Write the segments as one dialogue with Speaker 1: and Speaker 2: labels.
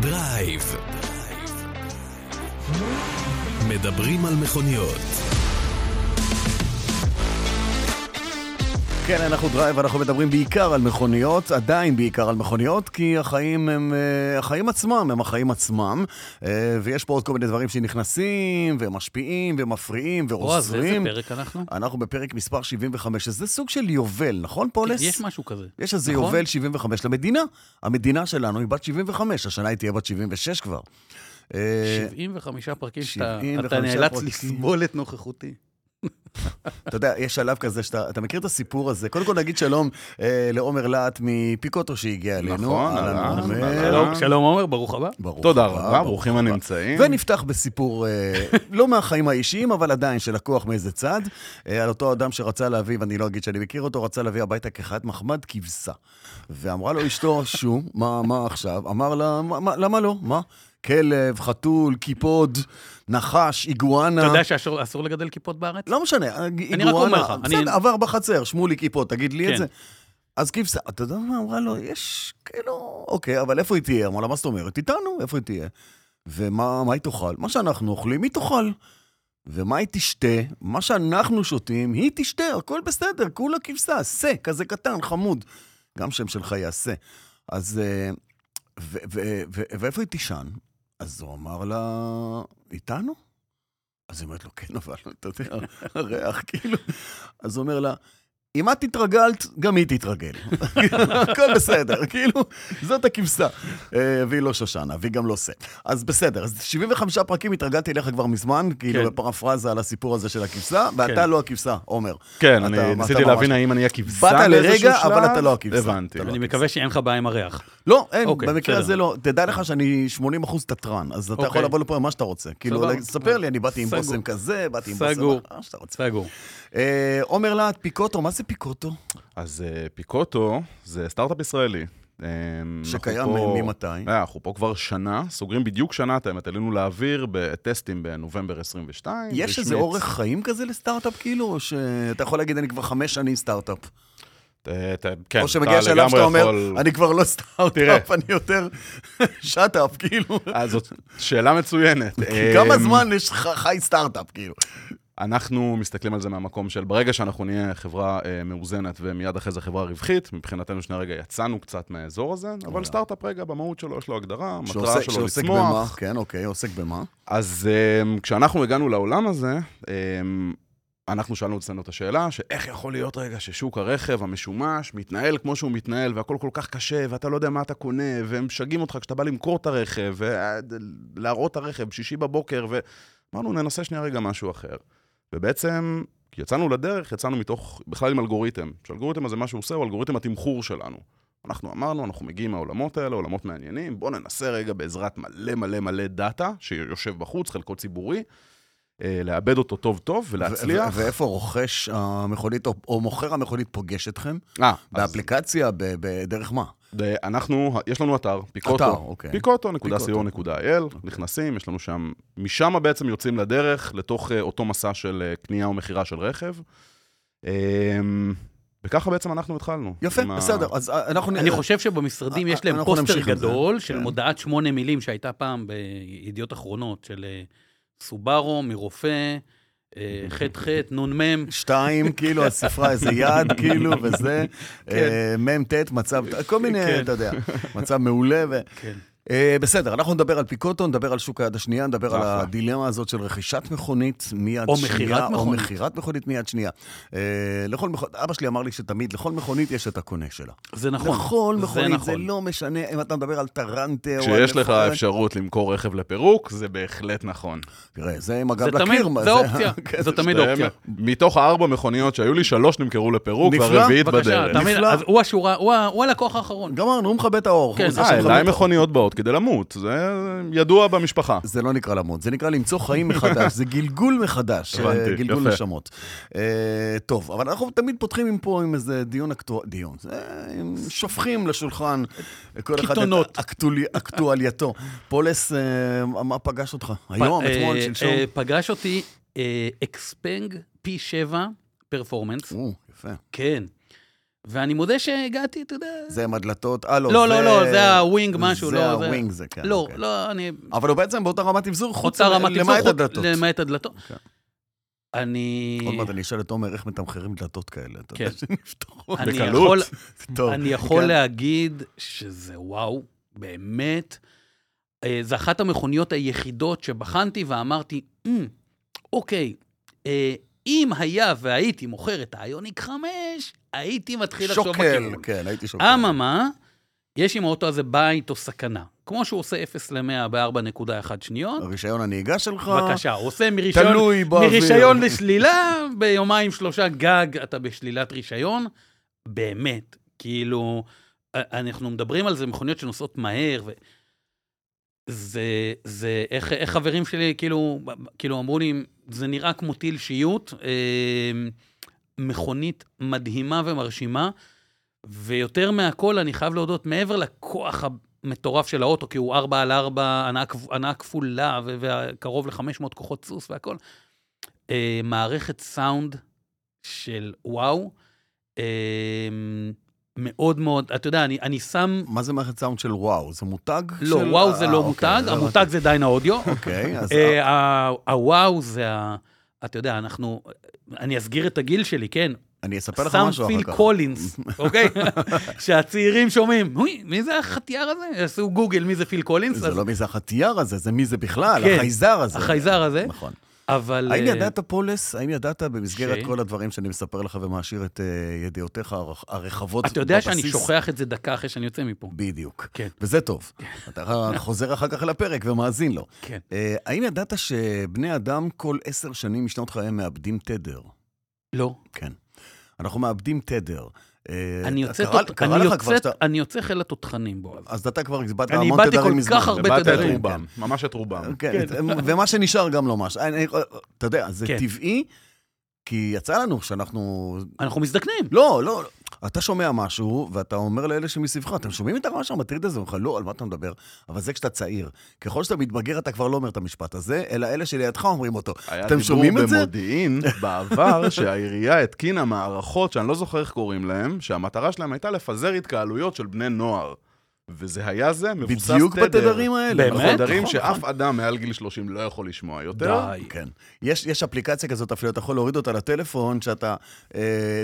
Speaker 1: דרייב. מדברים על מכוניות.
Speaker 2: כן, אנחנו דרייב, אנחנו מדברים בעיקר על מכוניות, עדיין בעיקר על מכוניות, כי החיים הם, אה, החיים עצמם הם החיים עצמם, אה, ויש פה עוד כל מיני דברים שנכנסים, ומשפיעים, ומפריעים,
Speaker 3: בועז, איזה
Speaker 2: ועוזרים.
Speaker 3: פרק אנחנו?
Speaker 2: אנחנו בפרק מספר 75, שזה סוג של יובל, נכון, פולס?
Speaker 3: יש משהו כזה.
Speaker 2: יש איזה
Speaker 3: נכון?
Speaker 2: יובל 75 למדינה. המדינה שלנו היא בת 75, השנה היא תהיה בת 76 כבר. אה,
Speaker 3: 75 פרקים שאתה
Speaker 2: 75
Speaker 3: אתה נאלץ
Speaker 2: פרקים.
Speaker 3: לסבול את נוכחותי.
Speaker 2: אתה יודע, יש שלב כזה שאתה אתה מכיר את הסיפור הזה. קודם כל נגיד שלום אה, לעומר להט מפיקוטו שהגיע אלינו.
Speaker 4: נכון,
Speaker 2: אהלן,
Speaker 4: אהלן,
Speaker 2: עומר.
Speaker 4: אהלן.
Speaker 3: שלום, שלום עומר, ברוך הבא.
Speaker 2: ברוך
Speaker 4: תודה
Speaker 2: הבא,
Speaker 4: רבה,
Speaker 2: ברוך
Speaker 4: ברוכים
Speaker 2: הבא.
Speaker 4: הנמצאים.
Speaker 2: ונפתח בסיפור, אה, לא מהחיים האישיים, אבל עדיין של לקוח מאיזה צד, אה, על אותו אדם שרצה להביא, ואני לא אגיד שאני מכיר אותו, רצה להביא הביתה כחת מחמד כבשה. ואמרה לו אשתו, שו, מה, מה עכשיו? אמר לה, "מה- מה- למה לא? מה? כלב, חתול, קיפוד, נחש, איגואנה.
Speaker 3: אתה יודע שאסור אסור לגדל כיפות בארץ?
Speaker 2: לא משנה, אני
Speaker 3: רק אומר לך,
Speaker 2: בסדר,
Speaker 3: אני-
Speaker 2: עבר בחצר, שמולי כיפות, תגיד לי את
Speaker 3: כן.
Speaker 2: זה. אז כבשה, אתה יודע מה? אמרה לו, יש, כאילו, אוקיי, אבל איפה היא תהיה? אמרה לה, מה זאת אומרת? איתנו, איפה היא תהיה? ומה מה היא תאכל? מה שאנחנו אוכלים, היא תאכל. ומה היא תשתה? מה שאנחנו שותים, היא תשתה, הכל בסדר, כולה כבשה, שא, כזה קטן, חמוד. גם שם שלך יעשה. אז... אה, ו- ו- ו- ואיפה היא תישן? אז הוא אמר לה, איתנו? אז היא אומרת לו, כן, אבל אתה יודע, הריח, כאילו. אז הוא אומר לה, אם את התרגלת, גם היא תתרגל. הכל בסדר, כאילו, זאת הכבשה. אה, והיא לא שושנה, והיא גם לא זה. אז בסדר, אז 75 פרקים התרגלתי אליך כבר מזמן, כאילו,
Speaker 3: כן.
Speaker 2: בפרפרזה על הסיפור הזה של הכבשה, ואתה
Speaker 3: כן.
Speaker 2: לא הכבשה, עומר.
Speaker 4: כן,
Speaker 2: אתה-
Speaker 4: אני
Speaker 2: אתה
Speaker 4: ניסיתי
Speaker 2: ממש-
Speaker 4: להבין האם אני הכבשה
Speaker 2: באת
Speaker 4: באיזשהו
Speaker 2: לרגע,
Speaker 4: שלב.
Speaker 2: אבל אתה לא הכבשה.
Speaker 4: הבנתי.
Speaker 2: אתה לא
Speaker 3: אני
Speaker 2: הכבשה.
Speaker 3: מקווה שאין לך בעיה עם הריח.
Speaker 2: לא, אין,
Speaker 3: אוקיי,
Speaker 2: במקרה
Speaker 3: בסדר.
Speaker 2: הזה לא. תדע לך שאני 80 אחוז תתרן, אז אתה
Speaker 3: אוקיי.
Speaker 2: יכול לבוא לפה עם מה שאתה רוצה. כאילו,
Speaker 3: סבבה.
Speaker 2: ספר לי, אני באתי עם
Speaker 3: סגור.
Speaker 2: בושם כזה, באתי עם
Speaker 3: סגור.
Speaker 2: בושם, מה שאתה רוצה.
Speaker 3: סגור.
Speaker 2: אה, עומר להט, פיקוטו, מה זה פיקוטו?
Speaker 4: אז אה, פיקוטו זה סטארט-אפ ישראלי. אה, אנחנו
Speaker 2: שקיים
Speaker 4: פה-
Speaker 2: מ- ממתי?
Speaker 4: אה, אנחנו פה כבר שנה, סוגרים בדיוק שנה את האמת, עלינו לאוויר בטסטים בנובמבר 22.
Speaker 2: יש איזה
Speaker 4: רשמית.
Speaker 2: אורך חיים כזה לסטארט-אפ, כאילו, או שאתה יכול להגיד, אני כבר חמש שנים סטארט-אפ?
Speaker 4: אה, אתה- כן,
Speaker 2: או
Speaker 4: אתה
Speaker 2: שמגיע שלב שאתה
Speaker 4: לגמרי
Speaker 2: אומר,
Speaker 4: יכול-
Speaker 2: אני כבר לא סטארט-אפ,
Speaker 4: תראה.
Speaker 2: אני יותר שט-אפ, כאילו.
Speaker 4: אה, זאת שאלה מצוינת.
Speaker 2: כי כמה
Speaker 4: אה,
Speaker 2: זמן יש לך חי סטארט-אפ, כאילו?
Speaker 4: אנחנו מסתכלים על זה מהמקום של ברגע שאנחנו נהיה חברה אה, מאוזנת ומיד אחרי זה חברה רווחית, מבחינתנו שנייה רגע יצאנו קצת מהאזור הזה, אבל סטארט-אפ רגע במהות שלו יש לו הגדרה, המטרה
Speaker 2: שעוסק-
Speaker 4: שלו
Speaker 2: אוקיי. שעוסק במה?
Speaker 4: לצמוח.
Speaker 2: כן, אוקיי, עוסק במה?
Speaker 4: אז אה, כשאנחנו הגענו לעולם הזה, אה, אנחנו שאלנו אצלנו את השאלה, שאיך יכול להיות רגע ששוק הרכב המשומש מתנהל כמו שהוא מתנהל, והכל כל כך קשה, ואתה לא יודע מה אתה קונה, והם משגעים אותך כשאתה בא למכור את הרכב, ולהראות את הרכב שישי בבוקר, ואמרנו, ננסה שנייה רגע משהו אחר. ובעצם, יצאנו לדרך, יצאנו מתוך, בכלל עם אלגוריתם. שאלגוריתם הזה, מה שהוא עושה, הוא אלגוריתם התמחור שלנו. אנחנו אמרנו, אנחנו מגיעים מהעולמות האלה, עולמות מעניינים, בואו ננסה רגע בעזרת מלא מלא מלא דאטה, שיושב בחוץ, חלקו ציבורי, אה, לעבד אותו טוב טוב ולהצליח.
Speaker 2: ו- ו- ואיפה רוכש המכונית, או, או מוכר המכונית פוגש אתכם?
Speaker 4: אה, אז
Speaker 2: באפליקציה, ב- ב- דרך מה?
Speaker 4: אה, אנחנו, יש לנו אתר, פיקוטו.
Speaker 2: אתר, אוקיי.
Speaker 4: פיקוטו.co.il, נכנסים, יש לנו שם, משם בעצם יוצאים לדרך, לתוך אה, אותו מסע של אה, קנייה או מכירה של רכב. אה, וככה בעצם אנחנו התחלנו.
Speaker 2: יפה,
Speaker 4: עם ה-
Speaker 2: בסדר, אז אה, אנחנו...
Speaker 3: אני חושב שבמשרדים
Speaker 2: אה,
Speaker 3: יש להם
Speaker 2: אנחנו
Speaker 3: פוסטר
Speaker 2: נמשיך עם זה.
Speaker 3: גדול של
Speaker 2: כן.
Speaker 3: מודעת שמונה מילים שהייתה פעם בידיעות אחרונות, של אה, סובארו, מרופא, אה, ח"ח, נ"מ.
Speaker 2: שתיים, כאילו, הספרה איזה יד, כאילו, וזה, אה, מ"ט, מצב, כל מיני,
Speaker 3: כן.
Speaker 2: אתה יודע, מצב מעולה. ו-
Speaker 3: כן.
Speaker 2: אה, בסדר, אנחנו נדבר על פיקוטו, נדבר על שוק היד השנייה, נדבר על
Speaker 4: אחלה.
Speaker 2: הדילמה הזאת של רכישת מכונית מיד
Speaker 3: או
Speaker 2: שנייה.
Speaker 3: מכירת מכונית.
Speaker 2: או מכירת מכונית מיד שנייה. אה, לכל מכונית, אבא שלי אמר לי שתמיד, לכל מכונית יש את הקונה שלה.
Speaker 3: זה נכון.
Speaker 2: לכל
Speaker 3: זה
Speaker 2: מכונית, זה
Speaker 3: נכון.
Speaker 2: לא משנה אם אתה מדבר על טרנטה או... על
Speaker 4: כשיש לך
Speaker 2: מפורט.
Speaker 4: אפשרות למכור רכב לפירוק, זה בהחלט נכון.
Speaker 2: תראה, זה עם הגב
Speaker 3: זה
Speaker 2: לקיר.
Speaker 3: תמיד,
Speaker 2: מה
Speaker 3: זה אופציה,
Speaker 2: כן,
Speaker 3: זה תמיד אופציה.
Speaker 4: מתוך הארבע מכוניות שהיו לי, שלוש נמכרו לפירוק,
Speaker 2: נפלא,
Speaker 4: והרביעית
Speaker 3: בבקשה,
Speaker 4: בדרך.
Speaker 3: תמיד,
Speaker 2: נפלא.
Speaker 3: אז הוא השורה, הוא ה- הוא הלקוח האחרון.
Speaker 2: גמרנו, הוא מכבה את האור.
Speaker 3: כן,
Speaker 2: הוא עושה
Speaker 3: אה,
Speaker 2: שם
Speaker 4: אה,
Speaker 2: חמוד.
Speaker 4: אליי מכוניות באות כדי למות, זה ידוע במשפחה.
Speaker 2: זה לא נקרא למות, זה נקרא למצוא חיים מחדש, זה גלגול מחדש,
Speaker 4: הבנתי,
Speaker 2: אה, גלגול
Speaker 4: יפה.
Speaker 2: נשמות. אה, טוב, אבל אנחנו תמיד פותחים עם פה עם איזה דיון אקטואלי, דיון, זה- עם- שופכים לשולחן אה, כל אחד את
Speaker 3: קיתונות.
Speaker 2: האקטולי- אקטואלייתו. פולס, אה, מה פגש אותך? היום,
Speaker 3: פ-
Speaker 2: אתמול,
Speaker 3: אה,
Speaker 2: שלשום?
Speaker 3: אה, פגש אותי
Speaker 2: אוקיי.
Speaker 3: אה, אקספנג פי 7 פרפורמנס,
Speaker 2: או, יפה.
Speaker 3: כן. ואני מודה שהגעתי, אתה יודע...
Speaker 2: זה עם הדלתות, אה, לא,
Speaker 3: לא, לא, לא, זה הווינג משהו, לא,
Speaker 2: זה
Speaker 3: זה-
Speaker 2: הווינג, זה כן.
Speaker 3: לא,
Speaker 2: אוקיי.
Speaker 3: לא, אני...
Speaker 2: אבל הוא בעצם באותה רמת תבזור, חוץ
Speaker 3: אותה רמת
Speaker 2: למעט
Speaker 3: תמסור,
Speaker 2: הדלתות.
Speaker 3: למעט הדלתות.
Speaker 2: אוקיי.
Speaker 3: אני...
Speaker 2: עוד מעט אני אשאל את עומר איך מתמחרים דלתות כאלה, אתה יודע
Speaker 3: כן.
Speaker 2: שנפתחות.
Speaker 3: אני
Speaker 4: בקלות.
Speaker 3: יכול,
Speaker 2: טוב,
Speaker 3: אני יכול
Speaker 2: כן.
Speaker 3: להגיד שזה וואו, באמת. אה, זו אחת המכוניות היחידות שבחנתי ואמרתי, "אמ, אוקיי, אה, אם היה והייתי מוכר את האיוניק 5, הייתי מתחיל לחשוב בכיוון.
Speaker 2: שוקל, כן, הייתי שוקל.
Speaker 3: אממה, יש עם האוטו הזה בית או סכנה. כמו שהוא עושה 0 ל-100 ב-4.1 שניות,
Speaker 2: הרישיון הנהיגה שלך,
Speaker 3: בבקשה, הוא עושה מרישיון
Speaker 2: אוקיי. תלוי באוויר.
Speaker 3: מרישיון לשלילה, ביומיים שלושה גג אתה בשלילת רישיון. באמת, כאילו, א- אנחנו מדברים על זה, מכוניות שנוסעות מהר, ו... זה, זה, איך, איך חברים שלי כאילו, ב- ב- כאילו אמרו לי, זה נראה כמו טיל שיוט, אה, מכונית מדהימה ומרשימה, ויותר מהכל, אני חייב להודות, מעבר לכוח המטורף של האוטו, כי הוא 4 על 4, הנעה כפ- הנעה כפולה, ו- וקרוב ל-500 כוחות סוס והכל, אה, מערכת סאונד של וואו, אה, מאוד מאוד, אתה יודע, אני, אני שם...
Speaker 2: מה זה מערכת סאונד של וואו? זה מותג?
Speaker 3: לא,
Speaker 2: של-
Speaker 3: וואו זה
Speaker 2: אה,
Speaker 3: לא
Speaker 2: אוקיי,
Speaker 3: מותג,
Speaker 2: זה
Speaker 3: המותג זה דיין האודיו.
Speaker 2: אוקיי, אז...
Speaker 3: אה, ה- הוואו זה ה... אתה יודע, אנחנו... אני אסגיר את הגיל שלי, כן?
Speaker 2: אני אספר לך
Speaker 3: סאם
Speaker 2: משהו אחר
Speaker 3: פיל
Speaker 2: כך.
Speaker 3: קולינס, אוקיי? שהצעירים שומעים, "הוי, מי זה החטיאר הזה? יעשו גוגל מי זה פיל קולינס,
Speaker 2: זה
Speaker 3: אז
Speaker 2: לא מי זה החטיאר הזה, זה מי זה בכלל,
Speaker 3: כן.
Speaker 2: החייזר הזה.
Speaker 3: החייזר הזה,
Speaker 2: נכון.
Speaker 3: אבל...
Speaker 2: האם
Speaker 3: אה,
Speaker 2: ידעת פולס, האם ידעת במסגרת
Speaker 3: ש-
Speaker 2: כל הדברים שאני מספר לך ומעשיר את אה, ידיעותיך הרח- הרחבות
Speaker 3: אתה יודע שאני
Speaker 2: בבסיס?
Speaker 3: שוכח את זה דקה אחרי שאני יוצא מפה.
Speaker 2: בדיוק.
Speaker 3: כן.
Speaker 2: וזה טוב. אתה חוזר אחר כך לפרק ומאזין לו.
Speaker 3: כן.
Speaker 2: אה, האם ידעת שבני אדם כל עשר שנים משנות חייהם מאבדים תדר?
Speaker 3: לא.
Speaker 2: כן. אנחנו מאבדים תדר. אה,
Speaker 3: אני יוצא
Speaker 2: קרה-
Speaker 3: תות-
Speaker 2: קרה
Speaker 3: אני
Speaker 2: לך כבר שאתה...
Speaker 3: יוצא-
Speaker 2: אה.
Speaker 3: אני יוצא חיל התותחנים בו. אז.
Speaker 2: אז אתה כבר איבדת
Speaker 3: אני
Speaker 2: המון
Speaker 3: איבדתי
Speaker 2: תדרים
Speaker 3: כל
Speaker 2: מזמן.
Speaker 3: כך הרבה
Speaker 4: איבדת את
Speaker 3: תדרים.
Speaker 4: רובם, ממש את רובם.
Speaker 2: כן, ומה שנשאר גם לא משהו. אני- אתה יודע, זה
Speaker 3: כן.
Speaker 2: טבעי, כי יצא לנו שאנחנו...
Speaker 3: אנחנו מזדקנים.
Speaker 2: לא, לא, לא. אתה שומע משהו, ואתה אומר לאלה שמסביבך, אתם שומעים את הרעש המטריד הזה? אומרים לך, לא, על מה אתה מדבר? אבל זה כשאתה צעיר. ככל שאתה מתבגר, אתה כבר לא אומר את המשפט הזה, אלא אלה שלידך אומרים אותו. אתם שומעים את זה?
Speaker 4: היה דיבור במודיעין בעבר שהעירייה התקינה מערכות שאני לא זוכר איך קוראים להן, שהמטרה שלהן הייתה לפזר התקהלויות של בני נוער. וזה היה זה, מבוסס תדר.
Speaker 2: בדיוק בתדרים האלה.
Speaker 3: באמת?
Speaker 2: נכון,
Speaker 4: תדרים
Speaker 2: נכון,
Speaker 4: שאף אדם מעל גיל 30 לא יכול לשמוע יותר.
Speaker 3: די.
Speaker 2: כן. יש, יש אפליקציה כזאת, אפילו אתה יכול להוריד אותה לטלפון, שאתה, אה,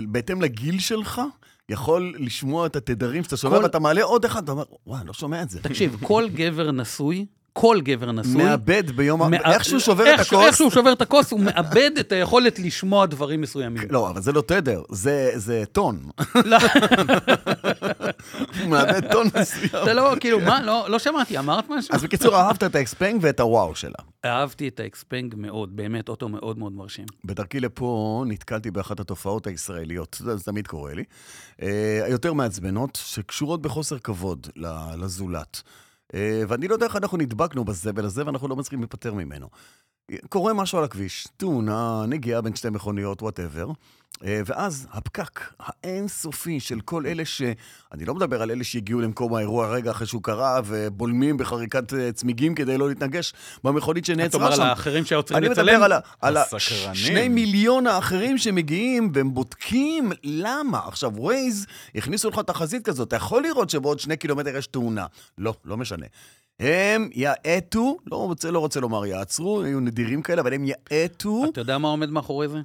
Speaker 2: בהתאם לגיל שלך, יכול לשמוע את התדרים שאתה שומע,
Speaker 3: כל-
Speaker 2: ואתה מעלה עוד אחד, אתה אומר, וואי, אני לא שומע את זה.
Speaker 3: תקשיב, כל גבר נשוי, כל גבר נשוי,
Speaker 2: מאבד ביום ה...
Speaker 3: מא-
Speaker 2: איך שהוא שובר את
Speaker 3: איך- איך
Speaker 2: הכוס.
Speaker 3: שהוא שובר את הכוס, הוא מאבד את היכולת לשמוע דברים מסוימים.
Speaker 2: לא, אבל זה לא תדר, זה, זה טון.
Speaker 3: לא.
Speaker 2: הוא מאבד טון מסוים.
Speaker 3: אתה לא, כאילו, מה, לא- לא שמעתי, אמרת משהו?
Speaker 2: אז בקיצור, אהבת את האקספנג ואת הוואו שלה.
Speaker 3: אהבתי את האקספנג מאוד, באמת, אוטו מאוד מאוד מרשים.
Speaker 2: בדרכי לפה נתקלתי באחת התופעות הישראליות, זה זה תמיד קורה לי, אה, היותר מעצבנות, שקשורות בחוסר כבוד ל- לזולת. אה, ואני לא יודע איך אנחנו נדבקנו בזבל הזה, ואנחנו לא מצליחים להיפטר ממנו. קורה משהו על הכביש, תאונה, נגיעה בין שתי מכוניות, וואטאבר, ואז הפקק האינסופי של כל אלה ש... אני לא מדבר על אלה שהגיעו למקום האירוע רגע אחרי שהוא קרה, ובולמים בחריקת אה, צמיגים כדי לא להתנגש במכונית
Speaker 3: אתה
Speaker 2: שנעצרה
Speaker 3: אומר
Speaker 2: שם.
Speaker 3: על האחרים שהיו צריכים
Speaker 2: אני
Speaker 3: לצלם?
Speaker 2: מדבר על, ה- על ה-
Speaker 4: הסקרנים.
Speaker 2: שני מיליון האחרים שמגיעים והם בודקים למה. עכשיו, ווייז, הכניסו לך תחזית כזאת, אתה יכול לראות שבעוד שני קילומטר יש תאונה. לא, לא משנה. הם יאטו, לא רוצה, לא רוצה לומר יעצרו, היו נדירים כאלה, אבל הם יאטו.
Speaker 3: אתה יודע מה עומד מאחורי זה?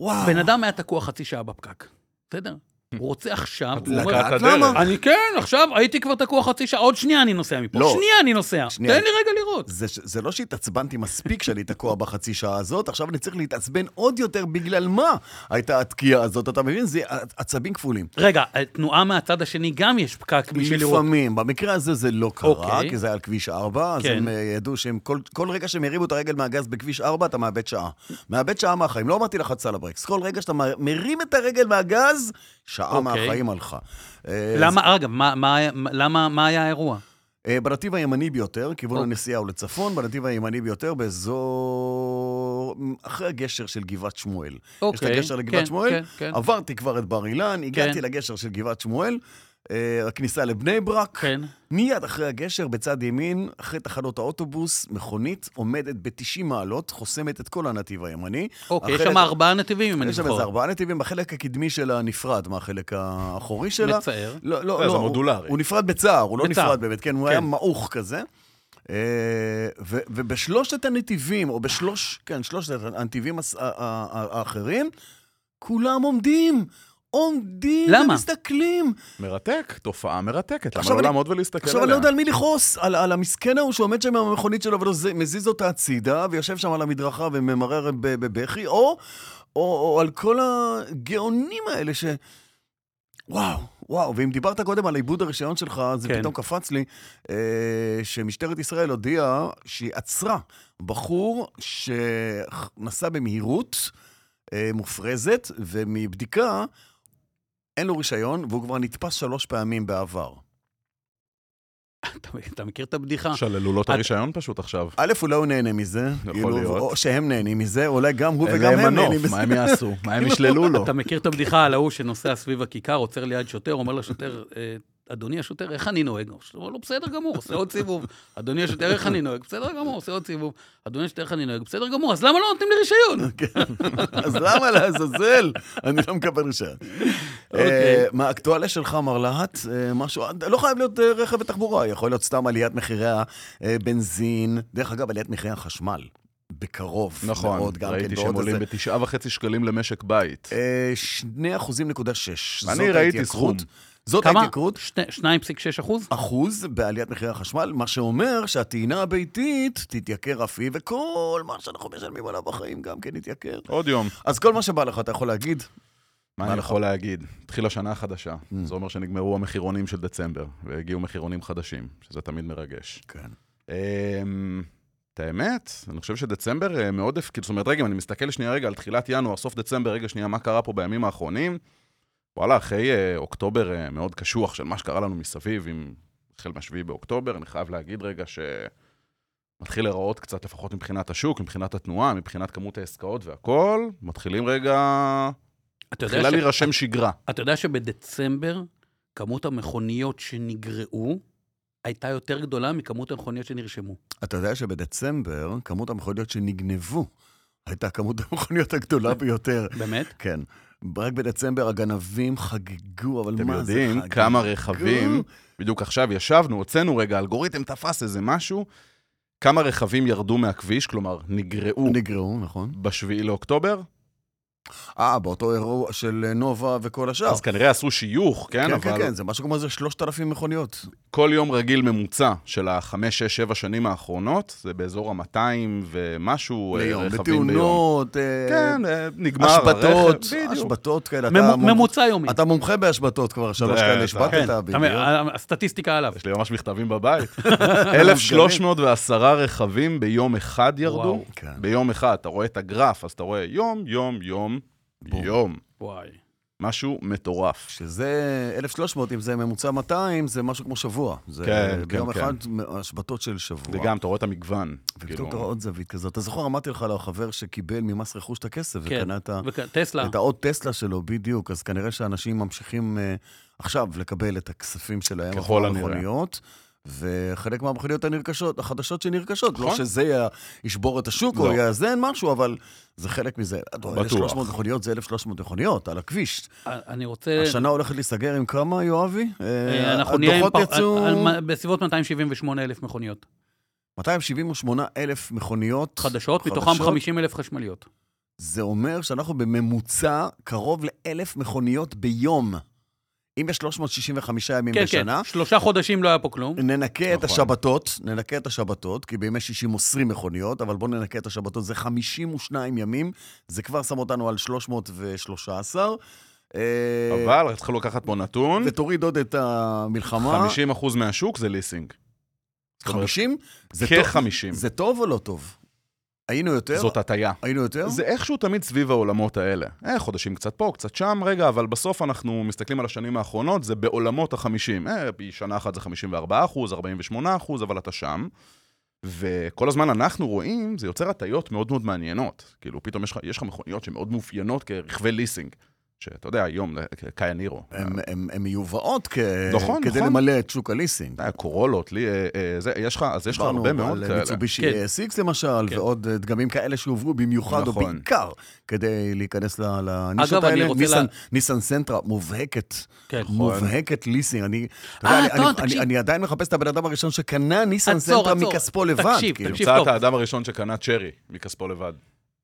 Speaker 2: וואו.
Speaker 3: בן אדם היה תקוע חצי שעה בפקק, בסדר? הוא רוצה עכשיו, הוא
Speaker 4: לקחת
Speaker 3: אומר...
Speaker 4: את
Speaker 2: לדעת
Speaker 4: הדרך.
Speaker 2: למה?
Speaker 3: אני כן, עכשיו הייתי כבר תקוע חצי שעה, עוד שנייה אני נוסע מפה.
Speaker 2: לא.
Speaker 3: שנייה אני נוסע. תן לי
Speaker 2: שנייה.
Speaker 3: רגע לראות.
Speaker 2: זה, ש- זה לא שהתעצבנתי מספיק שאני תקוע בחצי שעה הזאת, עכשיו אני צריך להתעצבן עוד יותר בגלל מה הייתה התקיעה הזאת, אתה מבין? זה עצבים כפולים.
Speaker 3: רגע, אה, תנועה מהצד השני גם יש פקק בשביל לראות.
Speaker 2: לפעמים, במקרה הזה זה לא קרה,
Speaker 3: אוקיי.
Speaker 2: כי זה היה על כביש 4, אז
Speaker 3: כן.
Speaker 2: הם אה, ידעו שהם, כל- כל רגע שהם הרימו את הרגל מהגז בכביש 4, אתה מאבד שעה. מאבד שעה מהחיים, לא אמרתי לחץ על הברקס. כל רגע שאתה מ- מרים את הרגל מהגז, שעה
Speaker 3: אוקיי.
Speaker 2: מהחיים הלכה. אה,
Speaker 3: למה, אגב, מה- מה היה- למה, מה היה האירוע?
Speaker 2: אה, בנתיב הימני ביותר, כיוון
Speaker 3: אוקיי.
Speaker 2: הנסיעה הוא לצפון, בנתיב הימני ביותר באזור... אחרי הגשר של גבעת שמואל. יש את
Speaker 3: אוקיי,
Speaker 2: הגשר לגבעת
Speaker 3: כן,
Speaker 2: שמואל,
Speaker 3: כן, כן.
Speaker 2: עברתי כבר את בר אילן, הגעתי
Speaker 3: כן.
Speaker 2: לגשר של גבעת שמואל, אה, הכניסה לבני ברק.
Speaker 3: כן.
Speaker 2: מיד אחרי הגשר, בצד ימין, אחרי תחנות האוטובוס, מכונית עומדת ב-90 מעלות, חוסמת את כל הנתיב הימני.
Speaker 3: אוקיי, יש
Speaker 2: אחרת-
Speaker 3: שם ארבעה נתיבים, אם אני
Speaker 2: יש שם איזה
Speaker 3: זוכר.
Speaker 2: ארבעה נתיבים, בחלק הקדמי שלה נפרד מהחלק האחורי שלה.
Speaker 3: מצער.
Speaker 2: לא,
Speaker 4: זה
Speaker 2: לא, לא. הוא-
Speaker 4: מודולרי.
Speaker 2: הוא נפרד בצער, הוא לא
Speaker 3: בצער.
Speaker 2: נפרד באמת, כן, הוא היה
Speaker 3: כן.
Speaker 2: מעוך כזה. אה, ו- ובשלושת הנתיבים, או בשלוש, כן, שלושת הנתיבים הס- ה- ה- ה- האחרים, כולם עומדים. עומדים
Speaker 3: למה?
Speaker 2: ומסתכלים.
Speaker 4: מרתק, תופעה מרתקת. למה
Speaker 2: עכשיו
Speaker 4: לא
Speaker 2: אני-
Speaker 4: לעמוד ולהסתכל
Speaker 2: עכשיו
Speaker 4: עליה?
Speaker 2: אני לא יודע על מי לכעוס, על, על המסכן ההוא שעומד שם עם המכונית שלו ומזיז אותה הצידה, ויושב שם על המדרכה וממרר ב- בבכי, או, או, או על כל הגאונים האלה ש... וואו, וואו, ואם דיברת קודם על עיבוד הרישיון שלך, אז זה
Speaker 3: כן.
Speaker 2: פתאום קפץ לי, אה, שמשטרת ישראל הודיעה שהיא עצרה בחור שנסע במהירות אה, מופרזת, ומבדיקה אין לו רישיון, והוא כבר נתפס שלוש פעמים בעבר.
Speaker 3: אתה- אתה מכיר את הבדיחה?
Speaker 4: שללו לו את
Speaker 3: את-
Speaker 4: הרישיון פשוט עכשיו.
Speaker 2: א', אולי הוא לא נהנה מזה.
Speaker 4: יכול
Speaker 2: כאילו,
Speaker 4: להיות.
Speaker 2: או שהם נהנים מזה, אולי גם הוא
Speaker 4: אין
Speaker 2: וגם
Speaker 4: להם
Speaker 2: הם נהנים
Speaker 4: מנוף,
Speaker 2: מזה. כאילו,
Speaker 4: מה הם יעשו? מה הם ישללו
Speaker 2: לא.
Speaker 4: לו?
Speaker 3: אתה מכיר את הבדיחה על ההוא שנוסע סביב הכיכר, עוצר ליד שוטר, אומר לשוטר, "אה, אדוני השוטר, איך אני נוהג? הוא אומר לו, "לא, בסדר גמור, עושה עוד סיבוב. אדוני השוטר, איך אני נוהג? בסדר גמור, עושה עוד סיבוב. אדוני השוטר, איך אני נוהג? בסדר גמור, אז למה לא נותנים לי רישיון?
Speaker 2: אז למה לעזאזל? אני לא מקבל רישיון.
Speaker 3: אוקיי.
Speaker 2: אה, מה האקטואליה שלך, מר להט? אה, משהו, לא חייב להיות אה, רכב ותחבורה, יכול להיות סתם עליית מחירי הבנזין. דרך אגב, עליית מחירי החשמל, בקרוב.
Speaker 4: נכון,
Speaker 2: מאוד, גם כן,
Speaker 4: ראיתי
Speaker 2: בעוד
Speaker 4: שהם עולים
Speaker 2: איזה-
Speaker 4: בתשעה וחצי שקלים למשק בית.
Speaker 2: אה, שני אחוזים נקודה שש.
Speaker 4: אני
Speaker 2: זאת
Speaker 4: ראיתי
Speaker 2: ההתייקרות.
Speaker 4: סכום.
Speaker 2: זאת
Speaker 3: כמה?
Speaker 2: ההתייקרות.
Speaker 3: שני- 2.6 אחוז?
Speaker 2: אחוז בעליית מחירי החשמל, מה שאומר שהטעינה הביתית תתייקר אף היא, וכל מה שאנחנו משלמים עליו בחיים גם כן יתייקר.
Speaker 4: עוד יום.
Speaker 2: אז כל מה שבא לך אתה יכול להגיד,
Speaker 4: מה
Speaker 2: מה
Speaker 4: אני
Speaker 2: לך?
Speaker 4: יכול Mm. להגיד? התחילה שנה חדשה. זה אומר שנגמרו המחירונים של דצמבר, והגיעו מחירונים חדשים, שזה תמיד מרגש.
Speaker 2: כן.
Speaker 4: אמ, את האמת, אני חושב שדצמבר אה, מאוד, הפ- כאילו, זאת אומרת, רגע, אם אני מסתכל שנייה רגע על תחילת ינואר, סוף דצמבר, רגע שנייה, מה קרה פה בימים האחרונים, וואלה, אחרי אה, אוקטובר אה, מאוד קשוח של מה שקרה לנו מסביב, עם החל מהשביעי באוקטובר, אני חייב להגיד רגע שמתחיל להיראות קצת, לפחות מבחינת השוק, מבחינת התנועה, מבחינת כמות העסקאות והכול, מתחילים רגע,
Speaker 3: אתה יודע
Speaker 4: מתחילה
Speaker 3: ש-
Speaker 4: להירשם שגרה.
Speaker 3: אתה יודע שבדצמבר כמות המכוניות שנגרעו הייתה יותר גדולה מכמות המכוניות שנרשמו.
Speaker 2: אתה יודע שבדצמבר כמות המכוניות שנגנבו הייתה כמות המכוניות הגדולה ביותר.
Speaker 3: באמת?
Speaker 2: כן. רק בדצמבר הגנבים חגגו, אבל
Speaker 4: אתם
Speaker 2: מה זה
Speaker 4: יודעים
Speaker 2: חגגו?
Speaker 4: כמה רכבים, בדיוק עכשיו ישבנו, הוצאנו רגע, אלגוריתם תפס איזה משהו, כמה רכבים ירדו מהכביש, כלומר, נגרעו
Speaker 2: נגרעו, נכון.
Speaker 4: בשביעי לאוקטובר,
Speaker 2: אה, באותו אירוע של אה, נובה וכל השאר.
Speaker 4: אז כנראה עשו שיוך, כן?
Speaker 2: כן, כן,
Speaker 4: אבל
Speaker 2: כן, זה משהו כמו איזה 3,000 מכוניות.
Speaker 4: כל יום רגיל ממוצע של החמש, שש, שבע שנים האחרונות, זה באזור ה-200 ומשהו אה,
Speaker 2: ליום,
Speaker 4: רכבים ביום.
Speaker 2: בתאונות, אה,
Speaker 4: כן, אה, נגמר
Speaker 2: השבתות,
Speaker 4: הרכב, בדיוק.
Speaker 2: השבתות כאלה. אתה
Speaker 3: ממ-
Speaker 2: מומ-
Speaker 3: ממוצע יומי.
Speaker 2: אתה מומחה בהשבתות כבר, שלוש
Speaker 4: זה-
Speaker 2: כאלה
Speaker 4: זה-
Speaker 2: השבתת
Speaker 3: כן,
Speaker 2: בדיוק.
Speaker 3: המ- הסטטיסטיקה עליו.
Speaker 4: יש לי ממש מכתבים בבית. 1,310 רכבים ביום אחד ירדו.
Speaker 3: וואו.
Speaker 2: כן.
Speaker 4: ביום אחד, אתה רואה את הגרף, אז אתה רואה יום, יום, יום,
Speaker 2: בום.
Speaker 4: יום.
Speaker 3: וואי.
Speaker 4: משהו מטורף.
Speaker 2: שזה 1,300, אם זה ממוצע 200, זה משהו כמו שבוע. זה
Speaker 4: כן,
Speaker 2: ביום
Speaker 4: כן,
Speaker 2: אחד השבתות של שבוע.
Speaker 4: וגם, אתה רואה את המגוון.
Speaker 2: ופתאום
Speaker 4: כאילו,
Speaker 2: אתה רואה עוד זווית כזאת. אתה זוכר, אמרתי לך על החבר שקיבל ממס רכוש את הכסף
Speaker 3: כן.
Speaker 2: וקנה את ה-
Speaker 3: וטסלה.
Speaker 2: את העוד טסלה שלו, בדיוק. אז כנראה שאנשים ממשיכים אה, עכשיו לקבל את הכספים שלהם.
Speaker 4: ככל
Speaker 2: עבור
Speaker 4: הנראה.
Speaker 2: המכוניות, וחלק מהמכוניות הנרכשות, החדשות שנרכשות, לא
Speaker 4: נכון.
Speaker 2: שזה יה- ישבור את השוק
Speaker 4: לא.
Speaker 2: או יאזן משהו, אבל זה חלק מזה.
Speaker 4: בטוח.
Speaker 2: 1,300 מכוניות זה 1,300 מכוניות על הכביש.
Speaker 3: אני רוצה...
Speaker 2: השנה הולכת להיסגר עם כמה, יואבי?
Speaker 3: אה,
Speaker 2: אה,
Speaker 3: אנחנו נהיה עם פר- אה,
Speaker 2: הדוחות יצאו
Speaker 3: על- על- בסביבות 278 אלף מכוניות
Speaker 2: 278 אלף מכוניות.
Speaker 3: חדשות, מתוכם
Speaker 2: חדשות?
Speaker 3: 50 אלף חשמליות.
Speaker 2: זה אומר שאנחנו בממוצע קרוב לאלף מכוניות ביום. אם יש 365 ימים
Speaker 3: כן, כן,
Speaker 2: בשנה, כן.
Speaker 3: שלושה חודשים לא היה פה כלום.
Speaker 2: ננקה את
Speaker 4: נכון.
Speaker 2: השבתות, ננקה את השבתות, כי בימי שישי מוסרים מכוניות, אבל בואו ננקה את השבתות, זה 52 ימים, זה כבר שם אותנו על 313. אה,
Speaker 4: אבל צריך לקחת פה נתון,
Speaker 2: ותוריד עוד את המלחמה.
Speaker 4: 50% מהשוק זה ליסינג. זאת אומרת,
Speaker 2: 50? זה טוב-
Speaker 4: כ-50.
Speaker 2: זה טוב או לא טוב? היינו יותר?
Speaker 4: זאת הטעיה.
Speaker 2: היינו יותר?
Speaker 4: זה איכשהו תמיד סביב העולמות האלה. אה, חודשים קצת פה, קצת שם, רגע, אבל בסוף אנחנו מסתכלים על השנים האחרונות, זה בעולמות ה-50. אה, בשנה אחת זה 54 אחוז, 48 אחוז, אבל אתה שם. וכל הזמן אנחנו רואים, זה יוצר הטיות מאוד מאוד מעניינות. כאילו, פתאום יש לך, יש לך מכוניות שמאוד מאופיינות כרכבי ליסינג. שאתה יודע, היום, קאיה נירו.
Speaker 2: הם- הם- הן מיובאות כ-
Speaker 4: נכון,
Speaker 2: כדי
Speaker 4: נכון.
Speaker 2: למלא את שוק הליסינג.
Speaker 4: אתה יודע, קורולות, לי, אה, אה, זה, יש לך, אז יש לך
Speaker 2: דיברנו
Speaker 4: הרבה מאוד
Speaker 2: על
Speaker 4: כאלה.
Speaker 2: מיצובישי
Speaker 3: כן.
Speaker 2: SX למשל,
Speaker 3: כן.
Speaker 2: ועוד אה, דגמים כאלה שהובאו במיוחד, או
Speaker 4: נכון.
Speaker 2: בעיקר, כדי להיכנס ל- לנישות
Speaker 3: אגב, אני
Speaker 2: האלה.
Speaker 3: רוצה
Speaker 2: ניסן-
Speaker 3: לה-
Speaker 2: ניסן סנטרה מובהקת,
Speaker 3: כן.
Speaker 4: נכון.
Speaker 2: מובהקת ליסינג. אני- אתה
Speaker 3: אה,
Speaker 2: יודע, אני-
Speaker 3: טוב,
Speaker 2: אני-
Speaker 3: תקשיב.
Speaker 2: אני- אני עדיין מחפש את הבן אדם הראשון שקנה ניסן
Speaker 3: עצור,
Speaker 2: סנטרה
Speaker 3: עצור.
Speaker 2: מכספו לבד.
Speaker 3: תקשיב,
Speaker 2: כאילו.
Speaker 3: תקשיב.
Speaker 4: נמצא את
Speaker 3: טוב.
Speaker 4: האדם הראשון שקנה צ'רי מכספו לבד.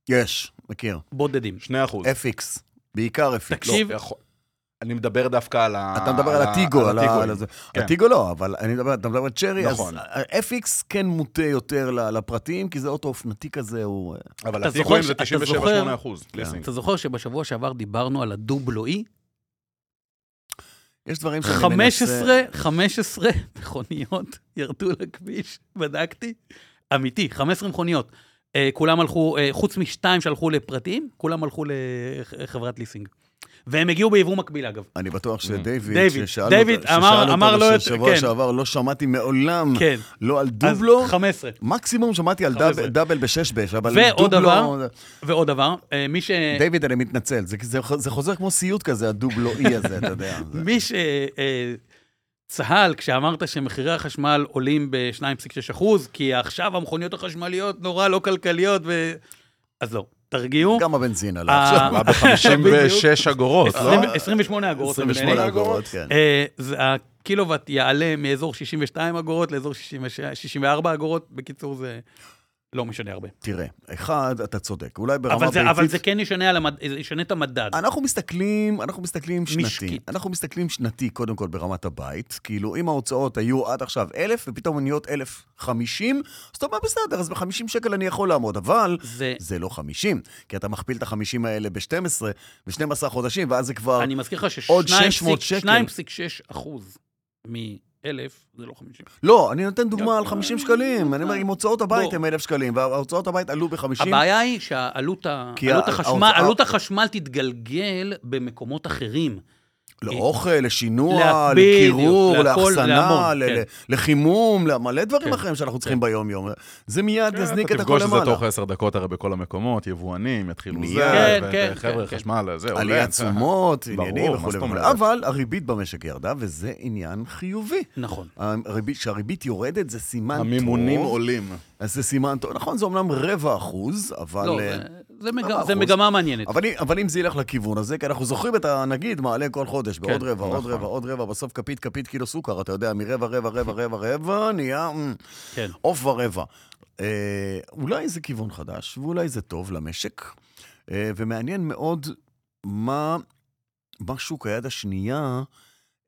Speaker 2: יש, מכיר.
Speaker 3: בודדים.
Speaker 4: 2 אחוז.
Speaker 2: FX, בעיקר FX.
Speaker 3: תקשיב,
Speaker 4: לא, יכול- אני מדבר דווקא אה, על ה...
Speaker 2: אתה מדבר על הטיגו, על ה-
Speaker 4: הטיגואים.
Speaker 2: על הזה.
Speaker 4: כן.
Speaker 2: הטיגו לא, אבל אני מדבר, אתה מדבר על צ'רי, אז
Speaker 4: נכון.
Speaker 2: FX כן מוטה יותר ל- לפרטים, כי זה אוטו אופנתי כזה, הוא... אה,
Speaker 4: אבל
Speaker 3: אתה
Speaker 4: הטיגואים
Speaker 3: זוכר
Speaker 4: זה
Speaker 3: ש- אתה
Speaker 4: 97-8 אחוז.
Speaker 2: כן,
Speaker 4: ליסינג.
Speaker 3: אתה זוכר שבשבוע שעבר דיברנו על הדובלואי?
Speaker 2: יש דברים שאני מנסה...
Speaker 3: 15, 15 מכוניות ירדו לכביש, בדקתי. אמיתי, 15 מכוניות. אה, כולם הלכו, אה, חוץ משתיים שהלכו לפרטיים, כולם הלכו לחברת ליסינג. והם הגיעו ביבוא מקביל, אגב.
Speaker 2: אני בטוח שדייוויד,
Speaker 3: דיוויד,
Speaker 2: ששאלנו
Speaker 3: דיוויד
Speaker 2: ששאלנו
Speaker 3: Mm. אמר-
Speaker 2: אותו
Speaker 3: אמר לו את-
Speaker 2: בשבוע
Speaker 3: כן.
Speaker 2: שעבר, לא שמעתי מעולם,
Speaker 3: כן.
Speaker 2: לא על
Speaker 3: אז
Speaker 2: דובלו,
Speaker 3: 15.
Speaker 2: מקסימום שמעתי על
Speaker 3: חמש
Speaker 2: דאב-
Speaker 3: עשרה.
Speaker 2: דאבל בשש בש, אבל
Speaker 3: ועוד
Speaker 2: דובלו-
Speaker 3: דבר, ועוד דבר, אה, מי ש...
Speaker 2: דיוויד, אני מתנצל, זה- זה- זה חוזר כמו סיוט כזה, הדובלו-אי הזה, אתה יודע. זה-
Speaker 3: מי שצה"ל, כשאמרת שמחירי החשמל עולים ב-2.6 אחוז, כי עכשיו המכוניות החשמליות נורא לא כלכליות, ו... אז לא, תרגיעו.
Speaker 2: גם הבנזין עלה
Speaker 3: אה,
Speaker 2: עכשיו.
Speaker 4: הוא היה ב-56 אגורות, לא?
Speaker 3: 20 28 אגורות.
Speaker 2: 28
Speaker 3: נדמה לי.
Speaker 2: אגורות, כן.
Speaker 3: אה, זה- הקילוואט יעלה מאזור 62 אגורות לאזור 66 64 אגורות. בקיצור, זה לא משנה הרבה.
Speaker 2: תראה, אחד, אתה צודק, אולי ברמה
Speaker 3: אבל זה- אבל זה
Speaker 2: ביתית...
Speaker 3: כן ישנה על המד- זה ישנה את המדד.
Speaker 2: אנחנו מסתכלים, אנחנו מסתכלים שנתי.
Speaker 3: משקית.
Speaker 2: אנחנו מסתכלים שנתי, קודם כל, ברמת הבית. כאילו, אם ההוצאות היו עד עכשיו 1,000, ופתאום הן נהיות 1,050, אז אתה אומר, בסדר, אז ב-50 שקל אני יכול לעמוד, אבל
Speaker 3: זה...
Speaker 2: זה לא 50, כי אתה מכפיל את ה-50 האלה ב-12, ב-12 חודשים, ואז זה כבר...
Speaker 3: אני מזכיר לך
Speaker 2: עוד 600 שקל.
Speaker 3: ש-2.6 אחוז מ-1,000 זה לא 50.
Speaker 2: לא, אני נותן דוגמה
Speaker 3: לא.
Speaker 2: על 50 שקלים. אני אומר, אם הוצאות הבית
Speaker 3: בוא.
Speaker 2: הן 1,000 שקלים, וההוצאות הבית עלו ב-50,
Speaker 3: הבעיה היא שהעלות ה-
Speaker 2: כי
Speaker 3: עלות
Speaker 2: ה-
Speaker 3: החשמל,
Speaker 2: ההוצאה-
Speaker 3: עלות החשמל תתגלגל במקומות אחרים.
Speaker 2: לאוכל, לשינוע,
Speaker 3: לה- בדיוק,
Speaker 2: לקירור,
Speaker 3: להכל,
Speaker 2: לאחסנה,
Speaker 3: להמון,
Speaker 2: ל-
Speaker 3: כן.
Speaker 2: ל- לחימום, למלא דברים
Speaker 3: כן,
Speaker 2: אחרים שאנחנו צריכים ביום-יום. זה מיד יזניק
Speaker 4: כן, אתה
Speaker 2: את הכל
Speaker 4: תפגוש את זה
Speaker 2: למעלה.
Speaker 4: תוך 10 דקות הרי בכל המקומות, יבואנים, יתחילו
Speaker 2: מיד.
Speaker 4: זה,
Speaker 3: כן,
Speaker 4: ו-
Speaker 3: כן,
Speaker 4: וחבר'ה,
Speaker 3: כן,
Speaker 4: חשמל, זה, עולה. אה,
Speaker 2: עליית תשומות,
Speaker 4: ברור,
Speaker 2: עניינים
Speaker 4: מה
Speaker 2: וכולי
Speaker 4: זאת
Speaker 2: וכולי.
Speaker 4: אומרת?
Speaker 2: אבל הריבית במשק ירדה, וזה עניין חיובי.
Speaker 3: נכון.
Speaker 2: הריבית, כשהריבית יורדת זה סימן טוב.
Speaker 4: המימונים עולים.
Speaker 2: אז זה סימן טוב. נכון, זה אומנם רבע אחוז, אבל...
Speaker 3: לא,
Speaker 2: אה,
Speaker 3: זה- זה מג-
Speaker 2: ארבע
Speaker 3: זה
Speaker 2: אחוז.
Speaker 3: מגמה מעניינת.
Speaker 2: אבל, אם- אבל אם זה ילך לכיוון הזה, כי אנחנו זוכרים את הנגיד מעלה כל חודש, בעוד
Speaker 3: כן,
Speaker 2: רבע, עוד
Speaker 4: נכון.
Speaker 2: רבע, עוד רבע, בסוף כפית, כפית קילו סוכר, אתה יודע, מרבע, רבע, רבע, רבע, רבע, נהיה אמ,
Speaker 3: כן.
Speaker 2: עוף ורבע. אה, אולי זה כיוון חדש, ואולי זה טוב למשק, אה, ומעניין מאוד מה, מה שוק היד השנייה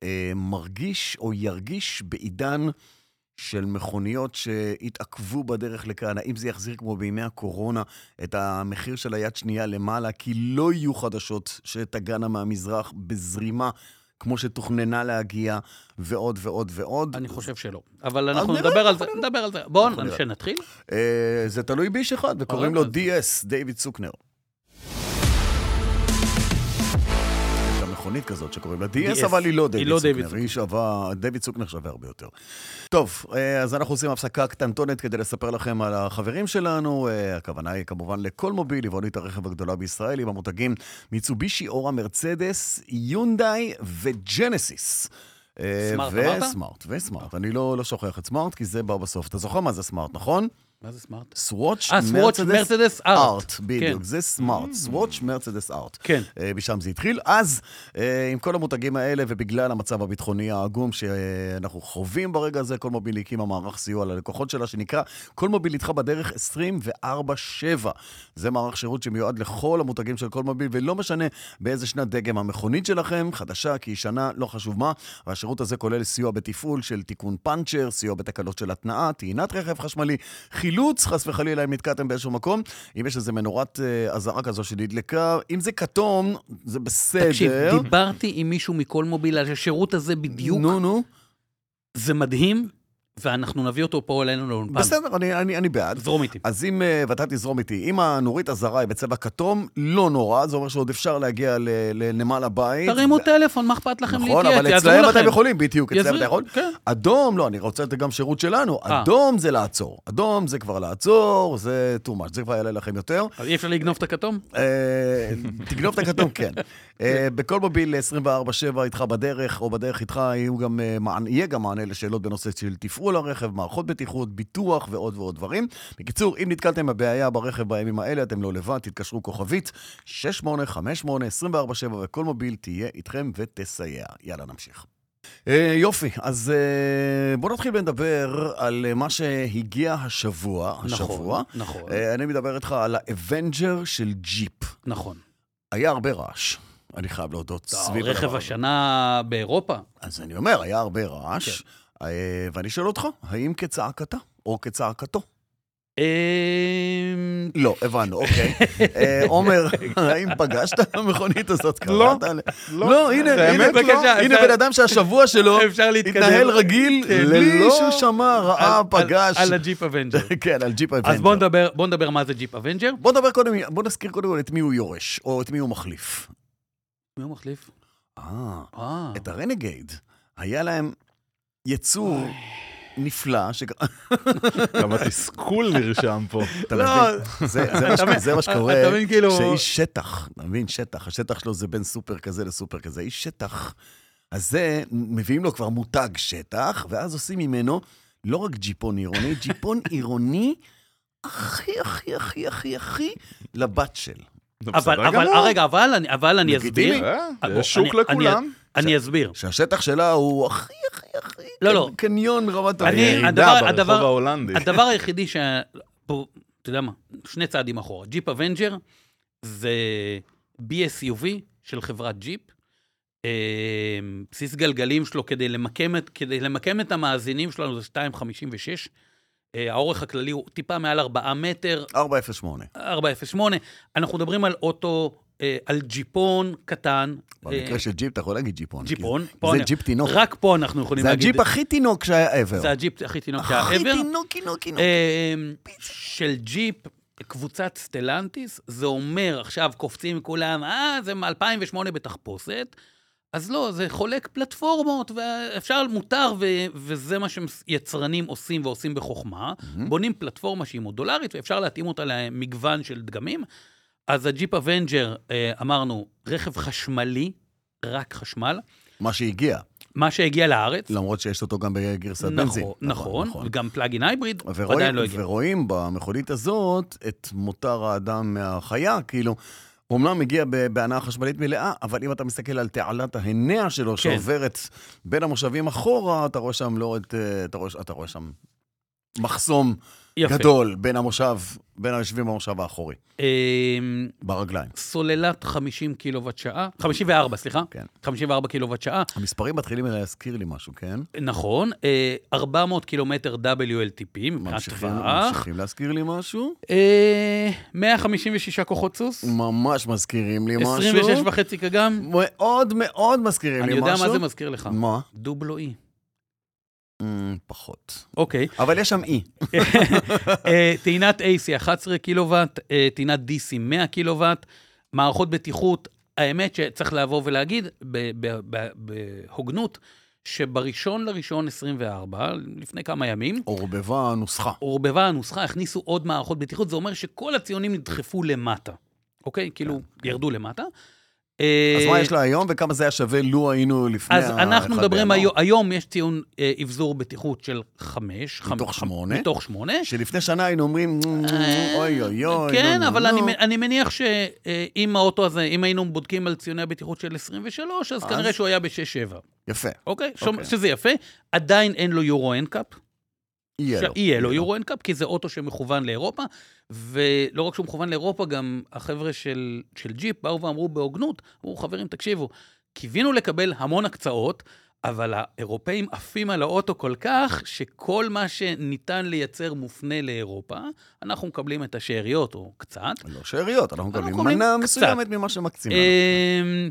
Speaker 2: אה, מרגיש או ירגיש בעידן של מכוניות שהתעכבו בדרך לכאן, האם זה יחזיר כמו בימי הקורונה את המחיר של היד שנייה למעלה, כי לא יהיו חדשות שתגענה מהמזרח בזרימה כמו שתוכננה להגיע, ועוד ועוד ועוד.
Speaker 3: אני חושב שלא. אבל אנחנו
Speaker 2: נראה,
Speaker 3: נדבר על זה,
Speaker 2: אנחנו
Speaker 3: נדבר על זה. בואו,
Speaker 2: אנחנו נראה.
Speaker 3: שנתחיל.
Speaker 2: אה, זה תלוי באיש אחד, וקוראים לו
Speaker 3: אבל-
Speaker 2: DS, דיוויד סוקנר. יש גם מכונית כזאת שקוראים לה DS,
Speaker 3: DS,
Speaker 2: אבל היא לא
Speaker 3: היא
Speaker 2: דיוויד
Speaker 3: לא דיוויד
Speaker 2: סוקנר, היא שווה, דיוויד סוקנר שווה הרבה יותר. טוב, אה, אז אנחנו עושים הפסקה קטנטונת כדי לספר לכם על החברים שלנו. אה, הכוונה היא כמובן לכל מוביל, עיוונית הרכב הגדולה בישראל, עם המותגים מיצובישי, אורה, מרצדס, יונדאי וג'נסיס. אה,
Speaker 3: סמארט אמרת?
Speaker 2: וסמארט, וסמארט. אני לא לא שוכח את סמארט, כי זה בא בסוף. אתה זוכר מה זה סמארט, נכון?
Speaker 3: מה זה סמארט?
Speaker 2: סוואץ',
Speaker 3: אה, סוואץ', מרצדס, ארט.
Speaker 2: ארט, בדיוק,
Speaker 3: כן.
Speaker 2: זה סמארט, סוואץ', מרצדס ארט.
Speaker 3: כן.
Speaker 2: אה, משם זה התחיל. אז, אה, עם כל המותגים האלה, ובגלל המצב הביטחוני העגום שאנחנו חווים ברגע הזה, כל מוביל הקימה מערך סיוע ללקוחות שלה, שנקרא כל מוביל איתך בדרך 24/7. זה מערך שירות שמיועד לכל המותגים של כל מוביל, ולא משנה באיזה שנת דגם המכונית שלכם, חדשה, כי ישנה, לא חשוב מה. והשירות הזה כולל סיוע בתפעול של תיקון פאנצ'ר, סיוע בתקלות של התנעה, טעינת רכב חשמלי, חילוץ, חס וחלילה, אם נתקעתם באיזשהו מקום. אם יש איזה מנורת אה, אזהרה כזו שנדלקה, אם זה כתום, זה בסדר.
Speaker 3: תקשיב, דיברתי עם מישהו מכל מוביל על השירות הזה בדיוק.
Speaker 2: נו, נו.
Speaker 3: זה מדהים, ואנחנו נביא אותו פה אלינו לאולפן.
Speaker 2: בסדר, אני- אני אני בעד.
Speaker 3: זרום איתי.
Speaker 2: אז אם, אה, ואתה תזרום איתי, אם הנורית אזהרה היא בצבע כתום, לא נורא, זה אומר שעוד אפשר להגיע ל- לנמל הבית.
Speaker 3: תרימו
Speaker 2: ו-
Speaker 3: טלפון, מה אכפת לכם להתייעץ?
Speaker 2: נכון, אבל
Speaker 3: יעזרו
Speaker 2: אצלהם אתם
Speaker 3: לכם.
Speaker 2: יכולים, בדיוק, אצלהם
Speaker 3: יעזרו-
Speaker 2: אתה יכול.
Speaker 3: כן.
Speaker 2: אדום, לא, אני רוצה את זה גם שירות שלנו.
Speaker 3: אה.
Speaker 2: אדום זה לעצור. אדום זה כבר לעצור, זה too much, זה כבר יעלה לכם יותר.
Speaker 3: אז אי אפשר לגנוב את הכתום?
Speaker 2: אה, תגנוב את הכתום, כן. אה, בכל מוביל 24/7 איתך בדרך, או בדרך איתך, יהיו גם, אה, מענה- יהיה גם מענה לשאלות בנושא של תפעול הרכב, מערכות בטיחות, ביטוח ועוד ועוד דברים. בקיצור, אם נתקלתם בבעיה ברכב בימים האלה, אתם לא לבד, תתקשרו כוכבית 6858 24/7, וכל מוביל תהיה איתכם ותסייע. יאללה, נמשיך. אה, יופי, אז אה, בואו נתחיל ונדבר על אה, מה שהגיע השבוע. השבוע.
Speaker 3: נכון, נכון,
Speaker 2: אה, אני מדבר איתך על האבנג'ר של ג'יפ.
Speaker 3: נכון.
Speaker 2: היה הרבה רעש, אני חייב להודות, סביב הדבר.
Speaker 3: רכב
Speaker 2: הזה.
Speaker 3: השנה באירופה.
Speaker 2: אז אני אומר, היה הרבה רעש,
Speaker 3: כן.
Speaker 2: אה, ואני שואל אותך, האם כצעקתה או כצעקתו?
Speaker 3: אמ,
Speaker 2: לא, הבנו, אוקיי. אה, עומר, האם פגשת את המכונית הזאת?
Speaker 4: לא,
Speaker 2: קראת עליה? לא, הנה, הנה,
Speaker 3: באמת לא.
Speaker 2: בבקשה, הנה
Speaker 3: אפשר-
Speaker 2: בן אדם שהשבוע שלו
Speaker 3: אפשר להתקדם.
Speaker 2: התנהל רגיל,
Speaker 3: כן,
Speaker 2: בלי
Speaker 3: לא.
Speaker 2: שהוא שמע, ראה,
Speaker 3: על-
Speaker 2: פגש.
Speaker 3: על- על הג'יפ אבנג'ר.
Speaker 2: כן, על ג'יפ
Speaker 3: אז
Speaker 2: האבנג'ר.
Speaker 3: בואו נדבר, בוא נדבר מה זה ג'יפ אבנג'ר.
Speaker 2: בוא נדבר קודם, בוא נזכיר קודם כל את מי הוא יורש, או את מי הוא מחליף.
Speaker 3: מי הוא מחליף?
Speaker 2: אה.
Speaker 3: אה,
Speaker 2: את הרנגייד. היה להם יצור נפלא, ש...
Speaker 4: כמה תסכול נרשם פה.
Speaker 2: אתה
Speaker 3: לא.
Speaker 2: מבין? זה, זה, מה, ש- זה מה שקורה,
Speaker 3: אתה מבין, כאילו-
Speaker 2: שאיש שטח, אתה מבין, שטח, השטח שלו זה בין סופר כזה לסופר כזה, איש שטח. אז זה, מביאים לו כבר מותג שטח, ואז עושים ממנו לא רק ג'יפון עירוני, ג'יפון עירוני הכי, הכי, הכי, הכי, הכי לבת של.
Speaker 3: אבל, אבל, אה, רגע, אבל אני, אבל אני
Speaker 2: לגיטימי.
Speaker 3: אסביר. אה, בוא,
Speaker 4: יש שוק
Speaker 3: אני- אני-
Speaker 4: לכולם.
Speaker 3: אני אסביר.
Speaker 2: שהשטח שלה הוא הכי, הכי, הכי...
Speaker 3: לא, לא.
Speaker 2: קניון רמת
Speaker 3: אני-
Speaker 2: אביב.
Speaker 4: ירידה
Speaker 3: הדבר-
Speaker 4: אה, ברחוב
Speaker 3: הדבר-
Speaker 4: ההולנדי.
Speaker 3: הדבר היחידי ש... פה, אתה יודע מה, שני צעדים אחורה. ג'יפ אבנג'ר זה BSUV של חברת ג'יפ. אה, בסיס גלגלים שלו כדי למקם את, כדי למקם את המאזינים שלנו זה 2.56. אה, האורך הכללי הוא טיפה מעל 4 מטר,
Speaker 2: 408.
Speaker 3: אה. 408. אנחנו מדברים על אוטו, אה, על ג'יפון קטן.
Speaker 2: במקרה
Speaker 3: אה,
Speaker 2: של ג'יפ אתה יכול להגיד ג'יפון. כי
Speaker 3: ג'יפון.
Speaker 2: זה-
Speaker 3: פה
Speaker 2: זה
Speaker 3: אני-
Speaker 2: ג'יפ תינוק.
Speaker 3: רק פה אנחנו יכולים
Speaker 2: זה
Speaker 3: להגיד.
Speaker 2: הג'יפ הכי תינוק שהיה ever.
Speaker 3: זה הג'יפ הכי תינוק שהיה
Speaker 2: הכי
Speaker 3: ever.
Speaker 2: תינוק, תינוק, תינוק.
Speaker 3: אמ, של ג'יפ, קבוצת סטלנטיס, זה אומר, עכשיו קופצים כולם, אה, זה מ-2008 בתחפושת. אז לא, זה חולק פלטפורמות, ואפשר, מותר, ו- וזה מה שיצרנים עושים ועושים בחוכמה. בונים פלטפורמה שהיא מודולרית, ואפשר להתאים אותה למגוון של דגמים. אז הג'יפ אבנג'ר, אה, אמרנו, רכב חשמלי, רק חשמל,
Speaker 2: מה שהגיע,
Speaker 3: מה שהגיע לארץ.
Speaker 2: למרות שיש אותו גם בגרסת
Speaker 3: נכון,
Speaker 2: לא, בנזין.
Speaker 3: נכון, וגם פלאגין הייבריד,
Speaker 2: ורואים-
Speaker 3: עדיין לא הגיע.
Speaker 2: ורואים במכונית הזאת את מותר האדם מהחיה, כאילו, הוא אמנם מגיע ב- בהנעה חשמלית מלאה, אבל אם אתה מסתכל על תעלת ההנע
Speaker 3: כן.
Speaker 2: שלו, שעוברת בין המושבים אחורה, אתה רואה שם לא את... אה, אתה רואה- אתה רואה שם מחסום
Speaker 3: יפה.
Speaker 2: גדול בין המושב, בין היושבים במושב האחורי,
Speaker 3: אמ,
Speaker 2: ברגליים.
Speaker 3: סוללת 50 קילוואט שעה, 54, סליחה,
Speaker 2: כן.
Speaker 3: 54 קילוואט שעה,
Speaker 2: המספרים מתחילים להזכיר לי משהו, כן?
Speaker 3: נכון, אה, 400 קילומטר WLTP מבחינת
Speaker 2: ממשיכים,
Speaker 3: טווח,
Speaker 2: ממשיכים להזכיר לי משהו?
Speaker 3: אה, 156 כוחות סוס,
Speaker 2: ממש מזכירים לי משהו.
Speaker 3: 26 וחצי קגם,
Speaker 2: מאוד מאוד מזכירים
Speaker 3: אני
Speaker 2: לי משהו.
Speaker 3: יודע מה זה מזכיר לך,
Speaker 2: מה?
Speaker 3: דובלו-אי,
Speaker 2: אמ, פחות.
Speaker 3: אוקיי,
Speaker 2: אבל יש שם אי.
Speaker 3: אה, טעינת AC 11 קילוואט, אה, טעינת DC 100 קילוואט, מערכות בטיחות, האמת שצריך לבוא ולהגיד ב- ב- ב- בהוגנות, שבראשון לראשון 24, לפני כמה ימים,
Speaker 2: עורבבה נוסחה.
Speaker 3: אה, עורבבה הנוסחה, הכניסו עוד מערכות בטיחות, זה אומר שכל הציונים נדחפו למטה, אוקיי? כאילו, ירדו למטה.
Speaker 2: כן,
Speaker 3: אה,
Speaker 2: אז מה יש לה היום וכמה זה היה שווה לו היינו לפני
Speaker 3: אז אנחנו
Speaker 2: האחד
Speaker 3: מדברים,
Speaker 2: בינואר?
Speaker 3: היום, היום יש ציון אה, אבזור בטיחות של חמש. חמ-
Speaker 2: מתוך
Speaker 3: חמ-
Speaker 2: שמונה?
Speaker 3: מתוך שמונה.
Speaker 2: שלפני שנה היינו אומרים, "Mm, אוי אוי אוי.
Speaker 3: אה, כן,
Speaker 2: נו,
Speaker 3: אבל
Speaker 2: נו,
Speaker 3: אני,
Speaker 2: נו."
Speaker 3: אני מניח שאם האוטו הזה, אם היינו בודקים על ציוני הבטיחות של 23, אז,
Speaker 2: אז?
Speaker 3: כנראה שהוא היה ב-6-7,
Speaker 2: יפה,
Speaker 3: אוקיי? Okay.
Speaker 2: אוקיי.
Speaker 3: שזה יפה. עדיין אין לו יורו אנקאפ.
Speaker 2: יהיה לו.
Speaker 3: יהיה לו יורו אנקאפ, כי זה אוטו שמכוון לאירופה, ולא רק שהוא מכוון לאירופה, גם החבר'ה של, של ג'יפ באו ואמרו בהוגנות, אמרו, חברים, תקשיבו, קיווינו לקבל המון הקצאות, אבל האירופאים עפים על האוטו כל כך, שכל מה שניתן לייצר מופנה לאירופה, אנחנו מקבלים את השאריות, או קצת.
Speaker 2: לא שאריות, אנחנו מקבלים
Speaker 3: מקבלים
Speaker 2: מנה
Speaker 3: קצת.
Speaker 2: מסוימת ממה שמקצים לנו.
Speaker 3: אמ,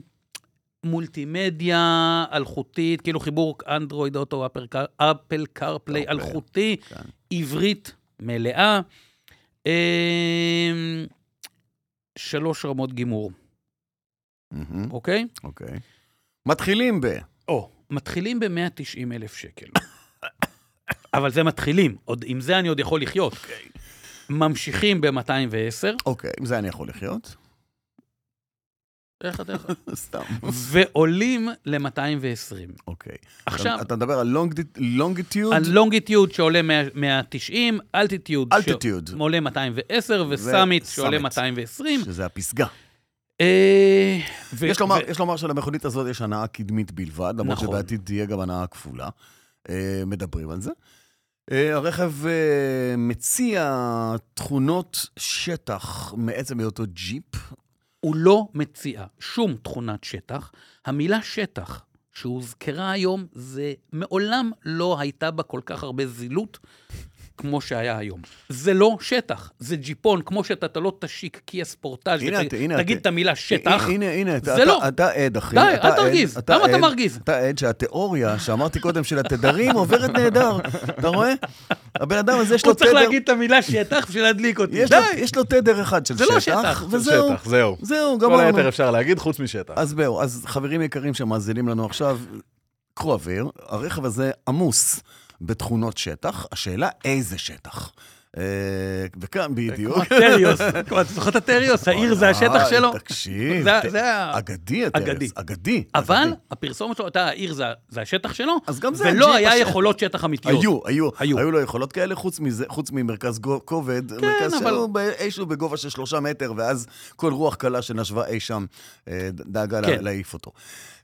Speaker 3: מולטימדיה אלחוטית, כאילו חיבור אנדרואיד אוטו, אפל קאר- אפל קארפליי
Speaker 2: קארפליי,
Speaker 3: אלחוטי,
Speaker 2: כן.
Speaker 3: עברית מלאה, אמ, שלוש רמות גימור,
Speaker 2: מהמם,
Speaker 3: אוקיי?
Speaker 2: אוקיי. מתחילים ב...
Speaker 3: או, מתחילים ב-190 אלף שקל. אבל זה מתחילים, עוד, עם זה אני עוד יכול לחיות. ממשיכים ב-210,
Speaker 2: אוקיי, עם זה אני יכול לחיות.
Speaker 3: איך אתה יכול?
Speaker 2: סתם.
Speaker 3: ועולים ל-220.
Speaker 2: אוקיי.
Speaker 3: עכשיו,
Speaker 2: אתה- אתה מדבר על לונגיטיוד?
Speaker 3: הלונגיטיוד שעולה 100 190, אלטיטיוד
Speaker 2: אלטיטיוד.
Speaker 3: שעולה 210, וסאמיט שעולה
Speaker 2: וסאמיט.
Speaker 3: 220.
Speaker 2: שזה הפסגה.
Speaker 3: אה, ו-
Speaker 2: יש לומר,
Speaker 3: ו-
Speaker 2: יש לומר שלמכונית הזאת יש הנאה קדמית בלבד, למרות
Speaker 3: נכון.
Speaker 2: שבעתיד תהיה גם הנאה כפולה. אה, מדברים על זה. אה, הרכב אה, מציע תכונות שטח מעצם היותו ג'יפ.
Speaker 3: הוא לא מציע שום תכונת שטח. המילה שטח שהוזכרה היום, זה מעולם לא הייתה בה כל כך הרבה זילות כמו שהיה היום. זה לא שטח, זה ג'יפון, כמו שאתה אתה לא תשיק קיה ספורטאז'
Speaker 2: הנה אתה- הנה
Speaker 3: ותגיד
Speaker 2: אתה-
Speaker 3: את המילה שטח.
Speaker 2: הנה, הנה, אתה,
Speaker 3: זה
Speaker 2: אתה,
Speaker 3: לא.
Speaker 2: אתה עד, אחי.
Speaker 3: די,
Speaker 2: אתה
Speaker 3: אל
Speaker 2: עד,
Speaker 3: תרגיז. למה אתה
Speaker 2: עד-
Speaker 3: מרגיז?
Speaker 2: אתה עד שהתיאוריה שאמרתי קודם של התדרים עוברת נהדר. אתה רואה? הבן אדם הזה יש
Speaker 3: הוא
Speaker 2: לו
Speaker 3: צריך
Speaker 2: תדר,
Speaker 3: להגיד את המילה שטח בשביל להדליק אותי.
Speaker 2: יש
Speaker 3: די.
Speaker 2: לו- יש לו תדר אחד של
Speaker 3: זה לא
Speaker 2: שטח,
Speaker 3: שטח,
Speaker 2: וזהו.
Speaker 4: שטח, זהו.
Speaker 2: זהו, לא
Speaker 4: כל
Speaker 2: גמרנו.
Speaker 4: היתר אפשר להגיד, חוץ משטח.
Speaker 2: אז זהו, אז חברים יקרים שמאזינים לנו עכשיו, קחו אוויר, הרכב הזה עמוס בתכונות שטח, השאלה איזה שטח. אה, וכאן בדיוק.
Speaker 3: כמו הטריוס, כמו- אתה זוכר את הטריוס? העיר זה השטח
Speaker 2: אה,
Speaker 3: שלו?
Speaker 2: תקשיב,
Speaker 3: זה-
Speaker 2: ת-
Speaker 3: זה ה-
Speaker 2: אגדי, הטרס,
Speaker 3: אגדי.
Speaker 2: אגדי. אגדי.
Speaker 3: אבל הפרסומת שלו, אתה, העיר זה- זה השטח שלו,
Speaker 2: אז גם זה
Speaker 3: ולא
Speaker 2: הג'יפ
Speaker 3: היה
Speaker 2: השטח.
Speaker 3: יכולות שטח אמיתיות.
Speaker 2: היו, היו,
Speaker 3: היו.
Speaker 2: היו, היו לו יכולות כאלה, חוץ, מזה, חוץ ממרכז גו- כובד, כן, מרכז
Speaker 3: אבל-
Speaker 2: שהיו ב- איזשהו בגובה של שלושה מטר, ואז כל רוח קלה שנשבה אי שם אה, ד- דאגה לה-
Speaker 3: כן.
Speaker 2: להעיף אותו.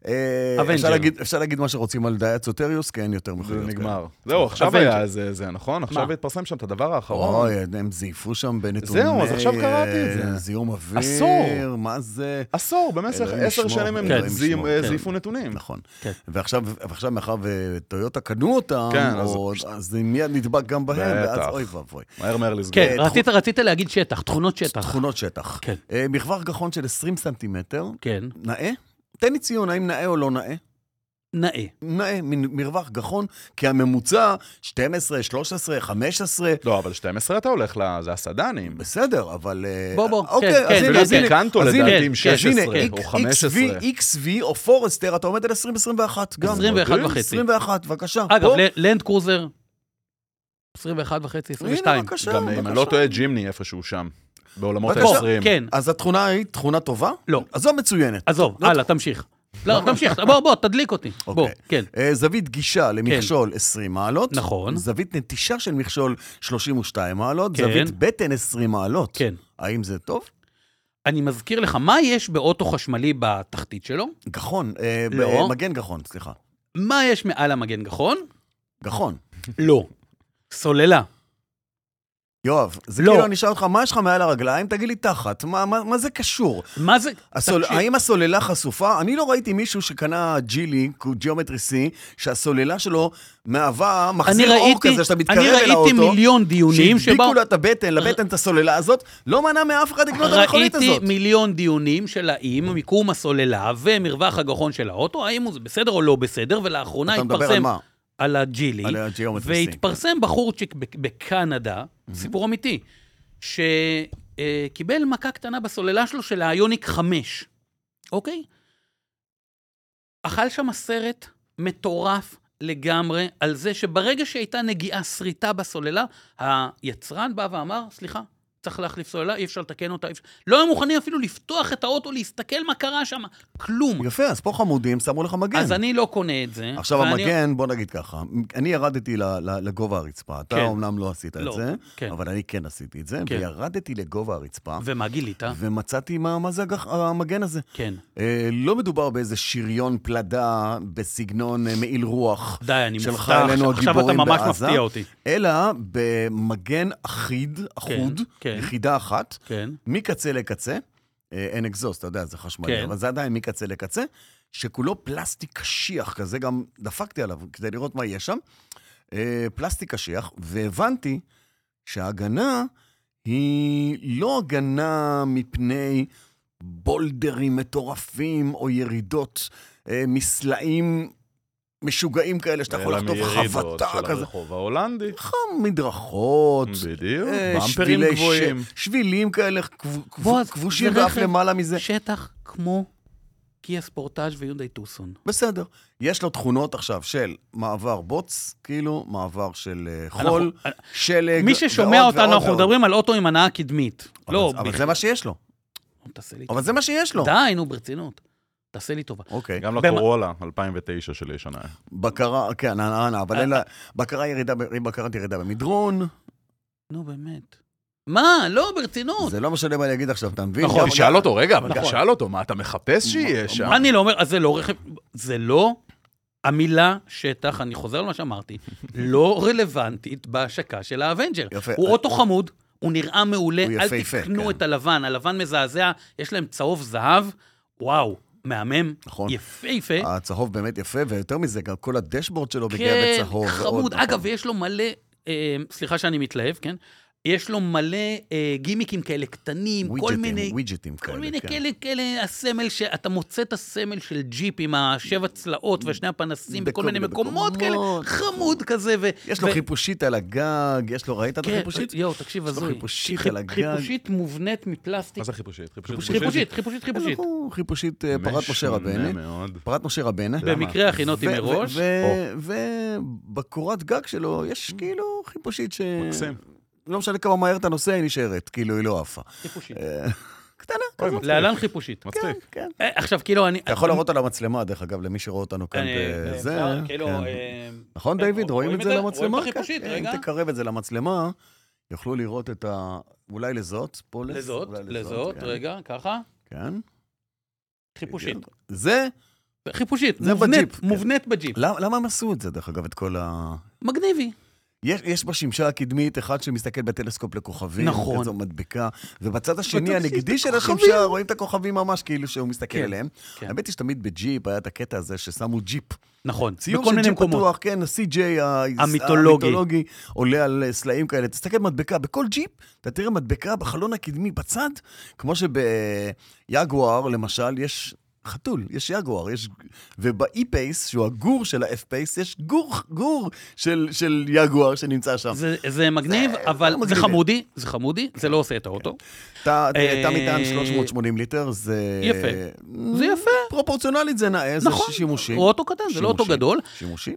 Speaker 2: אה,
Speaker 3: אבנג'ר.
Speaker 2: אפשר להגיד, אפשר להגיד מה שרוצים על דייצו טריוס, כי אין יותר
Speaker 4: זה
Speaker 2: מכוניות
Speaker 4: נגמר. זהו, עכשיו
Speaker 3: אבנג'ר.
Speaker 4: היה זה, זה, נכון? עכשיו התפרסם שם את הדבר האחרון.
Speaker 2: אוי, הם זייפו שם בנתוני...
Speaker 4: זהו, אז עכשיו קראתי את
Speaker 2: אה,
Speaker 4: זה.
Speaker 2: זיהום אוויר.
Speaker 4: עשור.
Speaker 2: מה זה?
Speaker 4: עשור, במשך
Speaker 2: אלוהים
Speaker 4: עשר
Speaker 2: ישמור,
Speaker 4: שנים הם
Speaker 2: אלוהים
Speaker 4: זי-
Speaker 2: ישמור,
Speaker 4: אה,
Speaker 2: כן.
Speaker 4: זייפו נתונים.
Speaker 2: נכון.
Speaker 3: כן.
Speaker 2: ועכשיו, ועכשיו מאחר וטויוטה קנו אותם,
Speaker 4: כן,
Speaker 2: או, אז... אז זה מיד נדבק גם בהם, ואז
Speaker 4: בטח.
Speaker 2: אוי ואבוי.
Speaker 4: מהר מהר לסגור.
Speaker 3: כן,
Speaker 2: אה,
Speaker 3: רצית- רצית להגיד שטח, תכונות שטח.
Speaker 2: תכונות שטח.
Speaker 3: כן.
Speaker 2: אה, מחבר גחון של 20 סנטימטר,
Speaker 3: כן,
Speaker 2: נאה? תן לי ציון, האם נאה או לא נאה?
Speaker 3: נאה.
Speaker 2: נאה, מין מרווח גחון, כי הממוצע 12, 13, 15,
Speaker 4: לא, אבל 12 אתה הולך ל... זה הסדנים. בסדר.
Speaker 2: אבל... אה,
Speaker 3: בוא, בוא,
Speaker 2: אוקיי,
Speaker 3: כן,
Speaker 2: אז
Speaker 3: כן,
Speaker 2: הנה,
Speaker 3: ולא
Speaker 2: אז הנה,
Speaker 4: קנטו
Speaker 2: אז הנה,
Speaker 4: לדעתי עם
Speaker 3: כן, כן,
Speaker 2: אז הנה,
Speaker 4: 16
Speaker 2: X-
Speaker 4: או 15.
Speaker 2: XV, XV או פורסטר, אתה עומד על 20, 21 גם.
Speaker 3: 21
Speaker 4: מדהים,
Speaker 3: וחצי.
Speaker 2: 21, בבקשה.
Speaker 3: אגב,
Speaker 2: פה.
Speaker 3: ל- לנד קרוזר, 21 וחצי, 22.
Speaker 2: הנה, בבקשה,
Speaker 4: גם אם אני לא
Speaker 2: בבקשה.
Speaker 4: טועה, ג'ימני איפשהו שם. בעולמות
Speaker 2: בבקשה.
Speaker 4: ה-20.
Speaker 3: כן,
Speaker 2: אז התכונה היא תכונה טובה?
Speaker 3: לא.
Speaker 2: אז זו מצוינת.
Speaker 3: עזוב,
Speaker 2: לא
Speaker 3: הלאה, תמשיך. לא, תמשיך, בוא, בוא, תדליק אותי. בוא,
Speaker 2: אוקיי.
Speaker 3: כן.
Speaker 2: אה, זווית גישה למכשול 20 מעלות.
Speaker 3: נכון.
Speaker 2: זווית נטישה של מכשול 32 מעלות.
Speaker 3: כן.
Speaker 2: זווית בטן 20 מעלות.
Speaker 3: כן.
Speaker 2: האם זה טוב?
Speaker 3: אני מזכיר לך, מה יש באוטו חשמלי בתחתית שלו?
Speaker 2: גחון. אה, ב-
Speaker 3: לא.
Speaker 2: אה, מגן גחון, סליחה.
Speaker 3: מה יש מעל המגן גחון?
Speaker 2: גחון.
Speaker 3: לא. סוללה.
Speaker 2: יואב, זה
Speaker 3: לא.
Speaker 2: כאילו אני אשאל אותך, מה יש לך מעל הרגליים? תגיד לי תחת, מה- מה מה זה קשור?
Speaker 3: מה זה?
Speaker 2: הסול...
Speaker 3: תקשיב.
Speaker 2: האם הסוללה חשופה? אני לא ראיתי מישהו שקנה ג'ילי, ג'יאומטרי C, שהסוללה שלו מהווה
Speaker 3: אני
Speaker 2: מחזיר אור
Speaker 3: ראיתי,
Speaker 2: כזה שאתה מתקרב
Speaker 3: אני
Speaker 2: אל האוטו.
Speaker 3: ראיתי מיליון דיונים שבאו...
Speaker 2: שהדביקו לה את הבטן, לבטן את הסוללה הזאת, לא מנע מאף אחד לקנות את המכונית
Speaker 3: אה, ראיתי
Speaker 2: הזאת.
Speaker 3: מיליון דיונים של האם מיקום הסוללה ומרווח הגחון של האוטו, האם הוא זה בסדר או לא בסדר, ולאחרונה
Speaker 2: אתה
Speaker 3: התפרסם...
Speaker 2: מדבר על מה?
Speaker 3: על הג'ילי,
Speaker 2: על הג'יאומטרי סינק. Mm-hmm.
Speaker 3: והתפרסם בחורצ'יק בק- בקנדה, סיפור אמיתי, שקיבל מכה קטנה בסוללה שלו של האיוניק 5, אוקיי? אכל שם סרט מטורף לגמרי על זה שברגע שהייתה נגיעה שריטה בסוללה, היצרן בא ואמר, סליחה, צריך להחליף סוללה, אי אפשר לתקן אותה, אי אפשר... לא היו מוכנים אפילו לפתוח את האוטו, להסתכל מה קרה שם, כלום.
Speaker 2: יפה, אז פה חמודים שמו לך מגן.
Speaker 3: אז אני לא קונה את זה.
Speaker 2: עכשיו
Speaker 3: ואני-
Speaker 2: המגן, בוא נגיד ככה, אני ירדתי ל- ל- לגובה הרצפה,
Speaker 3: כן.
Speaker 2: אתה אומנם לא עשית את
Speaker 3: לא,
Speaker 2: זה,
Speaker 3: כן.
Speaker 2: אבל אני כן עשיתי את זה,
Speaker 3: כן.
Speaker 2: וירדתי לגובה הרצפה,
Speaker 3: ומה גילית?
Speaker 2: ומצאתי מה מה זה הגח- המגן הזה.
Speaker 3: כן.
Speaker 2: אה, לא מדובר באיזה שריון פלדה בסגנון אה, מעיל רוח.
Speaker 3: די, אני
Speaker 2: של
Speaker 3: מופתע,
Speaker 2: חיילינו
Speaker 3: עכשיו- עכשיו אתה
Speaker 2: הגיבורים
Speaker 3: ממש
Speaker 2: בעזה.
Speaker 3: מפתיע אותי.
Speaker 2: אלא במגן אחיד, אחוד,
Speaker 3: כן.
Speaker 2: יחידה אחת,
Speaker 3: כן.
Speaker 2: מקצה לקצה, אה, אין אקזוסט, אתה יודע, זה חשמלי,
Speaker 3: כן.
Speaker 2: כן. אבל זה עדיין מקצה לקצה, שכולו פלסטיק קשיח כזה, גם דפקתי עליו כדי לראות מה יש שם, אה, פלסטיק קשיח, והבנתי שההגנה היא לא הגנה מפני בולדרים מטורפים, או ירידות, אה, מסלעים משוגעים כאלה, שאתה יכול
Speaker 4: אלא
Speaker 2: לחטוף
Speaker 4: מירידות
Speaker 2: חבטה
Speaker 4: של
Speaker 2: כזה.
Speaker 4: הרחוב ההולנדי.
Speaker 2: חם, מדרכות.
Speaker 4: בדיוק,
Speaker 2: אה,
Speaker 4: במפרים
Speaker 2: שבילי
Speaker 4: גבוהים.
Speaker 2: ש... שבילים כאלה כב- כב-
Speaker 3: בועז,
Speaker 2: כבושים
Speaker 3: זה
Speaker 2: ואף
Speaker 3: רכב
Speaker 2: למעלה מזה.
Speaker 3: שטח כמו קיה ספורטאז' ויונדאי טוסון.
Speaker 2: בסדר. יש לו תכונות עכשיו של מעבר בוץ, כאילו, מעבר של אה,
Speaker 3: אנחנו-
Speaker 2: חול, שלג,
Speaker 3: מי ששומע
Speaker 2: אה, ועוד
Speaker 3: אותנו,
Speaker 2: ועוד
Speaker 3: אנחנו
Speaker 2: ועוד.
Speaker 3: מדברים על אוטו עם הנאה קדמית.
Speaker 2: אבל-
Speaker 3: לא,
Speaker 2: אבל זה
Speaker 3: בכלל.
Speaker 2: מה שיש לו.
Speaker 3: נו, תעשה לי
Speaker 2: אבל לא. זה מה שיש לו.
Speaker 3: טובה. די, נו, ברצינות. תעשה לי טובה.
Speaker 2: אוקיי.
Speaker 4: גם
Speaker 3: במה-
Speaker 4: לקורולה, 2009 שלי יש שנה.
Speaker 2: בקרה, כן, אנא, אנא,
Speaker 3: אה.
Speaker 2: אבל אין לה... בקרה ירידה, ב- בקרת ירידה במדרון,
Speaker 3: נו, באמת. מה? לא, ברצינות.
Speaker 2: זה לא משנה מה אני אגיד עכשיו, אתה מבין?
Speaker 4: נכון,
Speaker 2: גם-
Speaker 4: תשאל אותו, רגע, אבל
Speaker 3: נכון.
Speaker 4: תשאל אותו, מה אתה מחפש שיהיה שם?
Speaker 3: אני לא אומר, אז זה לא רכב, זה לא, המילה שטח, אני חוזר על מה שאמרתי, לא רלוונטית בהשקה של האבנג'ר.
Speaker 2: יפה. אה,
Speaker 3: הוא אוטו חמוד, הוא נראה מעולה,
Speaker 2: הוא
Speaker 3: אל
Speaker 2: יפהפה,
Speaker 3: תקנו
Speaker 2: כן.
Speaker 3: את הלבן, הלבן מזעזע, יש להם צהוב זהב, וואו, מהמם,
Speaker 2: נכון.
Speaker 3: יפהפה.
Speaker 2: הצהוב באמת יפה, ויותר מזה, גם כל הדשבורד שלו מגיע
Speaker 3: כן,
Speaker 2: בצהוב. ועוד,
Speaker 3: חמוד.
Speaker 2: נכון.
Speaker 3: אגב, ויש לו מלא, אה, סליחה שאני מתלהב, כן? יש לו מלא אה, גימיקים כאלה קטנים, כל
Speaker 2: ווידג'טים,
Speaker 3: מיני...
Speaker 2: ווידג'טים
Speaker 3: כל
Speaker 2: כאלה,
Speaker 3: מיני
Speaker 2: כן.
Speaker 3: כאלה, כאלה, הסמל, שאתה מוצא את הסמל של ג'יפ עם השבע צלעות ושני הפנסים בכל
Speaker 2: בכל
Speaker 3: מיני
Speaker 2: מיני
Speaker 3: מקומות כאלה,
Speaker 2: מקומות.
Speaker 3: חמוד כזה. ו-
Speaker 2: יש לו
Speaker 3: ו-
Speaker 2: חיפושית על הגג, יש לו, ראית את
Speaker 3: כן,
Speaker 2: החיפושית?
Speaker 3: יואו, תקשיב,
Speaker 2: יש לו
Speaker 3: הזוי.
Speaker 2: חיפושית
Speaker 3: חיפ-
Speaker 2: על הגג.
Speaker 3: חיפושית מובנית מפלסטיק.
Speaker 4: מה זה חיפושית?
Speaker 3: חיפושית, חיפושית, חיפושית.
Speaker 2: אנחנו חיפושית אה, פרת משה
Speaker 4: משונה
Speaker 2: רבנה.
Speaker 4: מאוד.
Speaker 2: פרת משה רבנה.
Speaker 3: במקרה הכינותי
Speaker 2: ו- אה, ו-
Speaker 3: מראש.
Speaker 2: ו- ובקורת גג שלו
Speaker 3: Mm.
Speaker 2: יש כאילו חיפושית ש...
Speaker 4: מקסים.
Speaker 2: לא משנה כמה מהר אתה נוסע, היא נשארת, כאילו היא לא עפה.
Speaker 3: חיפושית.
Speaker 2: קטנה,
Speaker 4: אוי,
Speaker 2: כזאת.
Speaker 4: מצחיק.
Speaker 3: להלן חיפושית.
Speaker 2: כן,
Speaker 4: מצחיק.
Speaker 2: כן.
Speaker 3: אה, עכשיו, כאילו, אני...
Speaker 2: אתה יכול להראות על המצלמה, דרך אגב, למי שרואה אותנו כאן
Speaker 3: אני-
Speaker 2: בזה.
Speaker 3: אפשר, כאילו,
Speaker 2: כן.
Speaker 3: אה,
Speaker 2: נכון,
Speaker 3: כן,
Speaker 2: דיוויד? רואים את זה למצלמה?
Speaker 3: רואים את החיפושית,
Speaker 2: כן,
Speaker 3: רגע.
Speaker 2: אם תקרב את זה למצלמה, יוכלו לראות את ה... אולי לזאת, פה לז-
Speaker 3: לזאת,
Speaker 2: אולי
Speaker 3: לזאת,
Speaker 2: כן,
Speaker 3: רגע, ככה.
Speaker 2: כן.
Speaker 3: חיפושית.
Speaker 2: בדיוק. זה,
Speaker 3: חיפושית,
Speaker 2: זה
Speaker 3: מובנית,
Speaker 2: בג'יפ, כן.
Speaker 3: מובנית בג'יפ.
Speaker 2: למ- למה הם עשו את זה, דרך אגב, את כל ה...
Speaker 3: מגניבי.
Speaker 2: יש, יש בשמשה הקדמית אחד שמסתכל בטלסקופ לכוכבים,
Speaker 3: נכון.
Speaker 2: כזו מדבקה, ובצד השני
Speaker 3: בצד
Speaker 2: הנגדי
Speaker 3: יש את
Speaker 2: של השמשה רואים את הכוכבים ממש כאילו שהוא מסתכל
Speaker 3: כן,
Speaker 2: עליהם.
Speaker 3: כן.
Speaker 2: האמת היא שתמיד בג'יפ היה את הקטע הזה ששמו ג'יפ.
Speaker 3: נכון,
Speaker 2: ציור
Speaker 3: בכל
Speaker 2: של
Speaker 3: מיני
Speaker 2: ג'יפ
Speaker 3: מקומות.
Speaker 2: פתוח, כן, ה-CJ ה-
Speaker 3: המיתולוגי.
Speaker 2: המיתולוגי עולה על אה, סלעים כאלה. תסתכל מדבקה, בכל ג'יפ אתה תראה מדבקה בחלון הקדמי בצד, כמו שביגואר, למשל, יש חתול, יש יגואר, יש... ובאי-פייס, שהוא הגור של האף-פייס, יש גור, גור של, של יגואר שנמצא שם.
Speaker 3: זה- זה מגניב, אבל זה
Speaker 2: לא מגניב. כן.
Speaker 3: חמודי, זה חמודי, זה לא עושה את האוטו.
Speaker 2: תא
Speaker 3: אה,
Speaker 2: תא מטען 380 ליטר, זה...
Speaker 3: יפה. זה יפה.
Speaker 2: פרופורציונלית זה נאה, זה
Speaker 3: נכון,
Speaker 2: שימושי.
Speaker 3: הוא אוטו קטן, זה לא אוטו
Speaker 2: שימושי.
Speaker 3: גדול.
Speaker 2: שימושי.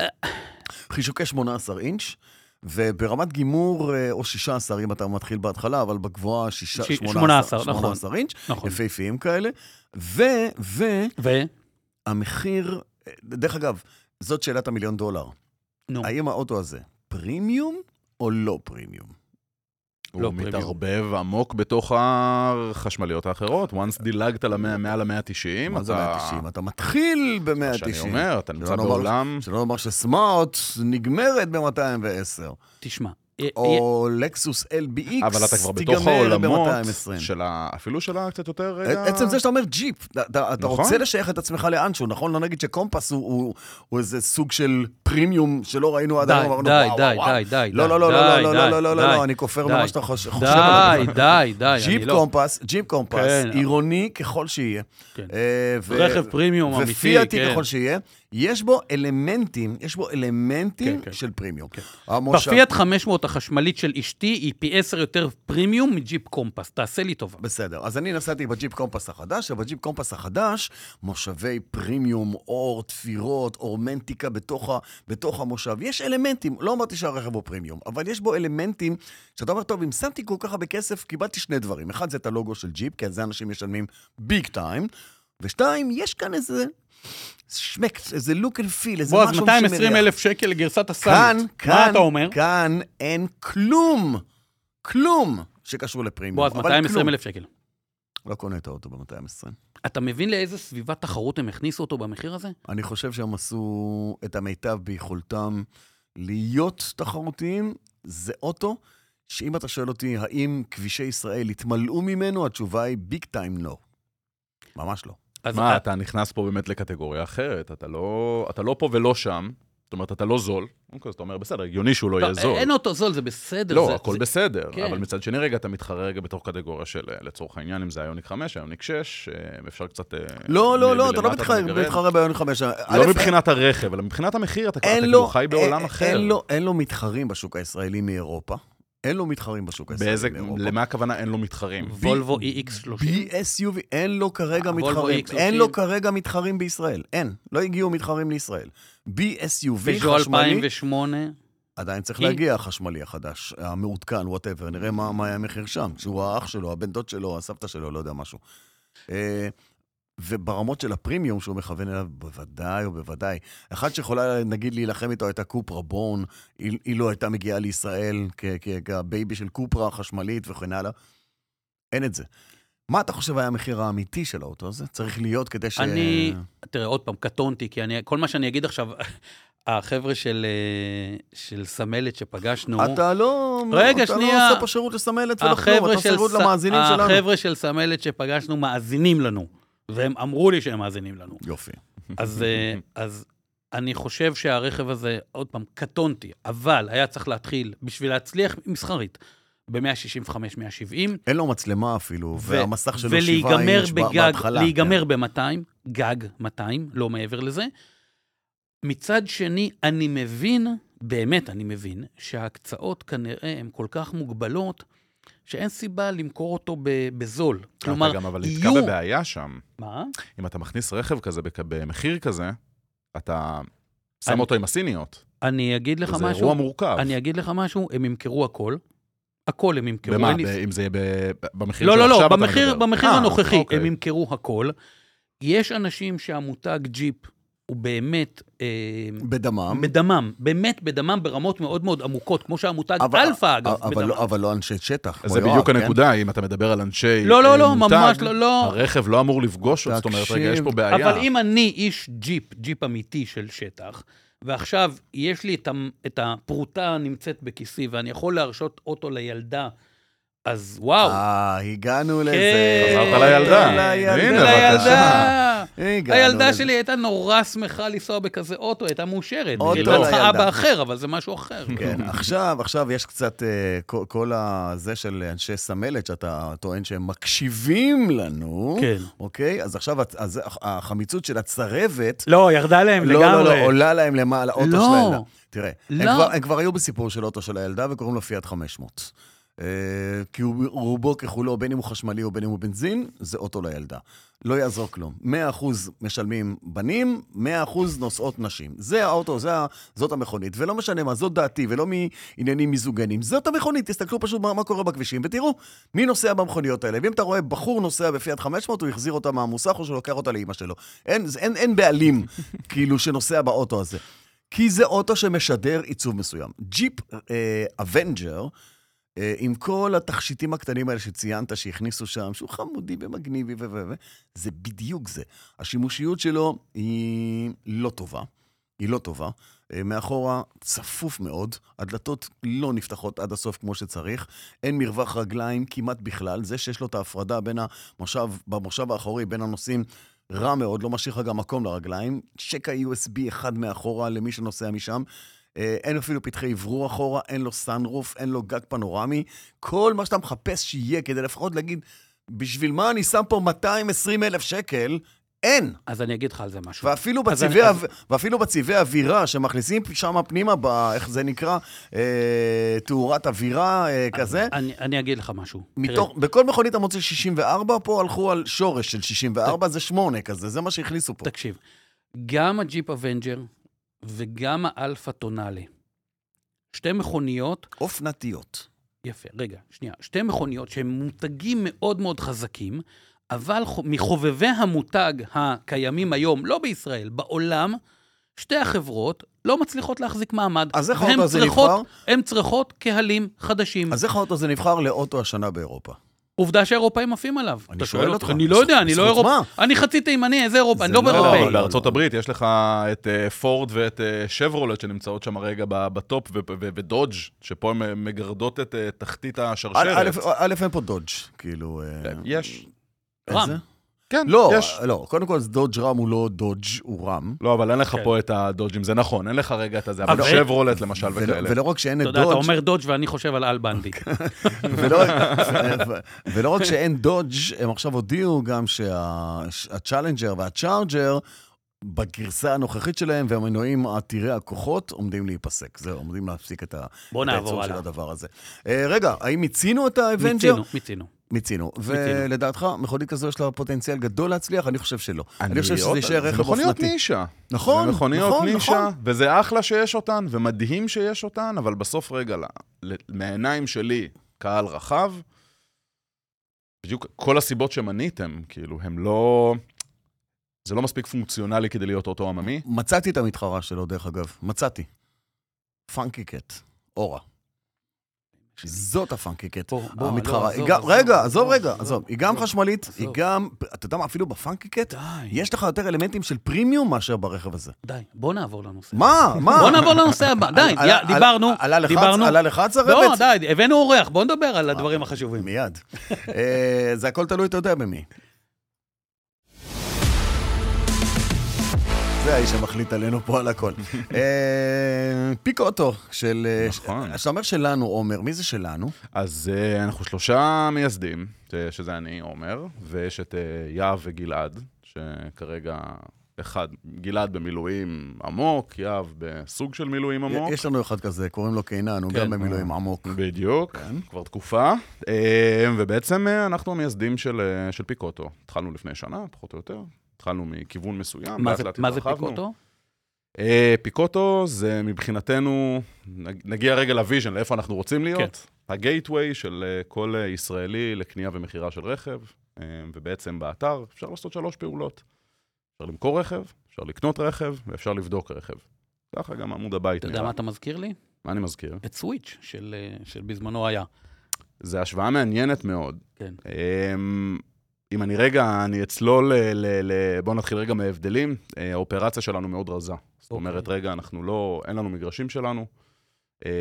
Speaker 3: אמ,
Speaker 2: חישוקי 18 אינץ', וברמת גימור, אה, או 16 אם אתה מתחיל בהתחלה, אבל בגבוהה שישה-
Speaker 3: ש-
Speaker 2: 18,
Speaker 3: 18, נכון.
Speaker 2: 18 אינץ',
Speaker 3: נכון.
Speaker 2: יפהפיים כאלה. ו,
Speaker 3: ו...
Speaker 2: והמחיר, אה, דרך אגב, זאת שאלת המיליון דולר.
Speaker 3: נו,
Speaker 2: האם האוטו הזה פרימיום או לא פרימיום?
Speaker 4: הוא
Speaker 3: לא, פרימיום.
Speaker 4: מתערבב עמוק בתוך החשמליות האחרות. once דילגת למאה- מעל ה-190,
Speaker 2: מה זה
Speaker 4: אתה-
Speaker 2: 190? אתה מתחיל
Speaker 4: מה
Speaker 2: ב-190.
Speaker 4: שאני אומר, אתה נמצא
Speaker 2: שלא נאמר-
Speaker 4: בעולם...
Speaker 2: שלא לומר שסמארט נגמרת ב-210,
Speaker 3: תשמע. אה, אה,
Speaker 2: או לקסוס LBX
Speaker 4: אבל אתה כבר בתוך
Speaker 2: תיגמר
Speaker 4: העולמות
Speaker 2: ב-220.
Speaker 4: של ה... אפילו של ה... קצת יותר... אה, רגע-
Speaker 2: עצם זה שאתה אומר ג'יפ, אתה- אתה אתה
Speaker 4: נכון.
Speaker 2: רוצה לשייך את עצמך לאנשהו, נכון? לא נגיד שקומפס הוא- הוא הוא איזה סוג של פרימיום שלא ראינו עד
Speaker 3: די,
Speaker 2: היום, אמרנו,
Speaker 3: די,
Speaker 2: "וואו,
Speaker 3: די,
Speaker 2: וואו, וואו".
Speaker 3: די, די,
Speaker 2: לא,
Speaker 3: די,
Speaker 2: לא, לא,
Speaker 3: די,
Speaker 2: לא, לא, לא,
Speaker 3: די,
Speaker 2: לא, לא, לא,
Speaker 3: די,
Speaker 2: לא, אני כופר
Speaker 3: די.
Speaker 2: במה שאתה חוש- חושב.
Speaker 3: די,
Speaker 2: עליו.
Speaker 3: די, די, אני
Speaker 2: ג'יפ
Speaker 3: לא...
Speaker 2: קומפס, ג'יפ קומפס,
Speaker 3: כן, אבל-
Speaker 2: עירוני ככל שיהיה.
Speaker 3: כן.
Speaker 2: אה, ו-
Speaker 3: רכב פרימיום אמיתי, כן.
Speaker 2: ופיאטי ככל שיהיה, יש בו אלמנטים, יש בו אלמנטים
Speaker 3: כן, כן.
Speaker 2: של פרימיום. אה, המושב-
Speaker 3: בפיאט 500 החשמלית של אשתי היא פי 10 יותר פרימיום מג'יפ קומפס, תעשה לי טובה.
Speaker 2: בסדר, אז אני נסעתי בג'יפ קומפס החדש, ובג'יפ קומפס החדש, מושבי פרימיום, אור, תפירות, אורמנטיקה בתוך, ה, בתוך המושב. יש אלמנטים, לא אמרתי שהרכב הוא פרימיום, אבל יש בו אלמנטים שאתה אומר, טוב, אם שמתי כל כך הרבה כסף, קיבלתי שני דברים. אחד, זה את הלוגו של ג'יפ, כי על זה אנשים משלמים ביג טיים, ושתיים, יש כאן איזה שמק, איזה look and feel, איזה
Speaker 3: בועז,
Speaker 2: משהו שמריח.
Speaker 3: 220 אלף שקל לגרסת הסאנט.
Speaker 2: כאן,
Speaker 3: מה
Speaker 2: כאן,
Speaker 3: אתה אומר?
Speaker 2: כאן אין כלום, כלום שקשור לפרימיום.
Speaker 3: בועז,
Speaker 2: אבל
Speaker 3: 220
Speaker 2: כלום.
Speaker 3: אלף שקל.
Speaker 2: לא קונה את האוטו ב-220.
Speaker 3: אתה מבין לאיזה סביבת תחרות הם הכניסו אותו במחיר הזה?
Speaker 2: אני חושב שהם עשו את המיטב ביכולתם להיות תחרותיים. זה אוטו שאם אתה שואל אותי האם כבישי ישראל התמלאו ממנו, התשובה היא ביג טיים לא. ממש לא.
Speaker 3: אז אה- אתה...
Speaker 4: מה, אתה נכנס פה באמת לקטגוריה אחרת. אתה לא, אתה לא פה ולא שם. זאת אומרת, אתה לא זול, אוקיי, אז אתה אומר, בסדר, הגיוני שהוא לא יהיה
Speaker 3: לא,
Speaker 4: זול.
Speaker 3: אין אותו זול, זה בסדר.
Speaker 4: לא,
Speaker 3: זה-
Speaker 4: הכל
Speaker 3: זה-
Speaker 4: בסדר,
Speaker 3: כן.
Speaker 4: אבל מצד שני רגע אתה מתחרה רגע בתוך קטגוריה של, אה, לצורך העניין, אם זה איוניק 5, איוניק 6, אה, אפשר קצת... אה,
Speaker 2: לא,
Speaker 4: מ-
Speaker 2: לא, לא, אתה
Speaker 4: מלמטה
Speaker 2: לא מתחרה-
Speaker 4: מגרד.
Speaker 2: מתחרה ביום חמש.
Speaker 4: לא מבחינת הרכב, אלא מבחינת המחיר, אתה כבר אתה
Speaker 2: אין
Speaker 4: כאילו
Speaker 2: לו, אה,
Speaker 4: חי בעולם
Speaker 2: אין-
Speaker 4: אחר.
Speaker 2: אין לו, אין לו מתחרים בשוק הישראלי מאירופה. אין לו מתחרים בשוק הישראלי
Speaker 4: באיזה,
Speaker 2: מאירופה.
Speaker 4: למה הכוונה אין לו מתחרים?
Speaker 3: וולבו E EX30.
Speaker 2: ב-SUV, אין לו כרגע
Speaker 3: הוולבו
Speaker 2: מתחרים.
Speaker 3: X30.
Speaker 2: אין לו כרגע מתחרים בישראל. אין. לא הגיעו מתחרים לישראל. ב-SUV
Speaker 3: פז'ו
Speaker 2: חשמלי,
Speaker 3: 2008.
Speaker 2: עדיין צריך
Speaker 3: היא-
Speaker 2: להגיע החשמלי החדש, המעודכן, וואטאבר, נראה מה מה היה המחיר שם. שהוא האח שלו, הבן דוד שלו, הסבתא שלו, לא יודע משהו. אה, וברמות של הפרימיום שהוא מכוון אליו, בוודאי ובוודאי. אחת שיכולה, נגיד, להילחם איתו הייתה קופרה בורן, היא, היא לא הייתה מגיעה לישראל כ- כ- כבייבי של קופרה החשמלית וכן הלאה. אין את זה. מה אתה חושב היה המחיר האמיתי של האוטו הזה? צריך להיות כדי ש...
Speaker 3: אני, תראה, עוד פעם, קטונתי, כי אני, כל מה שאני אגיד עכשיו, החבר'ה של, אה, של סמלת שפגשנו,
Speaker 2: אתה לא...
Speaker 3: רגע,
Speaker 2: אתה
Speaker 3: שנייה.
Speaker 2: לא עושה פה שירות לסמלת ולא כלום, אתה
Speaker 3: החבר'ה
Speaker 2: עושה
Speaker 3: של,
Speaker 2: שירות
Speaker 3: ס-
Speaker 2: למאזינים שלנו.
Speaker 3: החבר'ה של סמלת שפגשנו מאזינים לנו, והם אמרו לי שהם מאזינים לנו.
Speaker 2: יופי.
Speaker 3: אז, אה, אז אני חושב שהרכב הזה, עוד פעם, קטונתי, אבל היה צריך להתחיל, בשביל להצליח מסחרית, ב-165-170,
Speaker 2: אין לו מצלמה אפילו,
Speaker 3: ו-
Speaker 2: והמסך שלו שבעה
Speaker 3: ולהיגמר
Speaker 2: אינץ' ב-
Speaker 3: בגג,
Speaker 2: בהתחלה. כן.
Speaker 3: להיגמר ב-200, גג 200, לא מעבר לזה. מצד שני, אני מבין, באמת אני מבין, שההקצאות כנראה הן כל כך מוגבלות, שאין סיבה למכור אותו ב-
Speaker 2: אה,
Speaker 3: בזול. כלומר,
Speaker 4: אתה גם אבל נתקע
Speaker 3: יהיו...
Speaker 4: בבעיה שם.
Speaker 3: מה?
Speaker 4: אם אתה מכניס רכב כזה בכ- במחיר כזה, אתה שם
Speaker 3: אני-
Speaker 4: אותו עם הסיניות.
Speaker 3: אני אגיד לך
Speaker 4: וזה
Speaker 3: משהו,
Speaker 4: אירוע מורכב.
Speaker 3: אני אגיד לך משהו, הם ימכרו הכל. הכל הם ימכרו.
Speaker 4: במה?
Speaker 3: אין לי-
Speaker 4: ב- אם זה יהיה ב- במחיר
Speaker 3: לא,
Speaker 4: של
Speaker 3: לא,
Speaker 4: עכשיו
Speaker 3: לא,
Speaker 4: אתה
Speaker 3: במחיר,
Speaker 4: מדבר.
Speaker 3: במחיר
Speaker 4: אה,
Speaker 3: הנוכחי,
Speaker 4: אוקיי.
Speaker 3: הם ימכרו הכל. יש אנשים שהמותג ג'יפ הוא באמת... אה,
Speaker 2: כן. בדמם.
Speaker 3: בדמם, באמת בדמם ברמות מאוד מאוד עמוקות, כמו שהמותג
Speaker 2: אבל-
Speaker 3: אלפא, אגב,
Speaker 2: אבל
Speaker 3: בדמם.
Speaker 2: לא- אבל לא אנשי שטח. כמו
Speaker 4: זה
Speaker 2: יואב,
Speaker 4: בדיוק
Speaker 2: כן?
Speaker 4: הנקודה, אם אתה מדבר על אנשי
Speaker 3: לא, לא,
Speaker 4: אה,
Speaker 3: לא,
Speaker 4: מותג,
Speaker 3: ממש לא, לא.
Speaker 4: הרכב לא אמור לפגוש אותו, זאת אומרת, רגע,
Speaker 2: תקשיב.
Speaker 4: יש פה בעיה.
Speaker 3: אבל אם אני איש ג'יפ, ג'יפ אמיתי של שטח, ועכשיו יש לי את, המ- את הפרוטה הנמצאת בכיסי, ואני יכול להרשות אוטו לילדה, אז וואו. כן.
Speaker 2: אה, הגענו לזה.
Speaker 4: חזרת לילדה. הנה,
Speaker 3: לילדה.
Speaker 2: הגענו
Speaker 3: הילדה
Speaker 2: לזה.
Speaker 3: שלי הייתה נורא שמחה לנסוע בכזה אוטו, הייתה מאושרת.
Speaker 2: אוטו
Speaker 3: היא הייתה צריכה
Speaker 2: לילדה.
Speaker 3: אבא אחר, אבל זה משהו אחר.
Speaker 2: כן, עכשיו, עכשיו יש קצת, אה, כל- כל הזה של אנשי סמלת, שאתה טוען שהם מקשיבים לנו.
Speaker 3: כן.
Speaker 2: אוקיי? אז עכשיו הצ- אז החמיצות של הצרבת
Speaker 5: לא, ירדה להם
Speaker 2: לא,
Speaker 5: לגמרי.
Speaker 2: לא, לא, עולה להם למעלה, אוטו
Speaker 3: לא.
Speaker 2: של הילדה. תראה, הם,
Speaker 3: לא.
Speaker 2: כבר, הם כבר היו בסיפור של אוטו של הילדה וקוראים לו פיאט 500. אה, כי הוא רובו ככולו, בין אם הוא חשמלי או בין אם הוא בנזין, זה אוטו לילדה. לא יעזור כלום. 100% משלמים בנים, 100% נוסעות נשים. זה האוטו, זה, ה- זאת המכונית. ולא משנה מה, זאת דעתי, ולא מעניינים מיזוגנים. זאת המכונית, תסתכלו פשוט מה, מה קורה בכבישים, ותראו מי נוסע במכוניות האלה. ואם אתה רואה בחור נוסע בפיאט 500, הוא החזיר אותה מהמוסך או שלוקח אותה לאימא שלו. אין, זה- אין, אין בעלים, כאילו, שנוסע באוטו הזה. כי זה אוטו שמשדר עיצוב מסוים. ג'יפ אבנג'ר, אה, עם כל התכשיטים הקטנים האלה שציינת, שהכניסו שם, שהוא חמודי ומגניבי ו... ו- ו- זה בדיוק זה. השימושיות שלו היא לא טובה. היא לא טובה. אה, מאחורה צפוף מאוד, הדלתות לא נפתחות עד הסוף כמו שצריך, אין מרווח רגליים כמעט בכלל. זה שיש לו את ההפרדה בין המושב, במושב האחורי, בין הנוסעים, רע מאוד, לא משאיר לך גם מקום לרגליים. שקע USB אחד מאחורה למי שנוסע משם. אה, אין אפילו פתחי אוורור אחורה, אין לו סאנרוף, אין לו גג פנורמי. כל מה שאתה מחפש שיהיה, כדי לפחות להגיד, בשביל מה אני שם פה 220 אלף שקל? אין.
Speaker 3: אז אני אגיד לך על זה משהו.
Speaker 2: ואפילו
Speaker 3: אז אני-
Speaker 2: בצבעי,
Speaker 3: אז-
Speaker 2: אז... ואפילו בצבעי אווירה שמכניסים שם פנימה, ב, איך זה נקרא, אה, תאורת אווירה אה, כזה,
Speaker 3: אני, אני אגיד לך משהו.
Speaker 2: מתוך, בכל מכונית אתה מוצא 64, פה הלכו על שורש של 64, זה 8 כזה, זה מה שהכניסו פה.
Speaker 3: תראה, תקשיב, גם הג'יפ אבנג'ר וגם האלפה טונאלה, שתי מכוניות
Speaker 2: אופנתיות.
Speaker 3: יפה, רגע, שנייה. שתי מכוניות שהם מותגים מאוד מאוד חזקים, אבל חו- מחובבי המותג הקיימים היום, לא בישראל, בעולם, שתי החברות לא מצליחות להחזיק מעמד.
Speaker 2: אז איך
Speaker 3: והן
Speaker 2: האוטו הזה
Speaker 3: צריכות-
Speaker 2: נבחר?
Speaker 3: הן צריכות קהלים חדשים.
Speaker 2: אז איך האוטו הזה נבחר לאוטו השנה באירופה?
Speaker 3: עובדה שהאירופאים עפים עליו.
Speaker 2: אני
Speaker 3: אתה
Speaker 2: שואל
Speaker 3: אותי,
Speaker 2: אותך,
Speaker 3: אני לא יודע, אני לא
Speaker 2: בזכות
Speaker 3: אירופאי.
Speaker 2: מה?
Speaker 3: אני חצי תימני, איזה אירופאי? אני
Speaker 2: זה
Speaker 3: לא
Speaker 2: לא-
Speaker 4: לא,
Speaker 3: באירופאי.
Speaker 4: אבל בארצות הברית יש לך את אה, פורד ואת אה, שברולט שנמצאות שם רגע ב- בטופ, ו- ו- ו- ודודג', שפה הן אה, מגרדות את אה, תחתית
Speaker 2: א',
Speaker 4: השרשרת.
Speaker 3: כן.
Speaker 2: א', א', אין פה דודג', כאילו... אה,
Speaker 4: יש.
Speaker 2: איזה?
Speaker 3: רם.
Speaker 4: כן,
Speaker 2: לא,
Speaker 4: יש.
Speaker 2: לא, קודם כל, אז דודג' רם הוא לא דודג', הוא רם.
Speaker 4: לא, אבל אין לך
Speaker 3: כן.
Speaker 4: פה את הדודג'ים, זה נכון, אין לך רגע את הזה,
Speaker 3: אבל-
Speaker 4: אבל שברולט למשל
Speaker 2: ולא-
Speaker 4: וכאלה.
Speaker 2: ולא רק שאין את
Speaker 3: אתה יודע, אתה
Speaker 2: דודג',
Speaker 3: אומר דודג' ואני חושב על אל בנדי.
Speaker 2: ולא- ולא רק שאין דודג', הם עכשיו הודיעו גם שהצ'אלנג'ר והצ'ארג'ר, בגרסה הנוכחית שלהם, והמנועים עתירי הכוחות עומדים להיפסק. זהו, עומדים להפסיק את ה-
Speaker 3: בוא
Speaker 2: את
Speaker 3: נעבור
Speaker 2: הייצור של
Speaker 3: הלאה.
Speaker 2: הדבר הזה. אה, רגע, האם מיצינו את האבנג'ר?
Speaker 3: מיצינו, מיצינו.
Speaker 2: מיצינו. ולדעתך, מכונית כזו יש לה פוטנציאל גדול להצליח? אני חושב שלא. אני
Speaker 4: אנגליות,
Speaker 2: חושב שזה יישאר
Speaker 4: זה
Speaker 2: רכב
Speaker 4: מכוניות
Speaker 2: אופנתי.
Speaker 4: נישה.
Speaker 2: נכון,
Speaker 4: זה מכוניות
Speaker 2: נכון,
Speaker 4: נישה,
Speaker 2: נכון.
Speaker 4: וזה אחלה שיש אותן, ומדהים שיש אותן, אבל בסוף רגע, ל- ל- מהעיניים שלי, קהל רחב, בדיוק כל הסיבות שמניתם, כאילו, הם לא... זה לא מספיק פונקציונלי כדי להיות אוטו עממי.
Speaker 2: מצאתי את המתחרה שלו, דרך אגב. מצאתי. פאנקי קט, אורה. זאת הפאנקי קט,
Speaker 3: בוא, בוא, לא,
Speaker 2: המתחרה. היא
Speaker 3: עזוב,
Speaker 2: גם-
Speaker 3: עזוב,
Speaker 2: רגע, עזוב
Speaker 3: עזוב,
Speaker 2: רגע,
Speaker 3: עזוב,
Speaker 2: עזוב. היא גם
Speaker 3: עזוב,
Speaker 2: חשמלית, היא
Speaker 3: עזוב.
Speaker 2: גם, אתה יודע מה, אפילו בפאנקי קט,
Speaker 3: די,
Speaker 2: יש לך יותר אלמנטים של פרימיום מאשר ברכב הזה.
Speaker 3: די, בוא נעבור לנושא.
Speaker 2: מה? מה?
Speaker 3: בוא נעבור לנושא הבא, די,
Speaker 2: עלה-
Speaker 3: יא,
Speaker 2: עלה-
Speaker 3: דיברנו,
Speaker 2: עלה לחץ-
Speaker 3: דיברנו.
Speaker 2: עלה לך
Speaker 3: לא,
Speaker 2: צרבת?
Speaker 3: די, הבאנו אורח, בוא נדבר על הדברים החשובים.
Speaker 2: מיד. אה, זה הכל תלוי, אתה יודע במי. זה האיש שמחליט עלינו פה על הכל. אה, פיק אוטו של... אה,
Speaker 4: נכון.
Speaker 2: כשאתה אומר שלנו, עומר, מי זה שלנו?
Speaker 4: אז אה, אנחנו שלושה מייסדים, אה, שזה אני, עומר, ויש את אה, יהב וגלעד, שכרגע אחד, גלעד במילואים עמוק, יהב בסוג של מילואים עמוק.
Speaker 2: יש לנו אחד כזה, קוראים לו קינן, הוא
Speaker 3: כן,
Speaker 2: גם במילואים
Speaker 4: אה.
Speaker 2: עמוק.
Speaker 4: בדיוק, כבר תקופה. אה, ובעצם אה, אנחנו המייסדים של, אה, של פיקוטו. התחלנו לפני שנה, פחות או יותר. התחלנו מכיוון מסוים,
Speaker 3: מה
Speaker 4: לאט
Speaker 3: זה-
Speaker 4: לאט
Speaker 3: מה זה
Speaker 4: התרחבנו.
Speaker 3: פיקוטו?
Speaker 4: אה, פיקוטו זה מבחינתנו, נג- נגיע רגע לוויז'ן, לאיפה אנחנו רוצים
Speaker 3: כן.
Speaker 4: להיות. הגייטווי של אה, כל אה, ישראלי לקנייה ומכירה של רכב, אה, ובעצם באתר אפשר לעשות שלוש פעולות. אפשר למכור רכב, אפשר לקנות רכב, ואפשר לבדוק רכב. ככה גם עמוד הבית
Speaker 3: אתה יודע
Speaker 4: נראה.
Speaker 3: מה אתה מזכיר לי?
Speaker 4: מה אני מזכיר?
Speaker 3: את סוויץ' של אה, של בזמנו היה.
Speaker 4: זו השוואה מעניינת מאוד.
Speaker 3: כן.
Speaker 4: אמ, אם אני רגע, אני אצלול ל... ל, ל בואו נתחיל רגע מההבדלים. אה, האופרציה שלנו מאוד רזה. זאת
Speaker 3: אוקיי.
Speaker 4: אומרת, רגע, אנחנו לא, אין לנו מגרשים שלנו,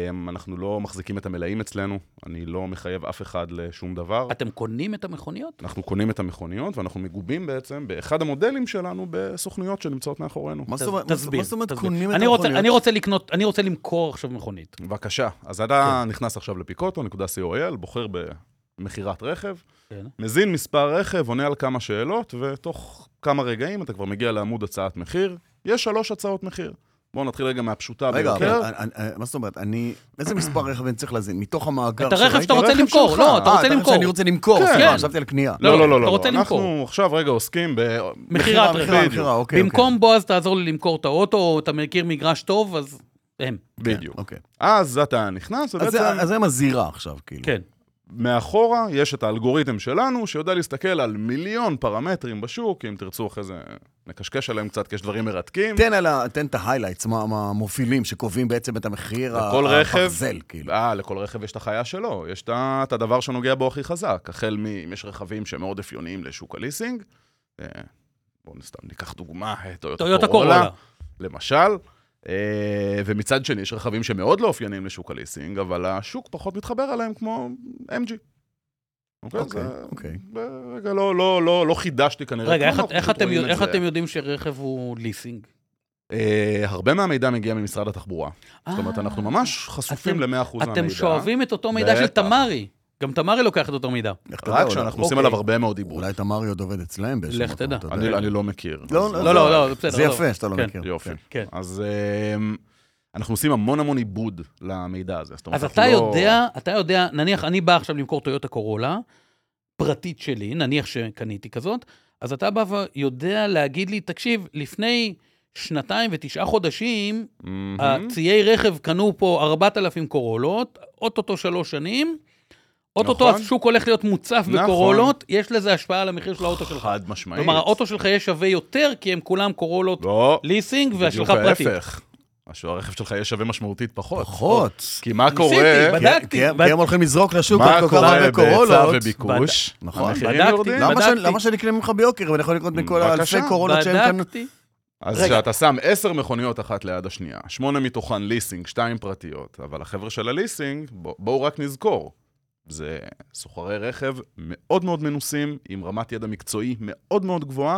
Speaker 4: אמ, אנחנו לא מחזיקים את המלאים אצלנו, אני לא מחייב אף אחד לשום דבר.
Speaker 3: אתם קונים את המכוניות?
Speaker 4: אנחנו קונים את המכוניות ואנחנו מגובים בעצם באחד המודלים שלנו בסוכנויות שנמצאות מאחורינו.
Speaker 2: מה
Speaker 3: תס-
Speaker 2: זאת אומרת- מה
Speaker 3: תסביר,
Speaker 2: זאת אומרת
Speaker 3: תסביר.
Speaker 2: קונים את
Speaker 3: אני רוצה-
Speaker 2: המכוניות?
Speaker 3: אני רוצה לקנות, אני רוצה למכור עכשיו מכונית.
Speaker 4: בבקשה, אז אתה נכנס עכשיו לפיקוטו.co.il, בוחר במכירת רכב,
Speaker 3: כן.
Speaker 4: מזין מספר רכב, עונה על כמה שאלות, ותוך כמה רגעים אתה כבר מגיע לעמוד הצעת מחיר. יש שלוש הצעות מחיר. בואו נתחיל רגע מהפשוטה
Speaker 2: רגע, אבל
Speaker 4: ביותר.
Speaker 2: אני- אני- מה זאת אומרת? אני... איזה מספר רכב אני צריך להזין? מתוך המאגר
Speaker 3: את הרכב
Speaker 2: שראיתי?
Speaker 3: שאתה רוצה
Speaker 4: הרכב
Speaker 3: למכור,
Speaker 4: שלך.
Speaker 3: לא, אתה
Speaker 2: אה,
Speaker 3: רוצה
Speaker 2: את הרכב
Speaker 3: למכור.
Speaker 2: שאני רוצה למכור,
Speaker 4: כן.
Speaker 2: סליחה, חשבתי על קנייה.
Speaker 4: לא, לא, לא,
Speaker 3: אתה
Speaker 4: לא.
Speaker 3: רוצה
Speaker 4: לא. אנחנו
Speaker 3: למכור.
Speaker 4: עכשיו רגע עוסקים ב...
Speaker 3: מכירת רכב.
Speaker 2: מכירה,
Speaker 4: בדיוק.
Speaker 2: מכירה, אוקיי. אוקיי.
Speaker 3: במקום בועז תעזור לי למכור את האוטו, או אתה מכיר מגרש טוב, אז הם.
Speaker 4: בדיוק.
Speaker 2: אוקיי.
Speaker 4: אז אתה נכנס,
Speaker 2: אז
Speaker 4: ובעצם
Speaker 2: זה- אז זה מזהירה עכשיו, כאילו.
Speaker 3: כן.
Speaker 4: מאחורה יש את האלגוריתם שלנו, שיודע להסתכל על מיליון פרמטרים בשוק, אם תרצו אחרי זה נקשקש עליהם קצת, כי יש דברים מרתקים.
Speaker 2: תן, על ה, תן את ההיילייטס, מה מה המובילים שקובעים בעצם את המחיר
Speaker 4: לכל רכב.
Speaker 2: הברזל, כאילו.
Speaker 4: אה, לכל רכב יש את החיה שלו, יש את ה- את הדבר שנוגע בו הכי חזק. החל מ... אם יש רכבים שמאוד אפיוניים לשוק הליסינג, אה, בואו סתם ניקח דוגמה, אה,
Speaker 3: טויוטה קורולה.
Speaker 4: למשל. אה, ומצד שני, יש רכבים שמאוד לא אופייניים לשוק הליסינג, אבל השוק פחות מתחבר אליהם כמו MG. אוקיי,
Speaker 2: אוקיי,
Speaker 4: זה-
Speaker 2: אוקיי.
Speaker 4: רגע, לא, לא, לא, לא חידשתי כנראה.
Speaker 3: רגע,
Speaker 4: כלום,
Speaker 3: איך-
Speaker 4: אנחנו
Speaker 3: איך
Speaker 4: פשוט
Speaker 3: אתם
Speaker 4: רואים
Speaker 3: יודע-
Speaker 4: את
Speaker 3: איך
Speaker 4: זה.
Speaker 3: אתם יודעים שרכב הוא ליסינג?
Speaker 4: אה, הרבה מהמידע מגיע ממשרד התחבורה. זאת אומרת,
Speaker 3: אה,
Speaker 4: אנחנו ממש חשופים
Speaker 3: אתם-
Speaker 4: ל-100% מהמידע.
Speaker 3: אתם שואבים את אותו מידע של
Speaker 4: בטח.
Speaker 3: תמרי. גם תמרי לוקח את אותו מידע.
Speaker 2: איך אתה יודע,
Speaker 4: רק
Speaker 2: אולי-
Speaker 4: שאנחנו עושים
Speaker 3: אוקיי.
Speaker 4: עליו הרבה מאוד עיבוד.
Speaker 2: אולי תמרי עוד עובד אצלהם באיזשהו
Speaker 3: לך תדע.
Speaker 2: אתה יודע.
Speaker 4: אני, אני לא מכיר.
Speaker 2: לא,
Speaker 4: אז- אוקיי.
Speaker 2: לא,
Speaker 3: לא, לא, לא, זה בסדר.
Speaker 2: זה
Speaker 3: לא.
Speaker 2: יפה שאתה לא
Speaker 3: כן,
Speaker 2: מכיר.
Speaker 4: יופי.
Speaker 2: כן.
Speaker 3: כן.
Speaker 4: אז אמ, אנחנו עושים המון המון עיבוד למידע הזה. זאת אומרת,
Speaker 3: אז
Speaker 4: אנחנו
Speaker 3: אתה
Speaker 4: לא-
Speaker 3: יודע, אתה יודע, נניח אני בא עכשיו למכור טויוטה קורולה, פרטית שלי, נניח שקניתי כזאת, אז אתה בא ויודע להגיד לי, תקשיב, לפני שנתיים ותשעה חודשים,
Speaker 4: מהמם.
Speaker 3: הציי רכב קנו פה 4,000 קורולות, אוטוטו שלוש שנים, אוטוטו
Speaker 4: נכון.
Speaker 3: השוק הולך להיות מוצף
Speaker 4: נכון.
Speaker 3: בקורולות, יש לזה השפעה על המחיר של האוטו שלך.
Speaker 4: חד משמעית.
Speaker 3: כלומר, האוטו שלך יהיה שווה יותר, כי הם כולם קורולות
Speaker 4: לא,
Speaker 3: ליסינג והשלך
Speaker 4: בדיוק
Speaker 3: פרטית.
Speaker 4: ההפך. הש- הרכב שלך יהיה שווה משמעותית פחות.
Speaker 2: פחות.
Speaker 4: כי מה
Speaker 3: ניסיתי,
Speaker 4: קורה,
Speaker 3: בד-
Speaker 2: כי-
Speaker 3: בדקתי,
Speaker 2: כי הם-
Speaker 3: בד-
Speaker 2: כי הם הולכים לזרוק לשוק
Speaker 4: מה
Speaker 2: עוד כל כך
Speaker 4: קורה
Speaker 2: הרבה
Speaker 4: בהיצע
Speaker 2: קורולות.
Speaker 4: וביקוש?
Speaker 2: נכון.
Speaker 4: המחירים
Speaker 3: בדקתי.
Speaker 4: יורדים.
Speaker 2: למה שאני-
Speaker 3: בדקתי.
Speaker 2: למה שאני אקנה ממך ביוקר ואני יכול לקנות מכל
Speaker 4: בבקשה.
Speaker 2: האלפי קורולות שהם כאן?
Speaker 3: בדקתי.
Speaker 4: אז
Speaker 3: רגע.
Speaker 4: כשאתה שם עשר מכוניות אחת ליד השנייה, שמונה מתוכן ליסינג, שתיים פרטיות, אבל החבר'ה של הליסינג, בוא- בואו רק נזכור, זה סוחרי רכב מאוד מאוד מנוסים, עם רמת ידע מקצועי מאוד מאוד גבוהה,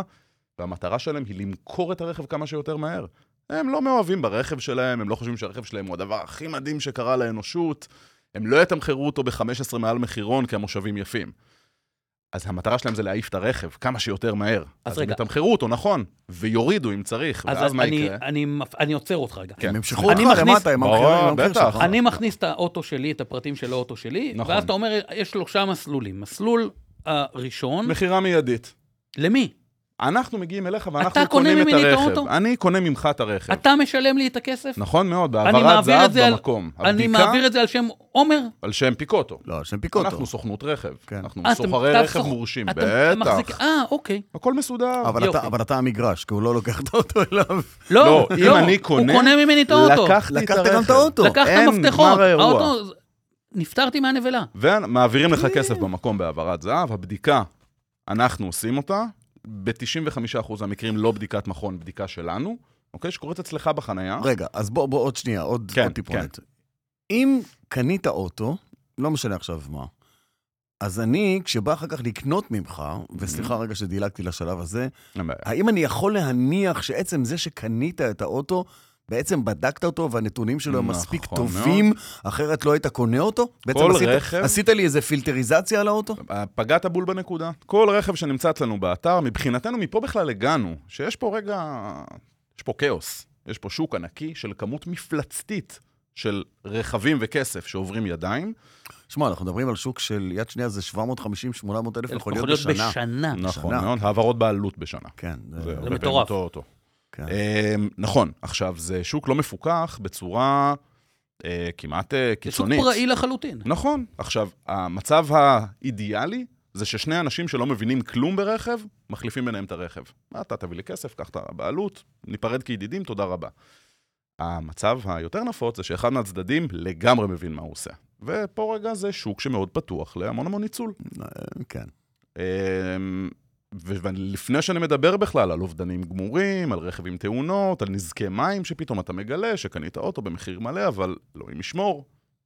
Speaker 4: והמטרה שלהם היא למכור את הרכב כמה שיותר מהר. הם לא מאוהבים ברכב שלהם, הם לא חושבים שהרכב שלהם הוא הדבר הכי מדהים שקרה לאנושות, הם לא יתמחרו אותו ב-15 מעל מחירון כי המושבים יפים. אז המטרה שלהם זה להעיף את הרכב כמה שיותר מהר. אז, אז
Speaker 3: רגע.
Speaker 4: הם יתמחרו אותו, נכון, ויורידו אם צריך,
Speaker 3: אז
Speaker 4: ואז מה
Speaker 3: אני-
Speaker 4: יקרה?
Speaker 3: אני מפ- אני עוצר אותך רגע.
Speaker 4: כן.
Speaker 2: הם ימשכו אותך
Speaker 3: אני מכניס-
Speaker 2: למטה, הם המחירים,
Speaker 4: ברור,
Speaker 2: הם המחיר
Speaker 4: בטח.
Speaker 2: שלך.
Speaker 3: אני מכניס את האוטו שלי, את הפרטים של האוטו שלי,
Speaker 4: נכון.
Speaker 3: ואז אתה אומר, יש שלושה מסלולים. מסלול הראשון,
Speaker 4: מכירה מיידית.
Speaker 3: למי?
Speaker 4: אנחנו מגיעים אליך ואנחנו
Speaker 3: אתה קונה
Speaker 4: קונים את
Speaker 3: ממני את
Speaker 4: הרכב.
Speaker 3: האוטו?
Speaker 4: אני קונה ממך את הרכב.
Speaker 3: אתה משלם לי את הכסף?
Speaker 4: כן. נכון מאוד,
Speaker 3: אני
Speaker 4: בהעברת
Speaker 3: מעביר
Speaker 4: זהב
Speaker 3: את זה על-
Speaker 4: במקום.
Speaker 3: אני
Speaker 4: הבדיקה
Speaker 3: מעביר את זה על שם עומר?
Speaker 4: על שם פיקוטו.
Speaker 2: לא, השם
Speaker 4: אנחנו
Speaker 2: פיקוטו.
Speaker 4: סוכנות רכב.
Speaker 2: כן.
Speaker 4: אנחנו
Speaker 3: אה, אתם-
Speaker 4: סוחרי
Speaker 3: אתה
Speaker 4: רכב
Speaker 3: סוח-
Speaker 4: מורשים.
Speaker 3: אתה
Speaker 4: בטח.
Speaker 3: מחזיק- אה, אוקיי.
Speaker 4: הכל מסודר.
Speaker 2: אבל
Speaker 3: יופי.
Speaker 2: אתה- אבל אתה המגרש, כי הוא לא לוקח את האוטו אליו.
Speaker 3: לא,
Speaker 4: לא, אם
Speaker 3: לא,
Speaker 4: אני
Speaker 3: הוא
Speaker 4: קונה,
Speaker 3: קונה ממני את האוטו.
Speaker 4: לקחתי את
Speaker 2: לקחת גם את
Speaker 4: הרכב.
Speaker 2: האוטו.
Speaker 3: לקח את
Speaker 4: אין,
Speaker 3: המפתחות,
Speaker 4: נגמר האירוע.
Speaker 3: האוטו... אה. נפטרתי מהנבלה.
Speaker 4: ומעבירים לך כסף במקום בהעברת זהב. הבדיקה, אנחנו עושים אותה. ב-95% מהמקרים לא בדיקת מכון, בדיקה שלנו, אוקיי? שקורית אצלך בחנייה.
Speaker 2: רגע, אז בוא, בוא עוד שנייה, עוד,
Speaker 4: אה? כן,
Speaker 2: עוד טיפונת. אם קנית אוטו, לא משנה עכשיו מה, אז אני, כשבא אחר כך לקנות ממך,
Speaker 4: Mm-hmm.
Speaker 2: וסליחה רגע שדילגתי לשלב הזה,
Speaker 4: אין בעיה.
Speaker 2: האם אני יכול להניח שעצם זה שקנית את האוטו, בעצם בדקת אותו והנתונים שלו הם
Speaker 4: נכון
Speaker 2: מספיק
Speaker 4: מאוד.
Speaker 2: טובים, אחרת לא היית קונה אותו? בעצם
Speaker 4: כל
Speaker 2: עשית,
Speaker 4: רכב-
Speaker 2: עשית לי איזה פילטריזציה על האוטו?
Speaker 4: פגעת בול בנקודה. כל רכב שנמצא אצלנו באתר, מבחינתנו מפה בכלל הגענו, שיש פה רגע... יש פה כאוס. יש פה שוק ענקי של כמות מפלצתית של רכבים וכסף שעוברים ידיים.
Speaker 2: שמע, אנחנו מדברים על שוק של יד שנייה זה 750-800 אלף מכוניות בשנה.
Speaker 3: בשנה.
Speaker 4: נכון
Speaker 2: שנה.
Speaker 4: מאוד, העברות בעלות בשנה.
Speaker 2: כן, זה-
Speaker 4: הרבה
Speaker 3: זה
Speaker 4: פעמים
Speaker 3: מטורף.
Speaker 4: אותו- אותו.
Speaker 2: כן.
Speaker 4: אמ, נכון, עכשיו, זה שוק לא מפוקח בצורה אה, כמעט אה,
Speaker 3: זה שוק
Speaker 4: קיצונית.
Speaker 3: פראי לחלוטין.
Speaker 4: נכון. עכשיו, המצב האידיאלי זה ששני אנשים שלא מבינים כלום ברכב, מחליפים ביניהם את הרכב. מה, אתה תביא לי כסף, קח את הבעלות, ניפרד כידידים, תודה רבה. המצב היותר נפוץ זה שאחד מהצדדים לגמרי מבין מה הוא עושה. ופה רגע זה שוק שמאוד פתוח להמון המון ניצול.
Speaker 2: כן.
Speaker 4: אמ, ו- ולפני שאני מדבר בכלל על אובדנים גמורים, על רכב עם תאונות, על נזקי מים שפתאום אתה מגלה שקנית אוטו במחיר מלא, אבל לא אלוהים ישמור.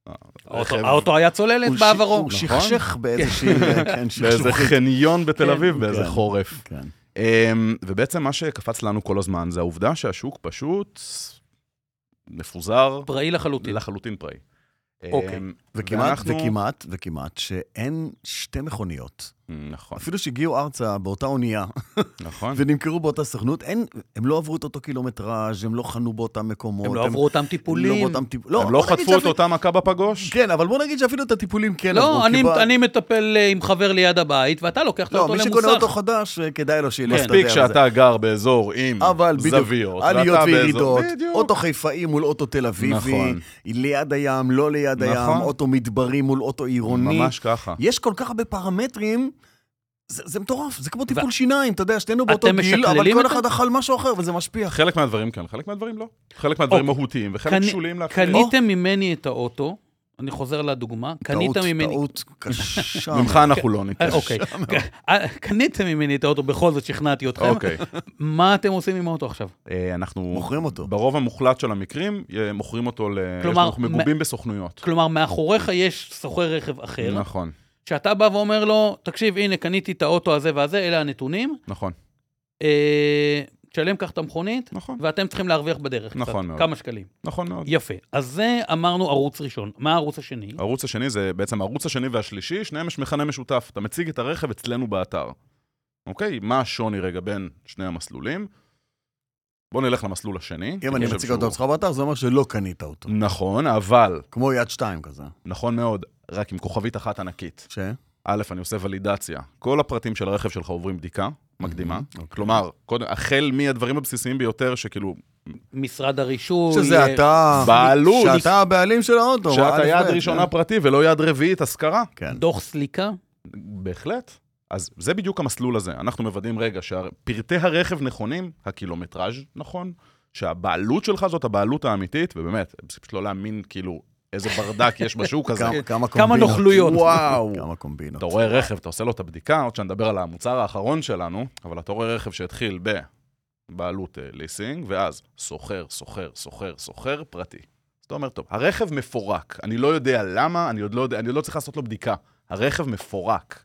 Speaker 3: האוטו-
Speaker 4: הרכב-
Speaker 3: האוטו היה צוללת
Speaker 2: הוא ש-
Speaker 3: בעברו.
Speaker 2: הוא
Speaker 4: נכון.
Speaker 2: שכשך באיזושהי... כן,
Speaker 4: באיזה
Speaker 2: שכשוך.
Speaker 4: חניון בתל
Speaker 3: כן,
Speaker 4: אביב, באיזה
Speaker 2: כן.
Speaker 4: חורף.
Speaker 2: כן.
Speaker 4: אמ, ובעצם מה שקפץ לנו כל הזמן זה העובדה שהשוק פשוט מפוזר
Speaker 3: פראי
Speaker 2: נכון.
Speaker 3: לחלוטין.
Speaker 4: לחלוטין פראי.
Speaker 3: אוקיי.
Speaker 4: אמ,
Speaker 2: וכמעט,
Speaker 4: ואנחנו-
Speaker 2: וכמעט, וכמעט, שאין שתי מכוניות,
Speaker 4: נכון,
Speaker 2: אפילו שהגיעו ארצה באותה אונייה
Speaker 4: נכון.
Speaker 2: ונמכרו באותה סוכנות, אין, הם לא עברו את אותו קילומטראז', הם לא חנו באותם מקומות.
Speaker 3: הם לא עברו אותם
Speaker 2: הם לא
Speaker 3: טיפולים.
Speaker 2: עברו אותם טיפ-
Speaker 4: הם לא
Speaker 2: בוא נגיד
Speaker 4: חטפו את
Speaker 2: שאפילו-
Speaker 4: אותה מכה בפגוש?
Speaker 2: כן, אבל בוא נגיד שאפילו את הטיפולים כן עברו.
Speaker 3: לא,
Speaker 2: כי
Speaker 3: אני-
Speaker 2: בא-
Speaker 3: אני מטפל אה, עם חבר ליד הבית, ואתה לוקח את
Speaker 2: לא,
Speaker 3: האוטו
Speaker 2: מי שקונה
Speaker 3: למוסך.
Speaker 2: אותו חדש, אה, כדאי לו שילך לדבר.
Speaker 4: מספיק שאתה גר באזור עם
Speaker 2: אבל בדיוק,
Speaker 4: זוויות.
Speaker 2: עליות
Speaker 4: ואתה באזור-
Speaker 2: וירידות,
Speaker 4: בדיוק.
Speaker 2: אוטו חיפאי מול אוטו תל אביבי,
Speaker 4: נכון.
Speaker 2: ליד הים, לא ליד
Speaker 4: נכון.
Speaker 2: הים, אוטו מדברי מול אוטו עירוני.
Speaker 4: ממש ככה.
Speaker 2: יש כל כך הרבה פרמטרים, זה, זה מטורף, זה כמו טיפול
Speaker 3: ו-
Speaker 2: שיניים, אתה יודע, שנינו באותו
Speaker 3: אתם
Speaker 2: גיל, אבל
Speaker 3: משקללים
Speaker 2: כל
Speaker 3: את זה?
Speaker 2: אחד אכל משהו אחר וזה משפיע.
Speaker 4: חלק מהדברים כן, חלק מהדברים לא.
Speaker 2: אוקיי.
Speaker 4: חלק מהדברים מהותיים וחלק
Speaker 3: קני-
Speaker 4: שוליים להפעיל.
Speaker 3: קניתם ממני את האוטו, אני חוזר לדוגמה, קנית ממני...
Speaker 2: טעות, טעות קשה.
Speaker 4: ממך אנחנו לא ניתן.
Speaker 3: אה, אוקיי, אה, קניתם ממני את האוטו, בכל זאת שכנעתי אתכם.
Speaker 4: אוקיי.
Speaker 3: מה אתם עושים עם האוטו עכשיו?
Speaker 4: אה, אנחנו
Speaker 2: מוכרים אותו.
Speaker 4: ברוב המוחלט של המקרים אה, מוכרים אותו ל...
Speaker 3: כלומר,
Speaker 4: כלומר, אנחנו מגובים בסוכנויות.
Speaker 3: כלומר, מאחוריך יש סוחר רכב אחר,
Speaker 4: נכון,
Speaker 3: שאתה בא ואומר לו, תקשיב, הנה, קניתי את האוטו הזה והזה, אלה הנתונים,
Speaker 4: נכון,
Speaker 3: אה, תשלם כך את המכונית,
Speaker 4: נכון,
Speaker 3: ואתם צריכים להרוויח בדרך
Speaker 4: נכון
Speaker 3: קצת,
Speaker 4: מאוד.
Speaker 3: כמה שקלים.
Speaker 4: נכון מאוד.
Speaker 3: יפה. אז זה אמרנו ערוץ ראשון. מה הערוץ השני?
Speaker 4: הערוץ השני זה בעצם הערוץ השני והשלישי, שניהם יש מכנה משותף. אתה מציג את הרכב אצלנו באתר. אוקיי? מה השוני רגע בין שני המסלולים? בואו נלך למסלול השני.
Speaker 2: אם אני
Speaker 4: חושב
Speaker 2: מציג אותו
Speaker 4: שהוא-
Speaker 2: אצלך באתר, זה אומר שלא קנית אותו.
Speaker 4: נכון, אבל,
Speaker 2: כמו יד שתיים כזה.
Speaker 4: נכון מאוד, רק עם כוכבית אחת ענקית.
Speaker 2: ש?
Speaker 4: א', אני עושה ולידציה. כל הפרטים של הרכב שלך עוברים בדיקה מקדימה.
Speaker 2: אוקיי.
Speaker 4: כלומר, קודם, החל מהדברים הבסיסיים ביותר, שכאילו,
Speaker 3: משרד הרישוי. אה,
Speaker 2: שזה אתה,
Speaker 4: בעלות.
Speaker 2: שאתה הבעלים של האוטו.
Speaker 4: שאתה
Speaker 2: א',
Speaker 4: יד
Speaker 2: ב', אה?
Speaker 4: ראשונה פרטי ולא יד רביעית השכרה.
Speaker 2: כן.
Speaker 3: דוח סליקה?
Speaker 4: בהחלט. אז זה בדיוק המסלול הזה. אנחנו מוודאים רגע שפרטי הרכב נכונים, הקילומטראז' נכון, שהבעלות שלך זאת הבעלות האמיתית, ובאמת, זה פשוט לא להאמין כאילו איזה ברדק יש בשוק הזה.
Speaker 2: כמה- כמה
Speaker 3: כמה
Speaker 2: קומבינות.
Speaker 3: נוכלויות.
Speaker 4: וואו.
Speaker 2: כמה קומבינות.
Speaker 4: אתה רואה רכב, אתה עושה לו את הבדיקה, עוד שנדבר על המוצר האחרון שלנו, אבל אתה רואה רכב שהתחיל בבעלות אה, ליסינג, ואז סוחר, סוחר, סוחר, סוחר, פרטי. אז אתה אומר, טוב, הרכב מפורק, אני לא יודע למה, אני עוד לא, יודע, אני עוד לא צריך לעשות לו בדיקה. הרכב מפורק.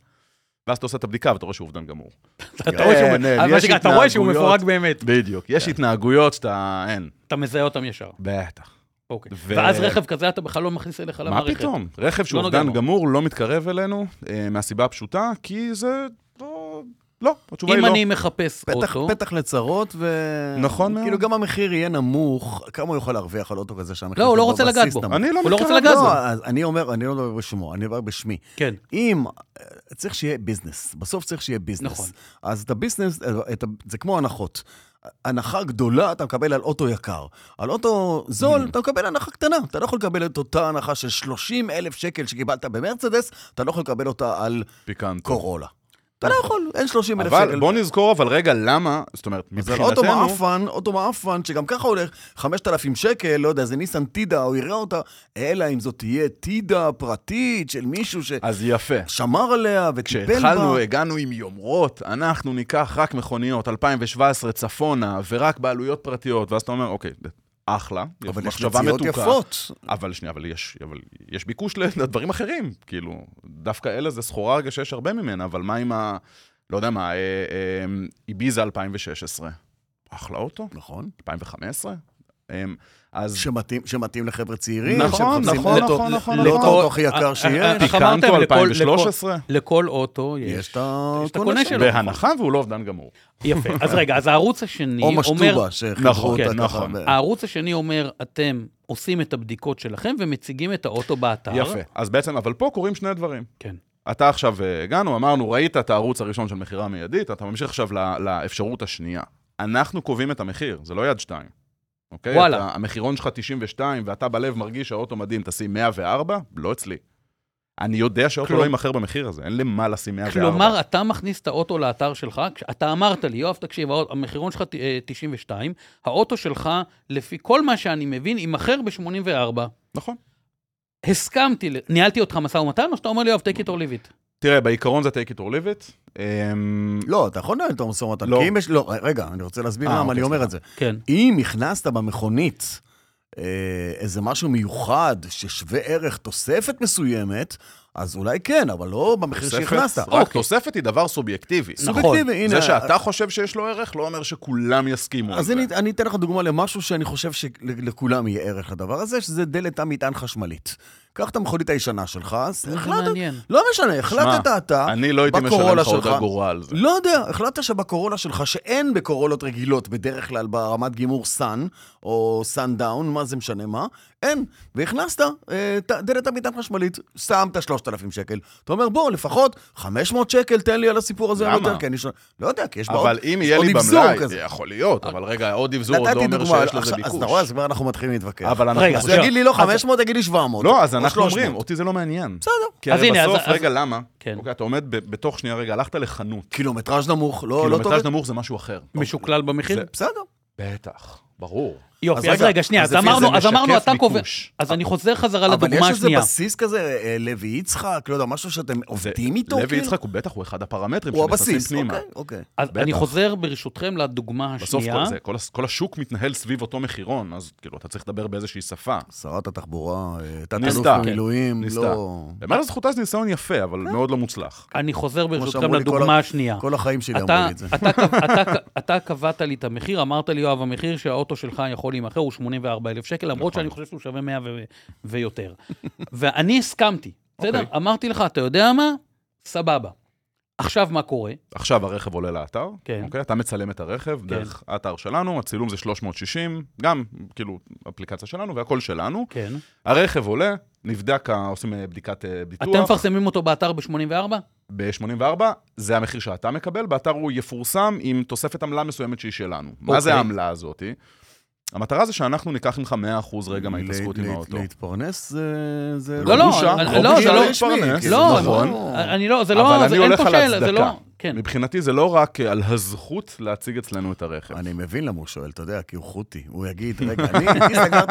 Speaker 4: ואז אתה עושה את הבדיקה ואתה רואה שהוא אובדן גמור.
Speaker 2: כן,
Speaker 3: אתה רואה שהוא- אה,
Speaker 4: אין,
Speaker 3: אבל
Speaker 4: אה, יש
Speaker 3: רגע, אתה רואה שהוא
Speaker 4: התנהגויות.
Speaker 3: מפורק באמת.
Speaker 4: בדיוק. יש
Speaker 2: כן.
Speaker 4: התנהגויות שאתה... אין.
Speaker 3: אתה מזהה אותם ישר.
Speaker 4: בטח.
Speaker 3: אוקיי.
Speaker 4: ו-
Speaker 3: ואז רכב כזה אתה בכלל לא מכניס אליך
Speaker 4: מה
Speaker 3: למערכת.
Speaker 4: פתאום? רכב שהוא
Speaker 3: לא נוגע
Speaker 4: אובדן
Speaker 3: בו.
Speaker 4: גמור לא מתקרב אלינו, אה, מהסיבה הפשוטה, כי זה... לא, לא, התשובה היא
Speaker 3: אם
Speaker 4: לא.
Speaker 3: אני מחפש
Speaker 2: פתח,
Speaker 3: אוטו,
Speaker 2: פתח לצרות, ו...
Speaker 4: נכון
Speaker 2: כאילו
Speaker 4: מאוד.
Speaker 2: גם המחיר יהיה נמוך, כמה הוא יכול להרוויח על אוטו כזה שהמחיר
Speaker 3: לא, הוא
Speaker 2: שלו
Speaker 3: לא רוצה
Speaker 2: בבסיס
Speaker 3: לגעת בו.
Speaker 2: נמוך?
Speaker 4: אני לא
Speaker 3: הוא לא רוצה
Speaker 4: מתקרב,
Speaker 3: לגעת בו.
Speaker 2: לא, אז אני אומר, אני לא מדבר בשמו, אני מדבר בשמי.
Speaker 3: כן.
Speaker 2: אם, אה, צריך שיהיה ביזנס, בסוף צריך שיהיה ביזנס.
Speaker 3: נכון.
Speaker 2: אז את הביזנס, אה, את, ה- זה כמו הנחות. הנחה גדולה אתה מקבל על אוטו יקר. על אוטו זול אתה מקבל הנחה קטנה. אתה לא יכול לקבל את אותה הנחה של 30 אלף שקל שקיבלת במרצדס, אתה לא יכול לקבל אותה על
Speaker 4: פיקנטו.
Speaker 2: קורולה. אתה לא יכול, אין 30 אלף שקל.
Speaker 4: נכון. אבל בוא נזכור אבל רגע למה, זאת אומרת,
Speaker 2: אז על אוטו
Speaker 4: מבחינתנו,
Speaker 2: מעפן, אוטו מעפן, שגם ככה הולך 5,000 שקל, לא יודע, זה ניסן טידה, הוא יראה אותה, אלא אם זאת תהיה טידה פרטית של מישהו
Speaker 4: אז יפה.
Speaker 2: ששמר עליה וטיפל בה.
Speaker 4: כשהתחלנו, הגענו עם יומרות, אנחנו ניקח רק מכוניות, 2017 צפונה, ורק בעלויות פרטיות, ואז אתה אומר, אוקיי, אחלה,
Speaker 2: אבל יש
Speaker 4: מחשבה
Speaker 2: מציאות
Speaker 4: מתוקה.
Speaker 2: יפות.
Speaker 4: אבל שנייה, אבל יש, אבל יש ביקוש לדברים אחרים, כאילו, דווקא אלה זה סחורה רגע שיש הרבה ממנה, אבל מה עם ה... לא יודע מה, אה, אה, איביזה 2016. אחלה אוטו,
Speaker 2: נכון.
Speaker 4: 2015. אה, אז
Speaker 2: שמתאים, שמתאים לחבר'ה צעירים.
Speaker 4: נכון,
Speaker 2: שמחפשים
Speaker 4: נכון,
Speaker 2: לאוטו-
Speaker 4: נכון, נכון,
Speaker 2: לאותו
Speaker 4: נכון.
Speaker 2: אוטו הכי יקר
Speaker 3: אה, אה,
Speaker 2: שיש,
Speaker 3: איך אמרתם?
Speaker 4: פיקנטו
Speaker 3: לכל-
Speaker 4: 2013?
Speaker 3: לכל- לכל אוטו
Speaker 2: יש
Speaker 3: יש.
Speaker 2: את
Speaker 3: יש את הקונה
Speaker 2: הקונה שלו.
Speaker 3: שלו.
Speaker 4: בהנחה והוא לא אובדן גמור.
Speaker 3: יפה. אז רגע, אז הערוץ השני
Speaker 2: או
Speaker 3: אומר,
Speaker 2: משטובה, שחיברו
Speaker 4: נכון,
Speaker 2: אותה
Speaker 4: כן,
Speaker 2: ככה.
Speaker 4: נכון.
Speaker 2: ב-
Speaker 3: הערוץ השני אומר, אתם עושים את הבדיקות שלכם ומציגים את האוטו באתר.
Speaker 4: יפה. אז בעצם, אבל פה קורים שני דברים.
Speaker 3: כן.
Speaker 4: אתה עכשיו, אה, הגענו, אמרנו, ראית את הערוץ הראשון של מכירה מיידית, אתה ממשיך עכשיו ל- לאפשרות השנייה. אנחנו קובעים את המחיר, זה לא יד שתיים. אוקיי?
Speaker 3: וואלה.
Speaker 4: אתה, המחירון שלך 92, ואתה בלב מרגיש שהאוטו מדהים, תשים 104, לא אצלי. אני יודע שהאוטו
Speaker 3: כלום.
Speaker 4: לא יימכר במחיר הזה, אין למה לשים 104.
Speaker 3: כלומר, אתה מכניס את האוטו לאתר שלך, כש- אתה אמרת לי, יואב, תקשיב, הא- המחירון שלך ת- אה, 92, האוטו שלך, לפי כל מה שאני מבין, יימכר ב-84.
Speaker 4: נכון.
Speaker 3: הסכמתי, ל- ניהלתי אותך משא ומתן, או שאתה אומר לי, יואב, take it or leave it?
Speaker 4: תראה, בעיקרון זה take it or leave it. אמ,
Speaker 2: לא, אתה יכול לנהל את המשא ומתן.
Speaker 4: לא.
Speaker 2: כי אם יש... לא, רגע, אני רוצה להסביר
Speaker 4: אה,
Speaker 2: למה
Speaker 4: אוקיי,
Speaker 2: אני אומר
Speaker 4: סליחה.
Speaker 2: את זה.
Speaker 3: כן.
Speaker 2: אם הכנסת במכונית אה, איזה משהו מיוחד ששווה ערך תוספת מסוימת, אז אולי כן, אבל לא במחיר
Speaker 4: תוספת-
Speaker 2: שהכנסת.
Speaker 4: רק
Speaker 3: אוקיי.
Speaker 4: תוספת היא דבר סובייקטיבי.
Speaker 3: נכון.
Speaker 2: סובייקטיבי, הנה. אה,
Speaker 4: זה שאתה חושב שיש לו ערך, לא אומר שכולם יסכימו על
Speaker 2: אז
Speaker 4: זה.
Speaker 2: אני, אני אתן לך דוגמה למשהו שאני חושב שלכולם יהיה ערך לדבר הזה, שזה דלת המטען חשמלית. קח את המכונית הישנה שלך, אז
Speaker 3: זה
Speaker 2: החלטת,
Speaker 3: מעניין.
Speaker 2: לא משנה, החלטת
Speaker 4: שמע,
Speaker 2: אתה,
Speaker 4: אני לא הייתי משלם
Speaker 2: בקורולה
Speaker 4: לך עוד
Speaker 2: שלך.
Speaker 4: אגורה על זה.
Speaker 2: לא יודע, החלטת שבקורולה שלך, שאין בקורולות רגילות בדרך כלל ברמת גימור סאן, או סאן דאון, מה זה משנה מה, אין. והכנסת אה, ת- דלת המטען חשמלית, שמת 3,000 שקל. אתה אומר, בוא, לפחות 500 שקל תן לי על הסיפור הזה.
Speaker 4: למה?
Speaker 2: יותר, כי אני שואל- לא יודע, כי יש בה
Speaker 4: אבל
Speaker 2: עוד-
Speaker 4: אם
Speaker 2: יש
Speaker 4: יהיה
Speaker 2: עוד
Speaker 4: לי
Speaker 2: אבזור
Speaker 4: במלאי,
Speaker 2: כזה.
Speaker 4: יכול להיות, אבל רגע, עוד אבזור עוד לא
Speaker 2: נתתי
Speaker 4: אומר
Speaker 2: דוגמה,
Speaker 4: שיש
Speaker 2: עכשיו,
Speaker 4: לזה
Speaker 2: אז אתה רואה,
Speaker 4: ביקוש.
Speaker 2: אז כבר אנחנו מתחילים להתווכח.
Speaker 4: אבל
Speaker 3: רגע,
Speaker 4: אנחנו...
Speaker 2: אז
Speaker 3: שנייה.
Speaker 2: תגיד לי לא
Speaker 3: אז-
Speaker 2: 500, תגיד לי 700.
Speaker 4: לא, אז
Speaker 2: או
Speaker 4: אנחנו
Speaker 2: 300.
Speaker 4: אומרים, אותי זה לא מעניין.
Speaker 2: בסדר.
Speaker 4: כי
Speaker 3: אז
Speaker 4: הרי
Speaker 3: הנה, אז-
Speaker 4: בסוף,
Speaker 3: אז-
Speaker 4: רגע, למה?
Speaker 3: כן.
Speaker 4: אוקיי, אתה עומד ב- בתוך שנייה, רגע, הלכת לחנות.
Speaker 2: קילומטראז' נמוך, לא לא טוב.
Speaker 4: קילומטראז' נמוך זה משהו אחר.
Speaker 3: משוקלל במחיר?
Speaker 4: זה-
Speaker 2: בסדר.
Speaker 4: בטח, ברור.
Speaker 2: אז
Speaker 3: יופי, אז
Speaker 2: רגע,
Speaker 3: רגע, שנייה,
Speaker 2: אז
Speaker 3: אז
Speaker 2: לפי זה
Speaker 3: אמרנו, אז אמרנו,
Speaker 4: משקף
Speaker 3: אתה קובע.
Speaker 4: ביקוש.
Speaker 3: אז אני חוזר חזרה
Speaker 2: אבל יש
Speaker 3: לדוגמה
Speaker 2: איזה
Speaker 3: השנייה.
Speaker 2: בסיס כזה, אה, לוי יצחק, לא יודע, משהו שאתם
Speaker 4: זה-
Speaker 2: עובדים איתו?
Speaker 4: לוי
Speaker 2: כאילו?
Speaker 4: יצחק הוא בטח, הוא אחד הפרמטרים
Speaker 2: הוא
Speaker 4: שנכנסים
Speaker 2: הבסיס,
Speaker 4: פנימה.
Speaker 2: אוקיי, אוקיי.
Speaker 3: אז
Speaker 4: בטח.
Speaker 3: אני חוזר ברשותכם לדוגמה
Speaker 4: בסוף
Speaker 3: השנייה.
Speaker 4: כל, זה, כל, הס- כל השוק מתנהל סביב אותו מחירון, אז כאילו, אתה צריך לדבר באיזושהי שפה.
Speaker 2: שרת התחבורה, אה, תת-אלוף
Speaker 4: ניסתה,
Speaker 2: במילואים,
Speaker 4: ניסתה.
Speaker 2: לא...
Speaker 4: למעלה זכותה זה ניסיון יפה, אבל מאוד לא מוצלח.
Speaker 3: אני חוזר
Speaker 2: כמו
Speaker 3: ברשותכם
Speaker 2: שאמרו לי כל ה-
Speaker 3: לדוגמה השנייה.
Speaker 2: כל החיים שלי אמרו
Speaker 3: אתה,
Speaker 2: לי את זה.
Speaker 3: אתה, קב- אתה, ק- אתה קבעת לי את המחיר, אמרת לי, יואב, המחיר שהאוטו שלך יכול להימכר הוא 84,000 שקל, למרות
Speaker 4: נכון.
Speaker 3: שאני חושב שהוא שווה 100 ו- ויותר. ואני הסכמתי, בסדר?
Speaker 4: אוקיי.
Speaker 3: אמרתי לך, אתה יודע מה? סבבה. עכשיו מה קורה?
Speaker 4: עכשיו הרכב עולה לאתר,
Speaker 3: כן.
Speaker 4: אוקיי? אתה מצלם את הרכב דרך האתר שלנו, הצילום זה 360, גם כאילו אפליקציה שלנו והכל שלנו.
Speaker 3: כן.
Speaker 4: הרכב עולה, נבדק, ה- עושים אה, בדיקת אה,
Speaker 3: אתם
Speaker 4: ביטוח.
Speaker 3: מפרסמים אותו באתר ב-84?
Speaker 4: ב-84, זה המחיר שאתה מקבל, באתר הוא יפורסם עם תוספת עמלה מסוימת שהיא שלנו. מה זה
Speaker 3: אוקיי.
Speaker 4: העמלה הזאתי? המטרה זה שאנחנו ניקח ממך 100% רגע מההתעסקות
Speaker 2: לה-
Speaker 4: עם
Speaker 2: לה-
Speaker 4: האוטו.
Speaker 2: להתפרנס זה... זה
Speaker 3: לא, לא,
Speaker 4: חבושה,
Speaker 3: אני-
Speaker 4: חבושה
Speaker 3: לא, זה לא-
Speaker 4: להתפרנס,
Speaker 2: כן,
Speaker 3: לא,
Speaker 4: נכון.
Speaker 3: אני לא, זה
Speaker 4: אבל
Speaker 3: לא,
Speaker 4: אני
Speaker 3: זה- אין
Speaker 4: הולך
Speaker 3: פה
Speaker 4: על
Speaker 3: שאלה, זה לא...
Speaker 4: הצדקה.
Speaker 3: כן.
Speaker 4: מבחינתי זה לא רק אה, על הזכות להציג אצלנו את הרכב.
Speaker 2: אני מבין למה הוא שואל, אתה יודע, כי הוא חותי. הוא יגיד, רגע, אני אני סגרת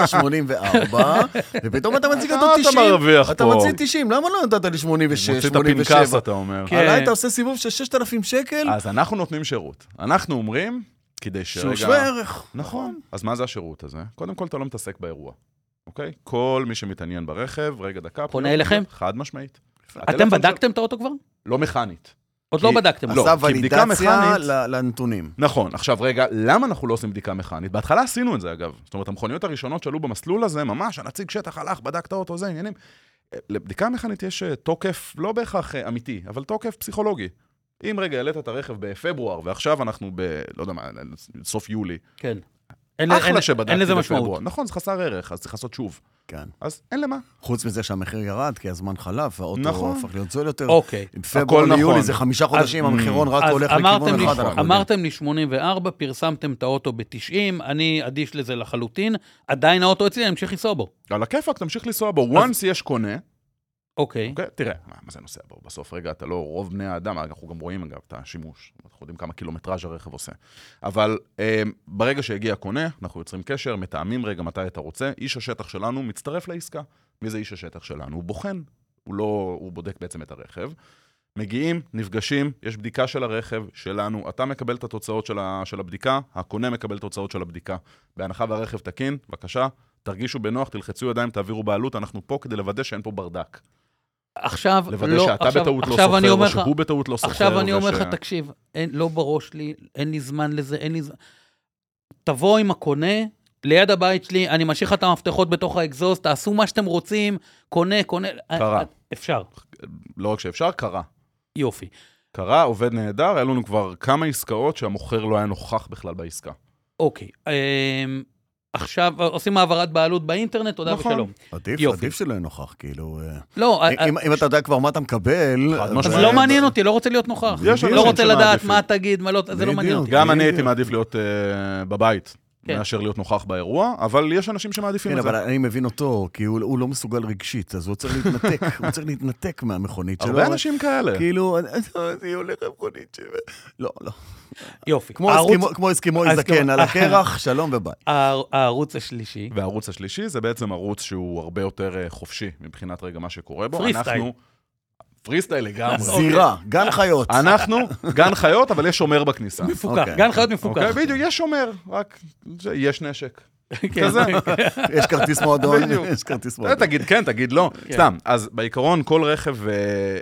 Speaker 2: 84, ופתאום אתה מציג אותו
Speaker 4: אה, אתה
Speaker 2: 90.
Speaker 4: מרוויח
Speaker 2: אתה
Speaker 4: פה.
Speaker 2: מציג 90, למה לא נתת לי 86,
Speaker 4: מוציא את
Speaker 2: 87?
Speaker 4: הפנקס, אתה אומר.
Speaker 3: כן.
Speaker 2: עליי אתה עושה סיבוב של 6,000 שקל,
Speaker 4: אז אנחנו נותנים שירות. אנחנו אומרים, כדי שרגע...
Speaker 2: שהוא שווה ערך.
Speaker 4: נכון. אז מה זה השירות הזה? קודם כל, אתה לא מתעסק באירוע, אוקיי? כל מי שמתעניין ברכב, רגע, דקה.
Speaker 3: פונה
Speaker 4: פניות,
Speaker 3: אליכם?
Speaker 4: חד משמעית.
Speaker 3: אתם
Speaker 4: הטלפון של-
Speaker 3: בדקתם את האוטו כבר?
Speaker 4: לא מכנית.
Speaker 3: עוד לא
Speaker 4: כי-
Speaker 3: בדקתם.
Speaker 4: לא.
Speaker 3: אותו.
Speaker 2: עשה
Speaker 4: כי בדיקה
Speaker 2: ולידציה
Speaker 4: מכנית-
Speaker 2: ל- לנתונים.
Speaker 4: נכון, עכשיו רגע, למה אנחנו לא עושים בדיקה מכנית? בהתחלה עשינו את זה אגב. זאת אומרת, המכוניות הראשונות שעלו במסלול הזה, ממש, הנציג שטח הלך, בדק את האוטו, זה עניינים. אה, לבדיקה מכנית יש אה, תוקף, לא בהכרח אה, אמיתי, אבל תוקף פסיכולוגי. אם רגע העלית את הרכב בפברואר, ועכשיו אנחנו ב... לא יודע מה, סוף יולי.
Speaker 3: כן. אין- אין-
Speaker 4: אחלה שבדקתי
Speaker 3: אין לזה
Speaker 4: בפברואר.
Speaker 3: משמעות.
Speaker 4: נכון, זה חסר ערך, אז צריך לעשות שוב.
Speaker 2: כן.
Speaker 4: אז אין למה.
Speaker 2: חוץ מזה שהמחיר ירד, כי הזמן חלף, והאוטו
Speaker 4: נכון.
Speaker 2: הפך להיות זול יותר.
Speaker 3: אוקיי.
Speaker 2: בפברואר
Speaker 4: הכל
Speaker 2: ליולי
Speaker 4: נכון.
Speaker 2: זה חמישה חודשים,
Speaker 4: אז-
Speaker 2: המחירון רק
Speaker 3: אז
Speaker 2: הולך
Speaker 3: אמרתם
Speaker 2: לכיוון
Speaker 3: לי-
Speaker 2: אחד. אנחנו יודעים.
Speaker 3: אמרתם לי 84, פרסמתם את האוטו ב-90, אני אדיש לזה לחלוטין, עדיין האוטו אצלי, אני אמשיך לנסוע בו.
Speaker 4: על הכיפאק, תמשיך לנסוע בו. once יש קונה,
Speaker 3: אוקיי.
Speaker 4: אוקיי? תראה, מה מה זה נוסע בו? בסוף, רגע, אתה לא רוב בני האדם, אנחנו גם רואים, אגב, את השימוש. אנחנו יודעים כמה קילומטראז' הרכב עושה. אבל אה, ברגע שהגיע הקונה, אנחנו יוצרים קשר, מתאמים רגע מתי אתה רוצה. איש השטח שלנו מצטרף לעסקה. מי זה איש השטח שלנו? הוא בוחן. הוא לא, הוא בודק בעצם את הרכב. מגיעים, נפגשים, יש בדיקה של הרכב שלנו, אתה מקבל את התוצאות של, ה, של הבדיקה, הקונה מקבל את התוצאות של הבדיקה. בהנחה והרכב תקין, בבקשה, תרגישו בנוח, תלחצו ידיים, תעבירו בעלות, אנחנו פה כדי לוודא שאין פה ברדק.
Speaker 3: עכשיו,
Speaker 4: לוודא
Speaker 3: לא,
Speaker 4: שאתה
Speaker 3: עכשיו-
Speaker 4: בטעות לא
Speaker 3: עכשיו אני
Speaker 4: סוחר,
Speaker 3: אומר
Speaker 4: או
Speaker 3: לך-
Speaker 4: שהוא בטעות לא סוחר.
Speaker 3: עכשיו אני אומר
Speaker 4: וש-
Speaker 3: לך, תקשיב, אין- לא בראש לי, אין לי זמן לזה, אין לי זמן. תבוא עם הקונה, ליד הבית שלי, אני משאיר לך את המפתחות בתוך האגזוז, תעשו מה שאתם רוצים, קונה, קונה. אה,
Speaker 4: קרה.
Speaker 3: אפשר,
Speaker 4: לא רק שאפשר, קרה.
Speaker 3: יופי.
Speaker 4: קרה, עובד נהדר, היה לנו כבר כמה עסקאות שהמוכר לא היה נוכח בכלל בעסקה.
Speaker 3: אוקיי. אמ, עכשיו עושים העברת בעלות באינטרנט, תודה
Speaker 4: נכון.
Speaker 3: ושלום.
Speaker 2: עדיף,
Speaker 3: יופי.
Speaker 2: עדיף שלא יהיה נוכח, כאילו... אה,
Speaker 3: לא, אה,
Speaker 2: אם אם אתה יודע כבר מה אתה מקבל...
Speaker 4: חד
Speaker 3: אז
Speaker 4: משמעית.
Speaker 2: אבל-
Speaker 3: לא מעניין אותי, לא רוצה להיות נוכח.
Speaker 4: יש
Speaker 3: לא
Speaker 4: אנשים
Speaker 3: רוצה לדעת
Speaker 4: שמעדיפים.
Speaker 3: מה תגיד, מה לא, זה לא
Speaker 2: בדיוק.
Speaker 3: מעניין אותי.
Speaker 4: גם אני הייתי
Speaker 2: בדיוק.
Speaker 4: מעדיף להיות אה, בבית,
Speaker 3: כן.
Speaker 4: מאשר להיות נוכח באירוע, אבל יש אנשים שמעדיפים
Speaker 2: כן,
Speaker 4: את זה.
Speaker 2: אבל אני מבין אותו, כי הוא הוא לא מסוגל רגשית, אז הוא צריך להתנתק, הוא צריך להתנתק מהמכונית שלו.
Speaker 4: הרבה אנשים כאלה.
Speaker 2: כאילו, היא הולכת למכונית שלי. לא, לא.
Speaker 3: יופי.
Speaker 2: כמו
Speaker 3: הערוץ-
Speaker 2: אסקימו- כמו אסקימוי
Speaker 3: האסקימו-
Speaker 2: זקן, על הקרח, שלום וביי.
Speaker 3: הער- הערוץ השלישי,
Speaker 4: והערוץ השלישי זה בעצם ערוץ שהוא הרבה יותר אה, חופשי מבחינת רגע מה שקורה בו.
Speaker 3: פרי
Speaker 4: אנחנו-
Speaker 3: סטייל.
Speaker 4: פרי סטייל לגמרי.
Speaker 3: אוקיי.
Speaker 2: זירה, גן חיות.
Speaker 4: אנחנו גן חיות, אבל יש שומר בכניסה.
Speaker 3: מפוקח,
Speaker 2: אוקיי.
Speaker 3: גן חיות מפוקח.
Speaker 4: אוקיי, בדיוק, יש שומר, רק זה- יש נשק.
Speaker 3: כן,
Speaker 4: כזה.
Speaker 2: יש כרטיס מועדון,
Speaker 4: בדיוק.
Speaker 2: יש כרטיס
Speaker 4: לא,
Speaker 2: מועדון.
Speaker 4: תגיד כן, תגיד לא.
Speaker 3: כן.
Speaker 4: סתם, אז בעיקרון כל רכב, אה,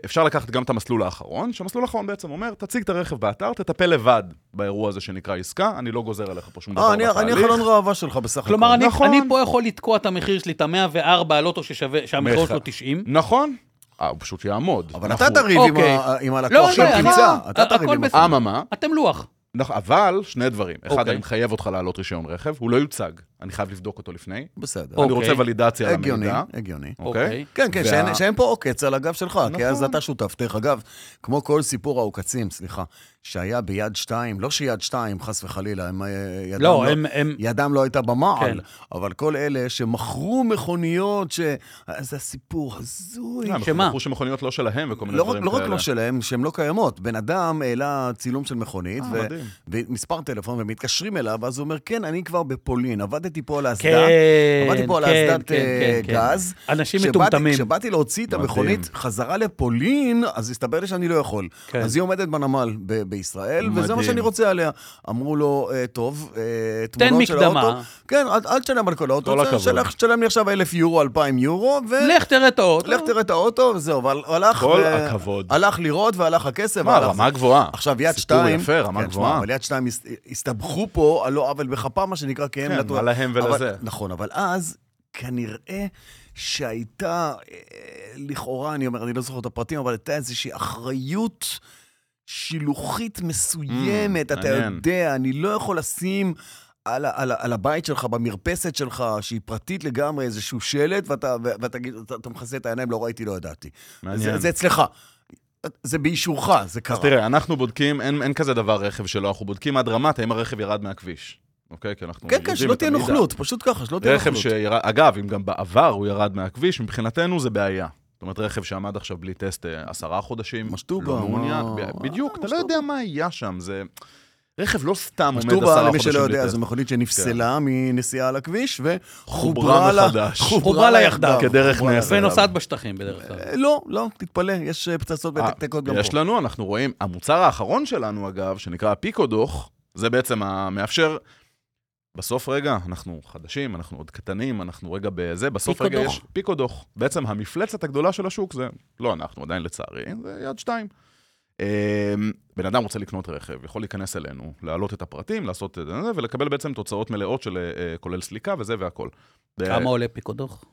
Speaker 4: אפשר לקחת גם את המסלול האחרון, שהמסלול האחרון בעצם אומר, תציג את הרכב באתר, תטפל לבד באירוע הזה שנקרא עסקה, אני לא גוזר עליך פה שום דבר
Speaker 2: אה, אני- אני
Speaker 4: בתהליך.
Speaker 2: החלון ראווה שלך בסך הכול.
Speaker 3: כלומר, אני,
Speaker 4: נכון.
Speaker 3: אני פה יכול לתקוע את המחיר שלי, את ה-104 על אוטו ששווה, שהמחיר
Speaker 4: מח-
Speaker 3: שלו 90.
Speaker 4: נכון. אה, הוא פשוט יעמוד.
Speaker 2: אבל
Speaker 4: אנחנו-
Speaker 2: אתה תריב עם
Speaker 3: אוקיי.
Speaker 2: ה- עם
Speaker 3: לא,
Speaker 2: הלקוח
Speaker 3: אין
Speaker 2: של
Speaker 3: בעיה,
Speaker 2: פריצה.
Speaker 3: אני-
Speaker 2: אתה
Speaker 3: הכל
Speaker 2: תריב עם
Speaker 3: בסדר.
Speaker 4: אממה,
Speaker 3: אתם לוח.
Speaker 4: נכ- אבל שני דברים. אחד,
Speaker 3: אוקיי.
Speaker 4: אני מחייב אותך להעלות רישיון רכב, הוא לא יוצג, אני חייב לבדוק אותו לפני.
Speaker 2: בסדר.
Speaker 4: אני
Speaker 3: אוקיי.
Speaker 4: רוצה ולידציה על
Speaker 2: הגיוני,
Speaker 4: המידע.
Speaker 2: הגיוני.
Speaker 4: אוקיי.
Speaker 2: כן, כן,
Speaker 4: וה-
Speaker 2: שאין, שאין פה עוקץ על הגב שלך, כי אז
Speaker 4: נכון.
Speaker 2: אתה שותף. דרך אגב, כמו כל סיפור העוקצים, סליחה, שהיה ביד שתיים, לא שיד שתיים, חס וחלילה, הם, אה, ידם,
Speaker 3: לא, הם... הם...
Speaker 2: ידם לא הייתה במעל,
Speaker 3: כן.
Speaker 2: אבל כל אלה שמכרו מכוניות, ש... אה, זה סיפור הזוי.
Speaker 4: אה,
Speaker 3: שמה?
Speaker 4: הם חשבו שמכוניות לא שלהם וכל מיני
Speaker 2: לא, רק-
Speaker 4: דברים
Speaker 2: לא רק
Speaker 4: כאלה.
Speaker 2: לא שלהם, שהן לא קיימות. בן אדם העלה צילום של מכונית,
Speaker 4: אה,
Speaker 2: ו-
Speaker 4: מדהים.
Speaker 2: ומספר טלפון, ומתקשרים אליו, ואז הוא אומר, כן, אני כבר בפולין, עבדתי פה על האסדה.
Speaker 3: כן,
Speaker 2: עבדתי פה על
Speaker 3: כן,
Speaker 2: האסדת
Speaker 3: כן,
Speaker 2: אה,
Speaker 3: כן,
Speaker 2: גז.
Speaker 3: כן. אנשים
Speaker 2: כשבאתי-
Speaker 3: מטומטמים.
Speaker 2: כשבאתי להוציא את
Speaker 4: מדהים.
Speaker 2: המכונית חזרה לפולין, אז הסתבר לי שאני לא יכול.
Speaker 3: כן.
Speaker 2: אז היא עומדת בנמל ב- בישראל, וזה מה
Speaker 4: מדהים.
Speaker 2: שאני רוצה עליה. אמרו לו, "אה, טוב, אה,
Speaker 3: תן
Speaker 2: תמונות של
Speaker 3: מקדמה.
Speaker 2: האוטו. כן, אל- אל תשלם על כל
Speaker 4: כל
Speaker 2: האוטו,
Speaker 4: הכבוד.
Speaker 2: תשלח- תשלם לי עכשיו 1,000 יורו, 2,000 יורו, ו...
Speaker 3: לך תראה את האוטו.
Speaker 2: אוקיי. לך תראה את האוטו, וזהו, אבל הוא הלך...
Speaker 4: כל
Speaker 2: ו-
Speaker 4: הכבוד.
Speaker 2: הלך לראות והלך הכסף.
Speaker 4: מה,
Speaker 2: והלך
Speaker 4: רמה גבוהה.
Speaker 2: עכשיו, יד
Speaker 4: סיפור
Speaker 2: שתיים...
Speaker 4: יפה, רמה
Speaker 2: כן, תשמע,
Speaker 4: גבוהה.
Speaker 2: אבל יד שתיים הס- הסתבכו פה על לא עוול בכפם, מה שנקרא, כי הם...
Speaker 4: כן,
Speaker 2: נתנו-
Speaker 4: מה להם ולזה.
Speaker 2: אבל- נכון, אבל אז כנראה שהייתה, אה, לכאורה, אני אומר, אני לא זוכר את הפרטים, אבל הייתה איזושהי אחריות שילוחית מסוימת.
Speaker 4: Mm,
Speaker 2: אתה
Speaker 4: מעניין.
Speaker 2: יודע, אני לא יכול לשים... על, ה- על, ה- על הבית שלך, במרפסת שלך, שהיא פרטית לגמרי, איזשהו שלט, ואתה, ו- ואתה תגיד, אתה, אתה מכסה את העיניים, לא ראיתי, לא ידעתי.
Speaker 4: מעניין.
Speaker 2: זה, זה אצלך. זה באישורך, זה קרה.
Speaker 4: אז תראה, אנחנו בודקים, אין, אין כזה דבר רכב שלא, אנחנו בודקים עד רמת האם הרכב ירד מהכביש. אוקיי? כי אנחנו
Speaker 2: כן, כן,
Speaker 4: יודעים
Speaker 2: שלא
Speaker 4: את
Speaker 2: תהיה
Speaker 4: המידע.
Speaker 2: נוכלות, פשוט ככה, שלא תהיה
Speaker 4: רכב
Speaker 2: נוכלות.
Speaker 4: שירד, אגב, אם גם בעבר הוא ירד מהכביש, מבחינתנו זה בעיה. זאת אומרת, רכב שעמד עכשיו בלי טסט אה, עשרה חודשים,
Speaker 2: משטובה,
Speaker 4: לא מעוניין,
Speaker 2: מה-
Speaker 4: ב- בדיוק,
Speaker 2: אה,
Speaker 4: אתה לא יודע מה היה שם, זה... רכב לא סתם עומד עשרה
Speaker 2: משטובה,
Speaker 4: חודשים בלי
Speaker 2: למי
Speaker 4: טסט.
Speaker 2: שלא יודע, זו מכונית שנפסלה מנסיעה על הכביש, וחוברה
Speaker 4: חוברה
Speaker 2: לה...
Speaker 4: מחדש.
Speaker 3: חוברה לה יחדיו.
Speaker 4: כדרך
Speaker 2: חוברה לה-
Speaker 4: נס.
Speaker 3: ונוסעת בשטחים בדרך כלל.
Speaker 2: אה, לא, לא, תתפלא, יש אה, פצצות
Speaker 4: אה,
Speaker 2: מתקתקות גם
Speaker 4: יש
Speaker 2: פה.
Speaker 4: לנו, אנחנו רואים, המוצר האחרון שלנו אגב, שנקרא הפיקודוך, זה בעצם המאפשר בסוף רגע, אנחנו חדשים, אנחנו עוד קטנים, אנחנו רגע בזה, בסוף
Speaker 3: פיקו
Speaker 4: רגע
Speaker 3: דוח.
Speaker 4: יש פיקו דוח. בעצם המפלצת הגדולה של השוק זה, לא אנחנו עדיין לצערי, זה יד שתיים. אמ, בן אדם רוצה לקנות רכב, יכול להיכנס אלינו, להעלות את הפרטים, לעשות את זה, ולקבל בעצם תוצאות מלאות של אה, אה, כולל סליקה וזה והכל.
Speaker 3: כמה עולה פיקודוח?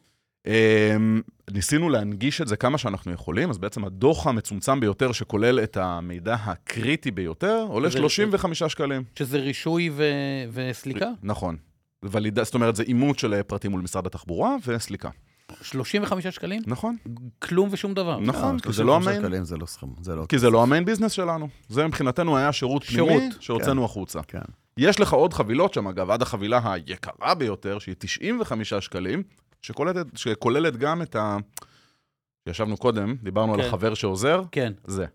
Speaker 4: אמ, ניסינו להנגיש את זה כמה שאנחנו יכולים, אז בעצם הדוח המצומצם ביותר שכולל את המידע הקריטי ביותר, עולה
Speaker 3: זה-
Speaker 4: 35 שקלים.
Speaker 3: שזה רישוי ו- וסליקה?
Speaker 4: נכון. וליד... זאת אומרת, זה אימות של אה, פרטים מול משרד התחבורה וסליקה.
Speaker 3: 35 שקלים?
Speaker 4: נכון,
Speaker 3: כלום ושום דבר.
Speaker 4: נכון,
Speaker 2: אה,
Speaker 4: כי זה לא
Speaker 2: 35
Speaker 4: המיין...
Speaker 2: שקלים זה לא סכום, זה לא...
Speaker 4: כי זה לא המיין ביזנס שלנו. זה מבחינתנו היה שירות פנימי
Speaker 3: שירות,
Speaker 4: שהוצאנו החוצה.
Speaker 2: כן.
Speaker 4: יש לך עוד חבילות שם, אגב, עד החבילה היקרה ביותר, שהיא 95 שקלים, שכוללת, שכוללת גם את ה... ישבנו קודם, דיברנו
Speaker 3: כן.
Speaker 4: על החבר שעוזר,
Speaker 3: כן.
Speaker 4: זה.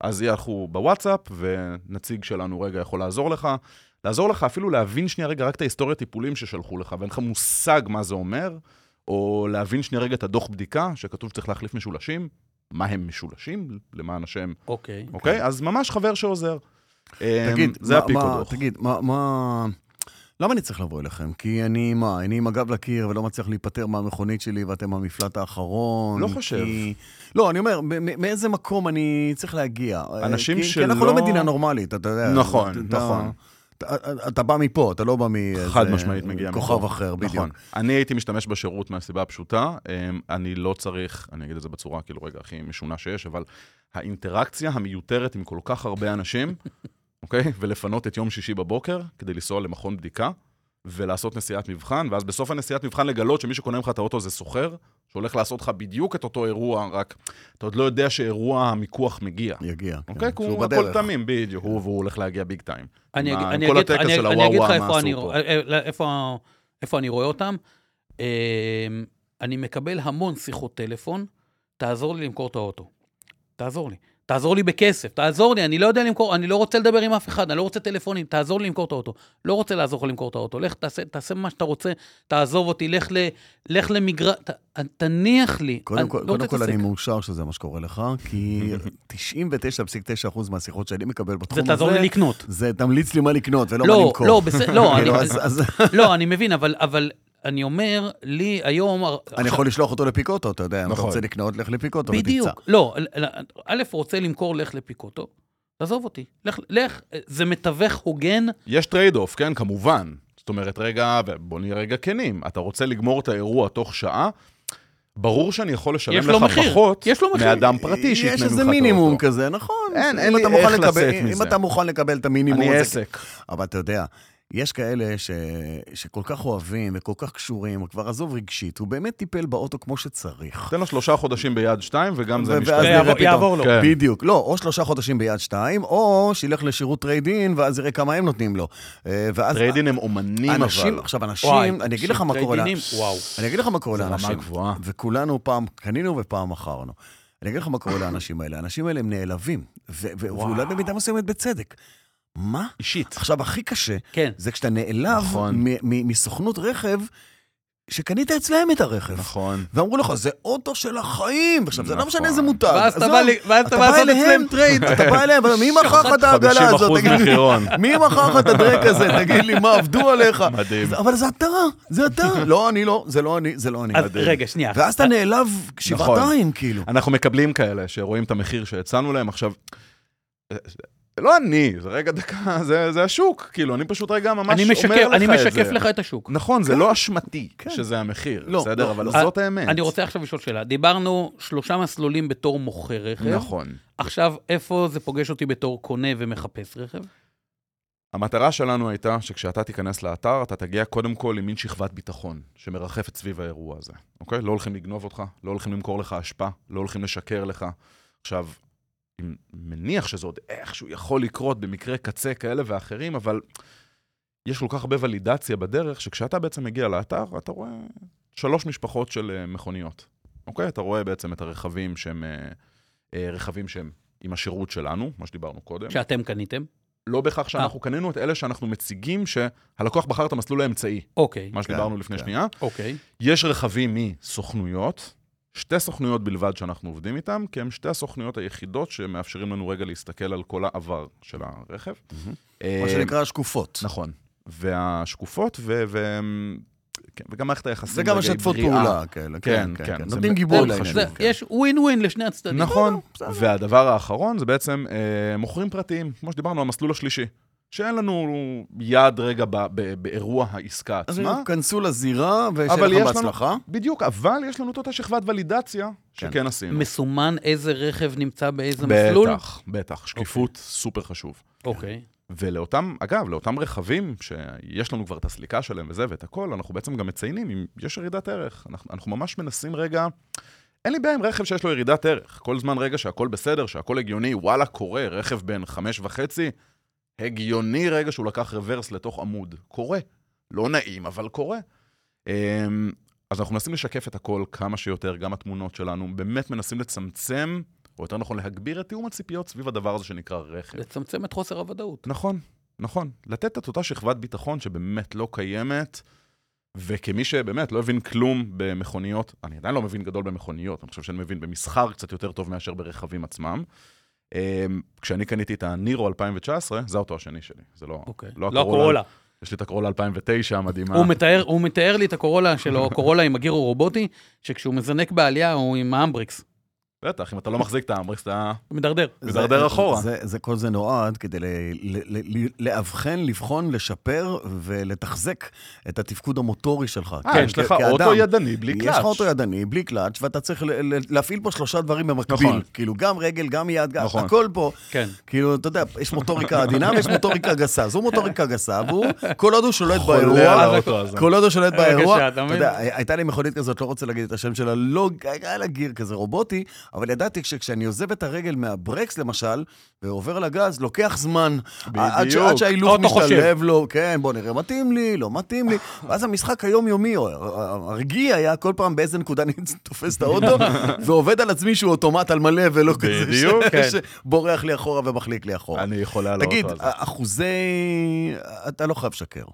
Speaker 4: אז אנחנו בוואטסאפ, ונציג שלנו רגע יכול לעזור לך. לעזור לך אפילו להבין שנייה רגע רק את ההיסטוריה טיפולים ששלחו לך, ואין לך מושג מה זה אומר, או להבין שנייה רגע את הדוח בדיקה, שכתוב שצריך להחליף משולשים, מה הם משולשים, למען השם,
Speaker 3: אוקיי.
Speaker 4: אוקיי? אז ממש חבר שעוזר. אמ,
Speaker 2: תגיד,
Speaker 4: זה
Speaker 2: מה-
Speaker 4: הפיקו
Speaker 2: מה-
Speaker 4: דוח.
Speaker 2: תגיד, מה- מה... למה אני צריך לבוא אליכם? כי אני, מה, אני עם הגב לקיר ולא מצליח להיפטר מהמכונית שלי ואתם המפלט האחרון?
Speaker 4: לא חושב.
Speaker 2: כי... לא, אני אומר, מ- מ- מאיזה מקום אני צריך להגיע?
Speaker 4: אנשים
Speaker 2: כי, כי אנחנו לא
Speaker 4: שלא-
Speaker 2: מדינה נורמלית, אתה יודע.
Speaker 4: נכון,
Speaker 2: אתה,
Speaker 4: נכון.
Speaker 2: אתה, אתה בא מפה, אתה לא בא מאיזה...
Speaker 4: חד משמעית מגיע
Speaker 2: כוכב
Speaker 4: מפה.
Speaker 2: אחר, בדיוק.
Speaker 4: נכון. אני הייתי משתמש בשירות מהסיבה הפשוטה, אמ, אני לא צריך, אני אגיד את זה בצורה כאילו רגע הכי משונה שיש, אבל האינטראקציה המיותרת עם כל כך הרבה אנשים, אוקיי? ולפנות את יום שישי בבוקר כדי לנסוע למכון בדיקה ולעשות נסיעת מבחן, ואז בסוף הנסיעת מבחן לגלות שמי שקונה ממך את האוטו זה סוחר, שהולך לעשות לך בדיוק את אותו אירוע, רק אתה עוד לא יודע שאירוע המיקוח מגיע.
Speaker 2: יגיע.
Speaker 4: אוקיי?
Speaker 2: כן,
Speaker 4: כי
Speaker 2: שהוא
Speaker 4: הוא הכל
Speaker 2: בדרך.
Speaker 4: תמים, בדיוק. הוא והוא הולך להגיע ביג טיים.
Speaker 3: אני
Speaker 4: מה,
Speaker 3: אגיד-
Speaker 4: עם
Speaker 3: אני
Speaker 4: כל
Speaker 3: אגיד לך-
Speaker 4: הטקס
Speaker 3: אני-
Speaker 4: של
Speaker 3: אני אגיד לך
Speaker 4: הוואו,
Speaker 3: איפה
Speaker 4: מה
Speaker 3: אני
Speaker 4: עשו
Speaker 3: רוא-
Speaker 4: פה.
Speaker 3: אה, אה, איפה- איפה אני רואה אותם. אה, אני מקבל המון שיחות טלפון, תעזור לי למכור את האוטו. תעזור לי. תעזור לי בכסף, תעזור לי, אני לא יודע למכור, אני לא רוצה לדבר עם אף אחד, אני לא רוצה טלפונים, תעזור לי למכור את האוטו. לא רוצה לעזור לך למכור את האוטו, לך תעשה, תעשה מה שאתה רוצה, תעזוב אותי, לך, ל, לך למגרש, תניח לי.
Speaker 2: קודם
Speaker 3: אני
Speaker 2: כל,
Speaker 3: לא
Speaker 2: קודם
Speaker 3: רוצה
Speaker 2: כל אני
Speaker 3: להתעסק.
Speaker 2: מאושר שזה מה שקורה לך, כי 99.9% מהשיחות שאני מקבל בתחום הזה,
Speaker 3: זה תעזור לי לקנות.
Speaker 2: זה תמליץ לי מה לקנות ולא מה
Speaker 3: לא,
Speaker 2: למכור.
Speaker 3: לא, בסדר, לא, אני-
Speaker 2: כאילו, אז- אז
Speaker 3: לא, אני מבין, אבל, אבל אני אומר, לי היום...
Speaker 2: אני
Speaker 3: עכשיו-
Speaker 2: יכול לשלוח אותו לפיקוטו, אתה יודע, אם אתה
Speaker 4: נכון.
Speaker 2: רוצה לקנות, לך לפיקוטו ותמצא.
Speaker 3: בדיוק, לא, א', א', רוצה למכור, לך לפיקוטו, תעזוב אותי, לך, לך, זה מתווך הוגן,
Speaker 4: יש טרייד אוף, כן, כמובן. זאת אומרת, רגע, בוא נהיה רגע כנים. אתה רוצה לגמור את האירוע תוך שעה, ברור שאני יכול לשלם
Speaker 3: יש
Speaker 4: לך
Speaker 3: לו מחיר,
Speaker 4: פחות
Speaker 3: יש לו מחיר.
Speaker 4: מאדם פרטי שיקנה ממך את
Speaker 2: יש
Speaker 4: האוטו.
Speaker 2: איזה מינימום כזה, נכון. אם
Speaker 4: אין, אין לי
Speaker 2: אתה מוכן
Speaker 4: איך
Speaker 2: לקבל-
Speaker 4: לצאת
Speaker 2: אם
Speaker 4: מזה.
Speaker 2: אתה מוכן לקבל את המינימום
Speaker 4: אני
Speaker 2: הזה,
Speaker 4: עסק.
Speaker 2: אבל אתה יודע, יש כאלה ש... שכל כך אוהבים וכל כך קשורים, כבר עזוב רגשית, הוא באמת טיפל באוטו כמו שצריך.
Speaker 4: תן לו שלושה חודשים ביד שתיים, וגם זה
Speaker 2: ו-
Speaker 4: משתנה.
Speaker 2: ואז נראה
Speaker 3: יעבור-
Speaker 2: פתאום.
Speaker 3: יעבור לו.
Speaker 4: כן.
Speaker 2: בדיוק. לא, או שלושה חודשים ביד שתיים, או שילך לשירות טרייד אין, ואז יראה כמה הם נותנים לו. אה, ואז
Speaker 4: טריידים הם אומנים, אבל.
Speaker 2: אנשים, עכשיו
Speaker 3: וואי,
Speaker 2: אנשים, אני אגיד לך מה קורה
Speaker 3: שטריידינים,
Speaker 2: לאנשים.
Speaker 3: וואו.
Speaker 2: אני אגיד לך מה קורה
Speaker 4: זה רמה
Speaker 2: לאנשים.
Speaker 4: גבוהה.
Speaker 2: וכולנו פעם קנינו ופעם מכרנו. אני אגיד לך מה קורה לאנשים האלה. האנשים האלה הם נעלבים, ו- ו- ואולי במידה מסוימת בצדק. מה?
Speaker 4: אישית.
Speaker 2: עכשיו, הכי קשה,
Speaker 3: כן,
Speaker 2: זה כשאתה נעלב
Speaker 4: נכון.
Speaker 2: מ- מ- מסוכנות רכב, שקנית אצלהם את הרכב.
Speaker 4: נכון.
Speaker 2: ואמרו לך, זה אוטו של החיים. עכשיו, זה לא משנה
Speaker 4: נכון.
Speaker 2: איזה מותג.
Speaker 3: ואז אתה
Speaker 2: עזוב,
Speaker 3: בא לי- ואז אתה בא לעשות
Speaker 2: אליהם,
Speaker 3: אצלם טרייד.
Speaker 2: אתה בא אליהם, אבל מי מכר לך את העגלה
Speaker 4: 50%
Speaker 2: הזאת? תגיד לי,
Speaker 4: מחירון.
Speaker 2: מי מכר לך את הדרק הזה? תגיד לי, מה, עבדו עליך?
Speaker 4: מדהים.
Speaker 2: זה- אבל זה אתה, זה אתה. לא, אני לא, זה לא אני, זה לא אני.
Speaker 3: אז רגע, שנייה,
Speaker 2: ואז אתה נעלב
Speaker 4: נכון.
Speaker 2: שבעתיים, כאילו.
Speaker 4: אנחנו מקבלים כאלה שרואים את המחיר שהצענו להם. עכשיו, זה- זה לא אני, זה רגע דקה, זה זה השוק. כאילו, אני פשוט רגע ממש
Speaker 3: אני
Speaker 4: אומר לך את
Speaker 3: משקף,
Speaker 4: זה.
Speaker 3: אני משקף לך את השוק.
Speaker 4: נכון, זה לא אשמתי
Speaker 2: כן.
Speaker 4: שזה המחיר,
Speaker 2: לא,
Speaker 4: בסדר?
Speaker 2: לא,
Speaker 4: אבל
Speaker 2: לא.
Speaker 4: זאת האמת.
Speaker 3: אני רוצה עכשיו לשאול שאלה, דיברנו שלושה מסלולים בתור מוכר רכב,
Speaker 4: נכון.
Speaker 3: עכשיו איפה זה פוגש אותי בתור קונה ומחפש רכב?
Speaker 4: המטרה שלנו הייתה שכשאתה תיכנס לאתר, אתה תגיע קודם כל עם מין שכבת ביטחון שמרחפת סביב האירוע הזה, אוקיי? לא הולכים לגנוב אותך, לא הולכים למכור לך אשפה, לא הולכים לשקר לך. עכשיו, אם- מניח שזה עוד איכשהו יכול לקרות במקרה קצה כאלה ואחרים, אבל יש כל כך הרבה ולידציה בדרך, שכשאתה בעצם מגיע לאתר, אתה רואה שלוש משפחות של אה, מכוניות, אוקיי? אתה רואה בעצם את הרכבים שהם... אה, אה, רכבים שהם עם השירות שלנו, מה שדיברנו קודם.
Speaker 3: שאתם קניתם?
Speaker 4: לא
Speaker 2: אה.
Speaker 4: בהכרח שאנחנו קנינו את אלה שאנחנו מציגים שהלקוח בחר את המסלול האמצעי,
Speaker 3: אוקיי,
Speaker 4: מה שדיברנו לפני
Speaker 2: כן.
Speaker 4: שנייה.
Speaker 3: אוקיי,
Speaker 4: יש רכבים מסוכנויות, שתי סוכנויות בלבד שאנחנו עובדים איתן, כי הן שתי הסוכנויות היחידות שמאפשרים לנו רגע להסתכל על כל העבר של הרכב.
Speaker 2: מה
Speaker 4: אה,
Speaker 2: שנקרא שקופות.
Speaker 4: נכון. והשקופות, ו... ו... כן, וגם מערכת היחסים.
Speaker 2: זה גם
Speaker 4: רגע, היא
Speaker 2: השתפות
Speaker 4: בריאה.
Speaker 2: פעולה כאלה. כן, כן, כן.
Speaker 4: זה
Speaker 2: נותנים
Speaker 4: מאוד
Speaker 2: גיבוי
Speaker 4: חשוב.
Speaker 2: לעניין.
Speaker 3: זה-
Speaker 2: כן.
Speaker 3: יש ווין ווין לשני הצדדים.
Speaker 4: נכון,
Speaker 2: בסדר.
Speaker 4: והדבר האחרון זה בעצם אה, מוכרים פרטיים, כמו שדיברנו, המסלול השלישי. שאין לנו יד רגע ב, ב, באירוע העסקה
Speaker 2: אז
Speaker 4: עצמה.
Speaker 2: כנסו לזירה, ושיהיה
Speaker 4: אבל
Speaker 2: לכם
Speaker 4: יש לנו-
Speaker 2: בהצלחה. כן.
Speaker 4: בדיוק, אבל יש לנו את אותה שכבת ולידציה שכן עשינו.
Speaker 3: מסומן איזה רכב נמצא באיזה מסלול?
Speaker 4: בטח, בטח. שקיפות סופר חשוב.
Speaker 3: אוקיי.
Speaker 4: ולאותם, אגב, לאותם רכבים שיש לנו כבר את הסליקה שלהם וזה ואת הכל, אנחנו בעצם גם מציינים אם יש ירידת ערך. אנחנו, אנחנו ממש מנסים רגע... אין לי בעיה עם רכב שיש לו ירידת ערך. כל זמן רגע שהכל בסדר, שהכל הגיוני, וואלה, קורה, רכב בן חמש וחצי, הגיוני רגע שהוא לקח רוורס לתוך עמוד. קורה. לא נעים, אבל קורה. אמ, אז אנחנו מנסים לשקף את הכל כמה שיותר, גם התמונות שלנו, באמת מנסים לצמצם, או יותר נכון להגביר את תיאום הציפיות סביב הדבר הזה שנקרא רכב.
Speaker 3: לצמצם את חוסר הוודאות.
Speaker 4: נכון, נכון. לתת את אותה שכבת ביטחון שבאמת לא קיימת, וכמי שבאמת לא הבין כלום במכוניות, אני עדיין לא מבין גדול במכוניות, אני חושב שאני מבין במסחר קצת יותר טוב מאשר ברכבים עצמם. אמ, כשאני קניתי את הנירו 2019, זה האוטו השני שלי, זה לא,
Speaker 3: אוקיי.
Speaker 4: לא
Speaker 3: לא
Speaker 4: הקורולה.
Speaker 3: הקורולה.
Speaker 4: יש לי את הקורולה 2009 המדהימה.
Speaker 3: הוא מתאר, הוא מתאר לי את הקורולה שלו, הקורולה עם הגיר הרובוטי, שכשהוא מזנק בעלייה הוא עם האמבריקס.
Speaker 4: בטח, אם אתה לא מחזיק את האמבריקס, אתה...
Speaker 3: הוא מידרדר.
Speaker 2: זה-
Speaker 4: מדרדר אחורה.
Speaker 2: זה- זה- כל זה נועד כדי ל- ל- ל- ל- לאבחן, לבחון, לשפר ולתחזק את התפקוד המוטורי שלך.
Speaker 4: אה,
Speaker 2: כן,
Speaker 4: יש
Speaker 2: כ-
Speaker 4: לך
Speaker 2: כאדם.
Speaker 4: אוטו ידני בלי קלאץ'.
Speaker 2: יש לך אוטו ידני, בלי קלאץ', ואתה צריך ל- ל- להפעיל פה שלושה דברים במקביל.
Speaker 4: נכון.
Speaker 2: כאילו, גם רגל, גם יד, גם...
Speaker 4: נכון.
Speaker 2: הכל פה.
Speaker 3: כן.
Speaker 2: כאילו, אתה יודע, יש מוטוריקה עדינה ויש מוטוריקה גסה. אז הוא מוטוריקה גסה, והוא, כל עוד הוא שולט
Speaker 4: חולה על
Speaker 2: באירוע,
Speaker 4: האוטו הזה.
Speaker 2: כל עוד הוא שולט
Speaker 3: אה, בבקשה,
Speaker 2: באירוע,
Speaker 3: אתה
Speaker 2: אתה
Speaker 3: מבין?
Speaker 2: יודע, הייתה לי מכונית כזאת, לא רוצה להגיד את השם שלה, לא, היה לה גיר כזה רובוטי, אבל ידעתי שכשאני עוזב את הרגל מהברקס למשל, ועובר לגז, לוקח זמן. עד ש- עד
Speaker 4: בדיוק.
Speaker 2: שההילוך
Speaker 3: האוטו חושב.
Speaker 2: משתלב לו, כן, בוא נראה, מתאים לי, לא מתאים לי. ואז המשחק היומיומי, או הרגיע היה כל פעם באיזה נקודה אני תופס את האוטו, ועובד על עצמי שהוא אוטומט על מלא ולא כזה,
Speaker 4: בדיוק,
Speaker 2: ש-
Speaker 4: כן.
Speaker 2: שבורח לי אחורה ומחליק לי אחורה.
Speaker 4: אני חולה על האוטו
Speaker 2: תגיד,
Speaker 4: הזה.
Speaker 2: אחוזי... אתה לא חייב לשקר.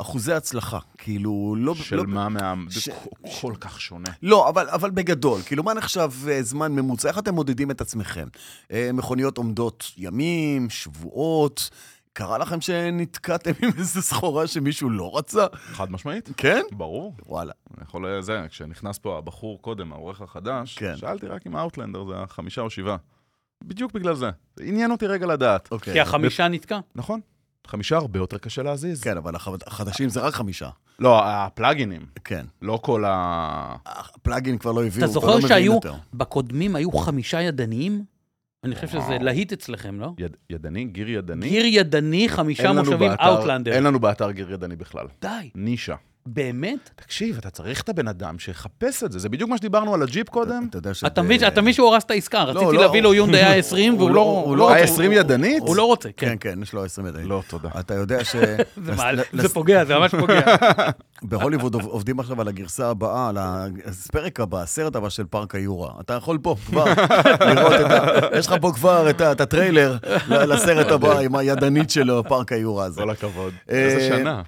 Speaker 2: אחוזי הצלחה, כאילו, לא...
Speaker 4: של
Speaker 2: לא-
Speaker 4: מה מה...
Speaker 2: ש-
Speaker 4: זה כל- כל כך שונה.
Speaker 2: לא, אבל, אבל בגדול, כאילו, מה נחשב אה, זמן ממוצע? איך אתם מודדים את עצמכם? אה, מכוניות עומדות ימים, שבועות, קרה לכם שנתקעתם עם איזה סחורה שמישהו לא רצה?
Speaker 4: חד משמעית.
Speaker 2: כן?
Speaker 4: ברור.
Speaker 2: וואלה.
Speaker 4: אני יכול זה, כשנכנס פה הבחור קודם, העורך החדש,
Speaker 2: כן.
Speaker 4: כן. שאלתי רק אם האוטלנדר זה החמישה או שבעה. בדיוק בגלל זה. זה עניין אותי רגע לדעת.
Speaker 2: אוקיי.
Speaker 3: כי החמישה נתקע.
Speaker 4: נכון, חמישה הרבה יותר קשה להזיז.
Speaker 2: כן, אבל החד- החדשים זה רק חמישה.
Speaker 4: לא, הפלאגינים,
Speaker 2: כן.
Speaker 4: לא כל ה...
Speaker 2: הפלאגין כבר לא הביאו,
Speaker 3: אתה
Speaker 2: כבר לא
Speaker 3: זוכר
Speaker 2: מביאים
Speaker 3: שהיו,
Speaker 2: יותר.
Speaker 3: בקודמים היו חמישה ידניים? אני חושב שזה להיט אצלכם, לא?
Speaker 4: יד... ידני, גיר ידני.
Speaker 3: גיר ידני, חמישה מושבים, אאוטלנדר.
Speaker 4: אין לנו באתר גיר ידני בכלל.
Speaker 3: די,
Speaker 4: נישה.
Speaker 3: באמת?
Speaker 4: תקשיב, אתה צריך את הבן אדם שיחפש את זה. זה בדיוק מה שדיברנו על הג'יפ קודם.
Speaker 2: אתה יודע ש...
Speaker 3: אתה מבין אתה מבין שהוא הרס את העסקה, רציתי
Speaker 2: לא,
Speaker 3: להביא לו
Speaker 2: הוא-
Speaker 3: יונדאי ה-20
Speaker 2: הוא
Speaker 3: והוא
Speaker 2: לא-
Speaker 3: לא...
Speaker 2: הוא
Speaker 3: הוא
Speaker 2: לא-
Speaker 3: לא רוצה,
Speaker 4: ה-20 ידנית?
Speaker 3: הוא לא רוצה, כן.
Speaker 2: כן, כן, יש לו 20 ידיים.
Speaker 4: לא, תודה.
Speaker 2: אתה יודע ש...
Speaker 3: זה מעל-
Speaker 2: לס-
Speaker 3: זה פוגע, זה ממש פוגע.
Speaker 2: בהוליווד עוב- עובדים עכשיו על הגרסה הבאה, על הפרק הבא, הסרט הבא של פארק היורה. אתה יכול פה כבר לראות את ה... יש לך פה כבר את ה- את הטריילר ל- לסרט הבא עם הידנית שלו, פארק היורה הזה.
Speaker 4: כל הכבוד.
Speaker 2: אה,
Speaker 4: איזה שנה.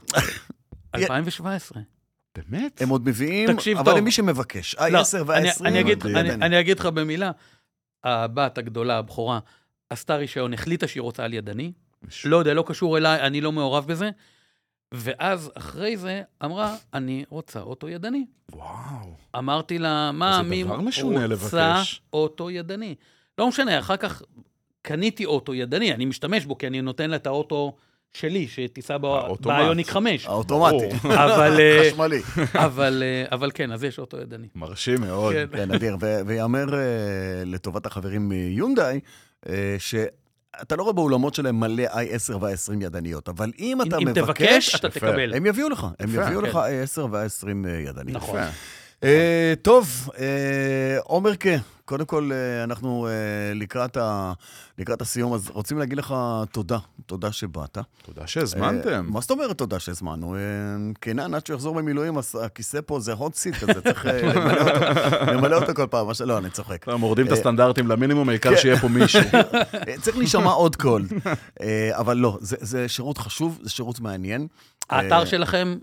Speaker 3: 2017.
Speaker 4: באמת?
Speaker 2: הם עוד מביאים,
Speaker 3: תקשיב
Speaker 2: אבל
Speaker 3: טוב.
Speaker 2: למי שמבקש.
Speaker 3: לא,
Speaker 2: ה-10
Speaker 3: אני-
Speaker 2: וה-20.
Speaker 3: אני אגיד-
Speaker 4: מדהים.
Speaker 3: אני- אני אגיד לך במילה, הבת הגדולה, הבכורה, עשתה רישיון, החליטה שהיא רוצה על ידני. לא יודע, לא קשור אליי, אני לא מעורב בזה. ואז אחרי זה אמרה, אני רוצה אוטו ידני.
Speaker 4: וואו.
Speaker 3: אמרתי לה, מה,
Speaker 4: זה
Speaker 3: מי
Speaker 4: דבר
Speaker 3: רוצה
Speaker 4: משונה לבקש."
Speaker 3: אוטו ידני? לא משנה, אחר כך קניתי אוטו ידני, אני משתמש בו, כי אני נותן לה את האוטו שלי, שתיסע בא-
Speaker 4: האוטומט.
Speaker 3: באיוניק 5.
Speaker 2: האוטומטי.
Speaker 4: ברור.
Speaker 3: אבל, אה,
Speaker 2: חשמלי.
Speaker 3: אבל, אה, אבל כן, אז יש אוטו ידני.
Speaker 4: מרשים מאוד.
Speaker 3: כן.
Speaker 2: כן, אדיר. ו- ויאמר אה, לטובת החברים מיונדאי, אה, ש... אתה לא רואה באולמות שלהם מלא i10 וה-20 ידניות, אבל אם
Speaker 3: אם
Speaker 2: אתה
Speaker 3: אם
Speaker 2: מבקש,
Speaker 3: תבקש, אתה
Speaker 4: יפה.
Speaker 3: תקבל.
Speaker 2: הם יביאו לך, הם
Speaker 4: יפה,
Speaker 2: יביאו
Speaker 3: כן.
Speaker 2: לך i10 וה-20 ידניות.
Speaker 3: נכון.
Speaker 4: יפה.
Speaker 2: אה, טוב, אה, עומר ק, קודם כל, אה, אנחנו אה, לקראת ה- לקראת הסיום, אז רוצים להגיד לך תודה, תודה שבאת.
Speaker 4: תודה
Speaker 2: אה,
Speaker 4: שהזמנתם.
Speaker 2: מה זאת אומרת תודה שהזמנו? אה, קינן, עד שהוא יחזור ממילואים, אז הכיסא פה זה hot seat כזה, צריך אה, למלא אותו- למלא אותו כל פעם, מה ש- לא, אני צוחק.
Speaker 4: לא, מורידים את הסטנדרטים למינימום, העיקר
Speaker 2: כן.
Speaker 4: שיהיה פה מישהו.
Speaker 2: אה, צריך להישמע עוד קול. אה, אבל לא, זה- זה שירות חשוב, זה שירות מעניין.
Speaker 3: האתר שלכם,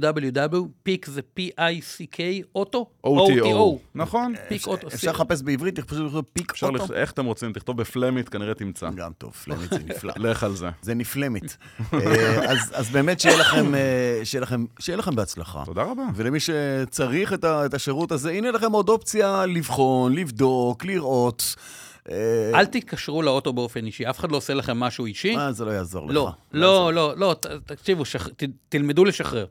Speaker 3: www, פיק זה P-I-C-K, אוטו,
Speaker 4: OTO. נכון.
Speaker 3: פיק אוטו.
Speaker 2: אה, אפשר לחפש בעברית, אפשר לכתוב פיק
Speaker 4: אפשר אה. לח...
Speaker 2: אוטו.
Speaker 4: איך אתם רוצים, תכתוב בפלמית, כנראה תמצא.
Speaker 2: גם טוב, פלמית זה נפלא.
Speaker 4: לך על זה.
Speaker 2: זה נפלמית. אה, אז- אז באמת שיהיה לכם, אה, שיהיה לכם- שיהיה לכם בהצלחה.
Speaker 4: תודה רבה.
Speaker 2: ולמי שצריך את ה- את השירות הזה, הנה לכם עוד אופציה לבחון, לבדוק, לראות. אה,
Speaker 3: אל תתקשרו לאוטו באופן אישי, אף אחד לא עושה לכם משהו אישי.
Speaker 2: מה, זה לא יעזור לך.
Speaker 3: לא, לא, לא, לא, ת- תקשיבו, שח- ת- תלמדו לשחרר.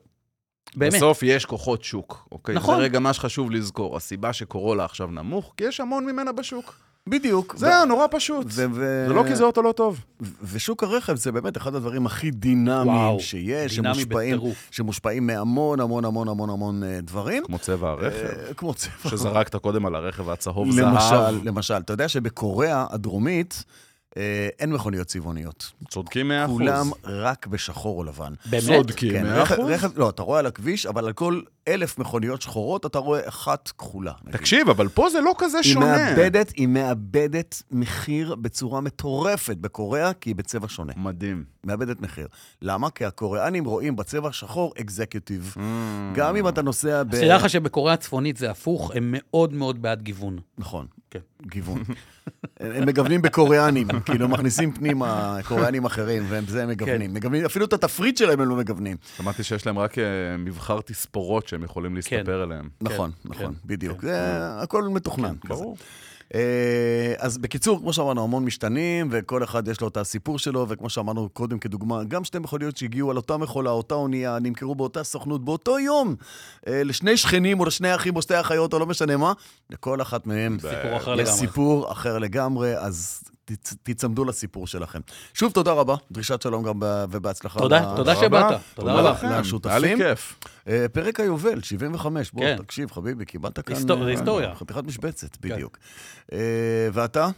Speaker 3: באמת.
Speaker 4: בסוף יש כוחות שוק, אוקיי?
Speaker 3: נכון.
Speaker 4: זה רגע מה שחשוב לזכור. הסיבה שקורולה עכשיו נמוך, כי יש המון ממנה בשוק.
Speaker 2: בדיוק.
Speaker 4: זה
Speaker 2: ו-
Speaker 4: היה נורא פשוט.
Speaker 2: ו- ו-
Speaker 4: לא. זה לא כי זה אוטו לא טוב.
Speaker 2: ו- ושוק הרכב זה באמת אחד הדברים הכי דינמיים
Speaker 3: וואו,
Speaker 2: שיש,
Speaker 3: דינמי
Speaker 2: שמושפעים,
Speaker 3: בטירוף.
Speaker 2: שמושפעים מהמון המון המון המון המון אה, דברים.
Speaker 4: כמו צבע הרכב,
Speaker 2: אה, כמו צבע.
Speaker 4: שזרקת קודם על הרכב הצהוב זהב.
Speaker 2: למשל, למשל, אתה יודע שבקוריאה הדרומית אה, אין מכוניות צבעוניות.
Speaker 4: צודקים 100%.
Speaker 2: כולם רק בשחור או לבן.
Speaker 3: באמת?
Speaker 4: צודקים
Speaker 2: רכב,
Speaker 4: 100%.
Speaker 2: רכב, לא, אתה רואה על הכביש, אבל על כל אלף מכוניות שחורות אתה רואה אחת כחולה. נגיד.
Speaker 4: תקשיב, אבל פה זה לא כזה שונה.
Speaker 2: היא מאבדת, היא מאבדת מחיר בצורה מטורפת בקוריאה, כי היא בצבע שונה.
Speaker 4: מדהים.
Speaker 2: מאבדת מחיר. למה? כי הקוריאנים רואים בצבע שחור אקזקיוטיב. גם אם אתה נוסע ב...
Speaker 3: אז תדע לך שבקוריאה הצפונית זה הפוך, הם מאוד מאוד בעד גיוון.
Speaker 2: נכון.
Speaker 3: כן.
Speaker 2: גיוון. הם מגוונים בקוריאנים, כאילו מכניסים פנימה קוריאנים אחרים, והם זה הם מגוונים. מגוונים, אפילו את התפריט שלהם הם לא מגוונים.
Speaker 4: שמעתי שיש להם רק אה, מבחר תספורות שהם יכולים להסתפר אליהם.
Speaker 2: נכון,
Speaker 3: כן,
Speaker 2: נכון, בדיוק. זה הכל מתוכנן. כזה.
Speaker 4: ברור.
Speaker 2: אה, אז בקיצור, כמו שאמרנו, המון משתנים, וכל אחד יש לו את הסיפור שלו, וכמו שאמרנו קודם כדוגמה, גם שתי מכוניות שהגיעו על אותה מכולה, אותה אונייה, נמכרו באותה סוכנות באותו יום, אה, לשני שכנים או לשני אחים או שתי אחיות או לא משנה מה, לכל אחת מהם
Speaker 3: סיפור אחר
Speaker 2: יש
Speaker 3: לגמרי.
Speaker 2: סיפור אחר לגמרי, אז תצ- תצמדו לסיפור שלכם. שוב, תודה רבה, דרישת שלום גם ב- ובהצלחה.
Speaker 3: תודה,
Speaker 2: ל-
Speaker 3: תודה שבאת. תודה רבה.
Speaker 2: לכם. לשותפים.
Speaker 4: היה לי כיף.
Speaker 2: אה, פרק היובל, 75. בוא,
Speaker 3: כן.
Speaker 2: תקשיב, חביבי, קיבלת כאן...
Speaker 3: היסטור-
Speaker 2: אה,
Speaker 3: זה היסטוריה. כן.
Speaker 2: חתיכת משבצת, בדיוק. אה, ואתה?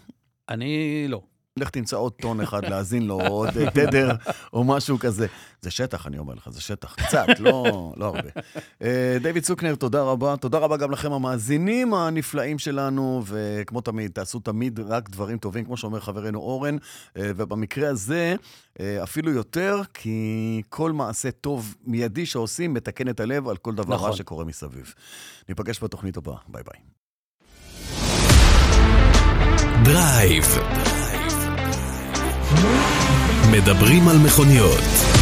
Speaker 3: אני לא.
Speaker 2: לך תמצא עוד טון אחד להאזין לו, או עוד אה, תדר, או משהו כזה. זה שטח, אני אומר לך, זה שטח. קצת, לא, לא הרבה. אה, דיוויד צוקנר, תודה רבה. תודה רבה גם לכם, המאזינים הנפלאים שלנו, וכמו תמיד, תעשו תמיד רק דברים טובים, כמו שאומר חברנו אורן, אה, ובמקרה הזה, אה, אפילו יותר, כי כל מעשה טוב מיידי שעושים מתקן את הלב על כל דבר רע
Speaker 3: נכון.
Speaker 2: שקורה מסביב. ניפגש בתוכנית הבאה. ביי ביי.
Speaker 1: דרייב. מדברים על מכוניות.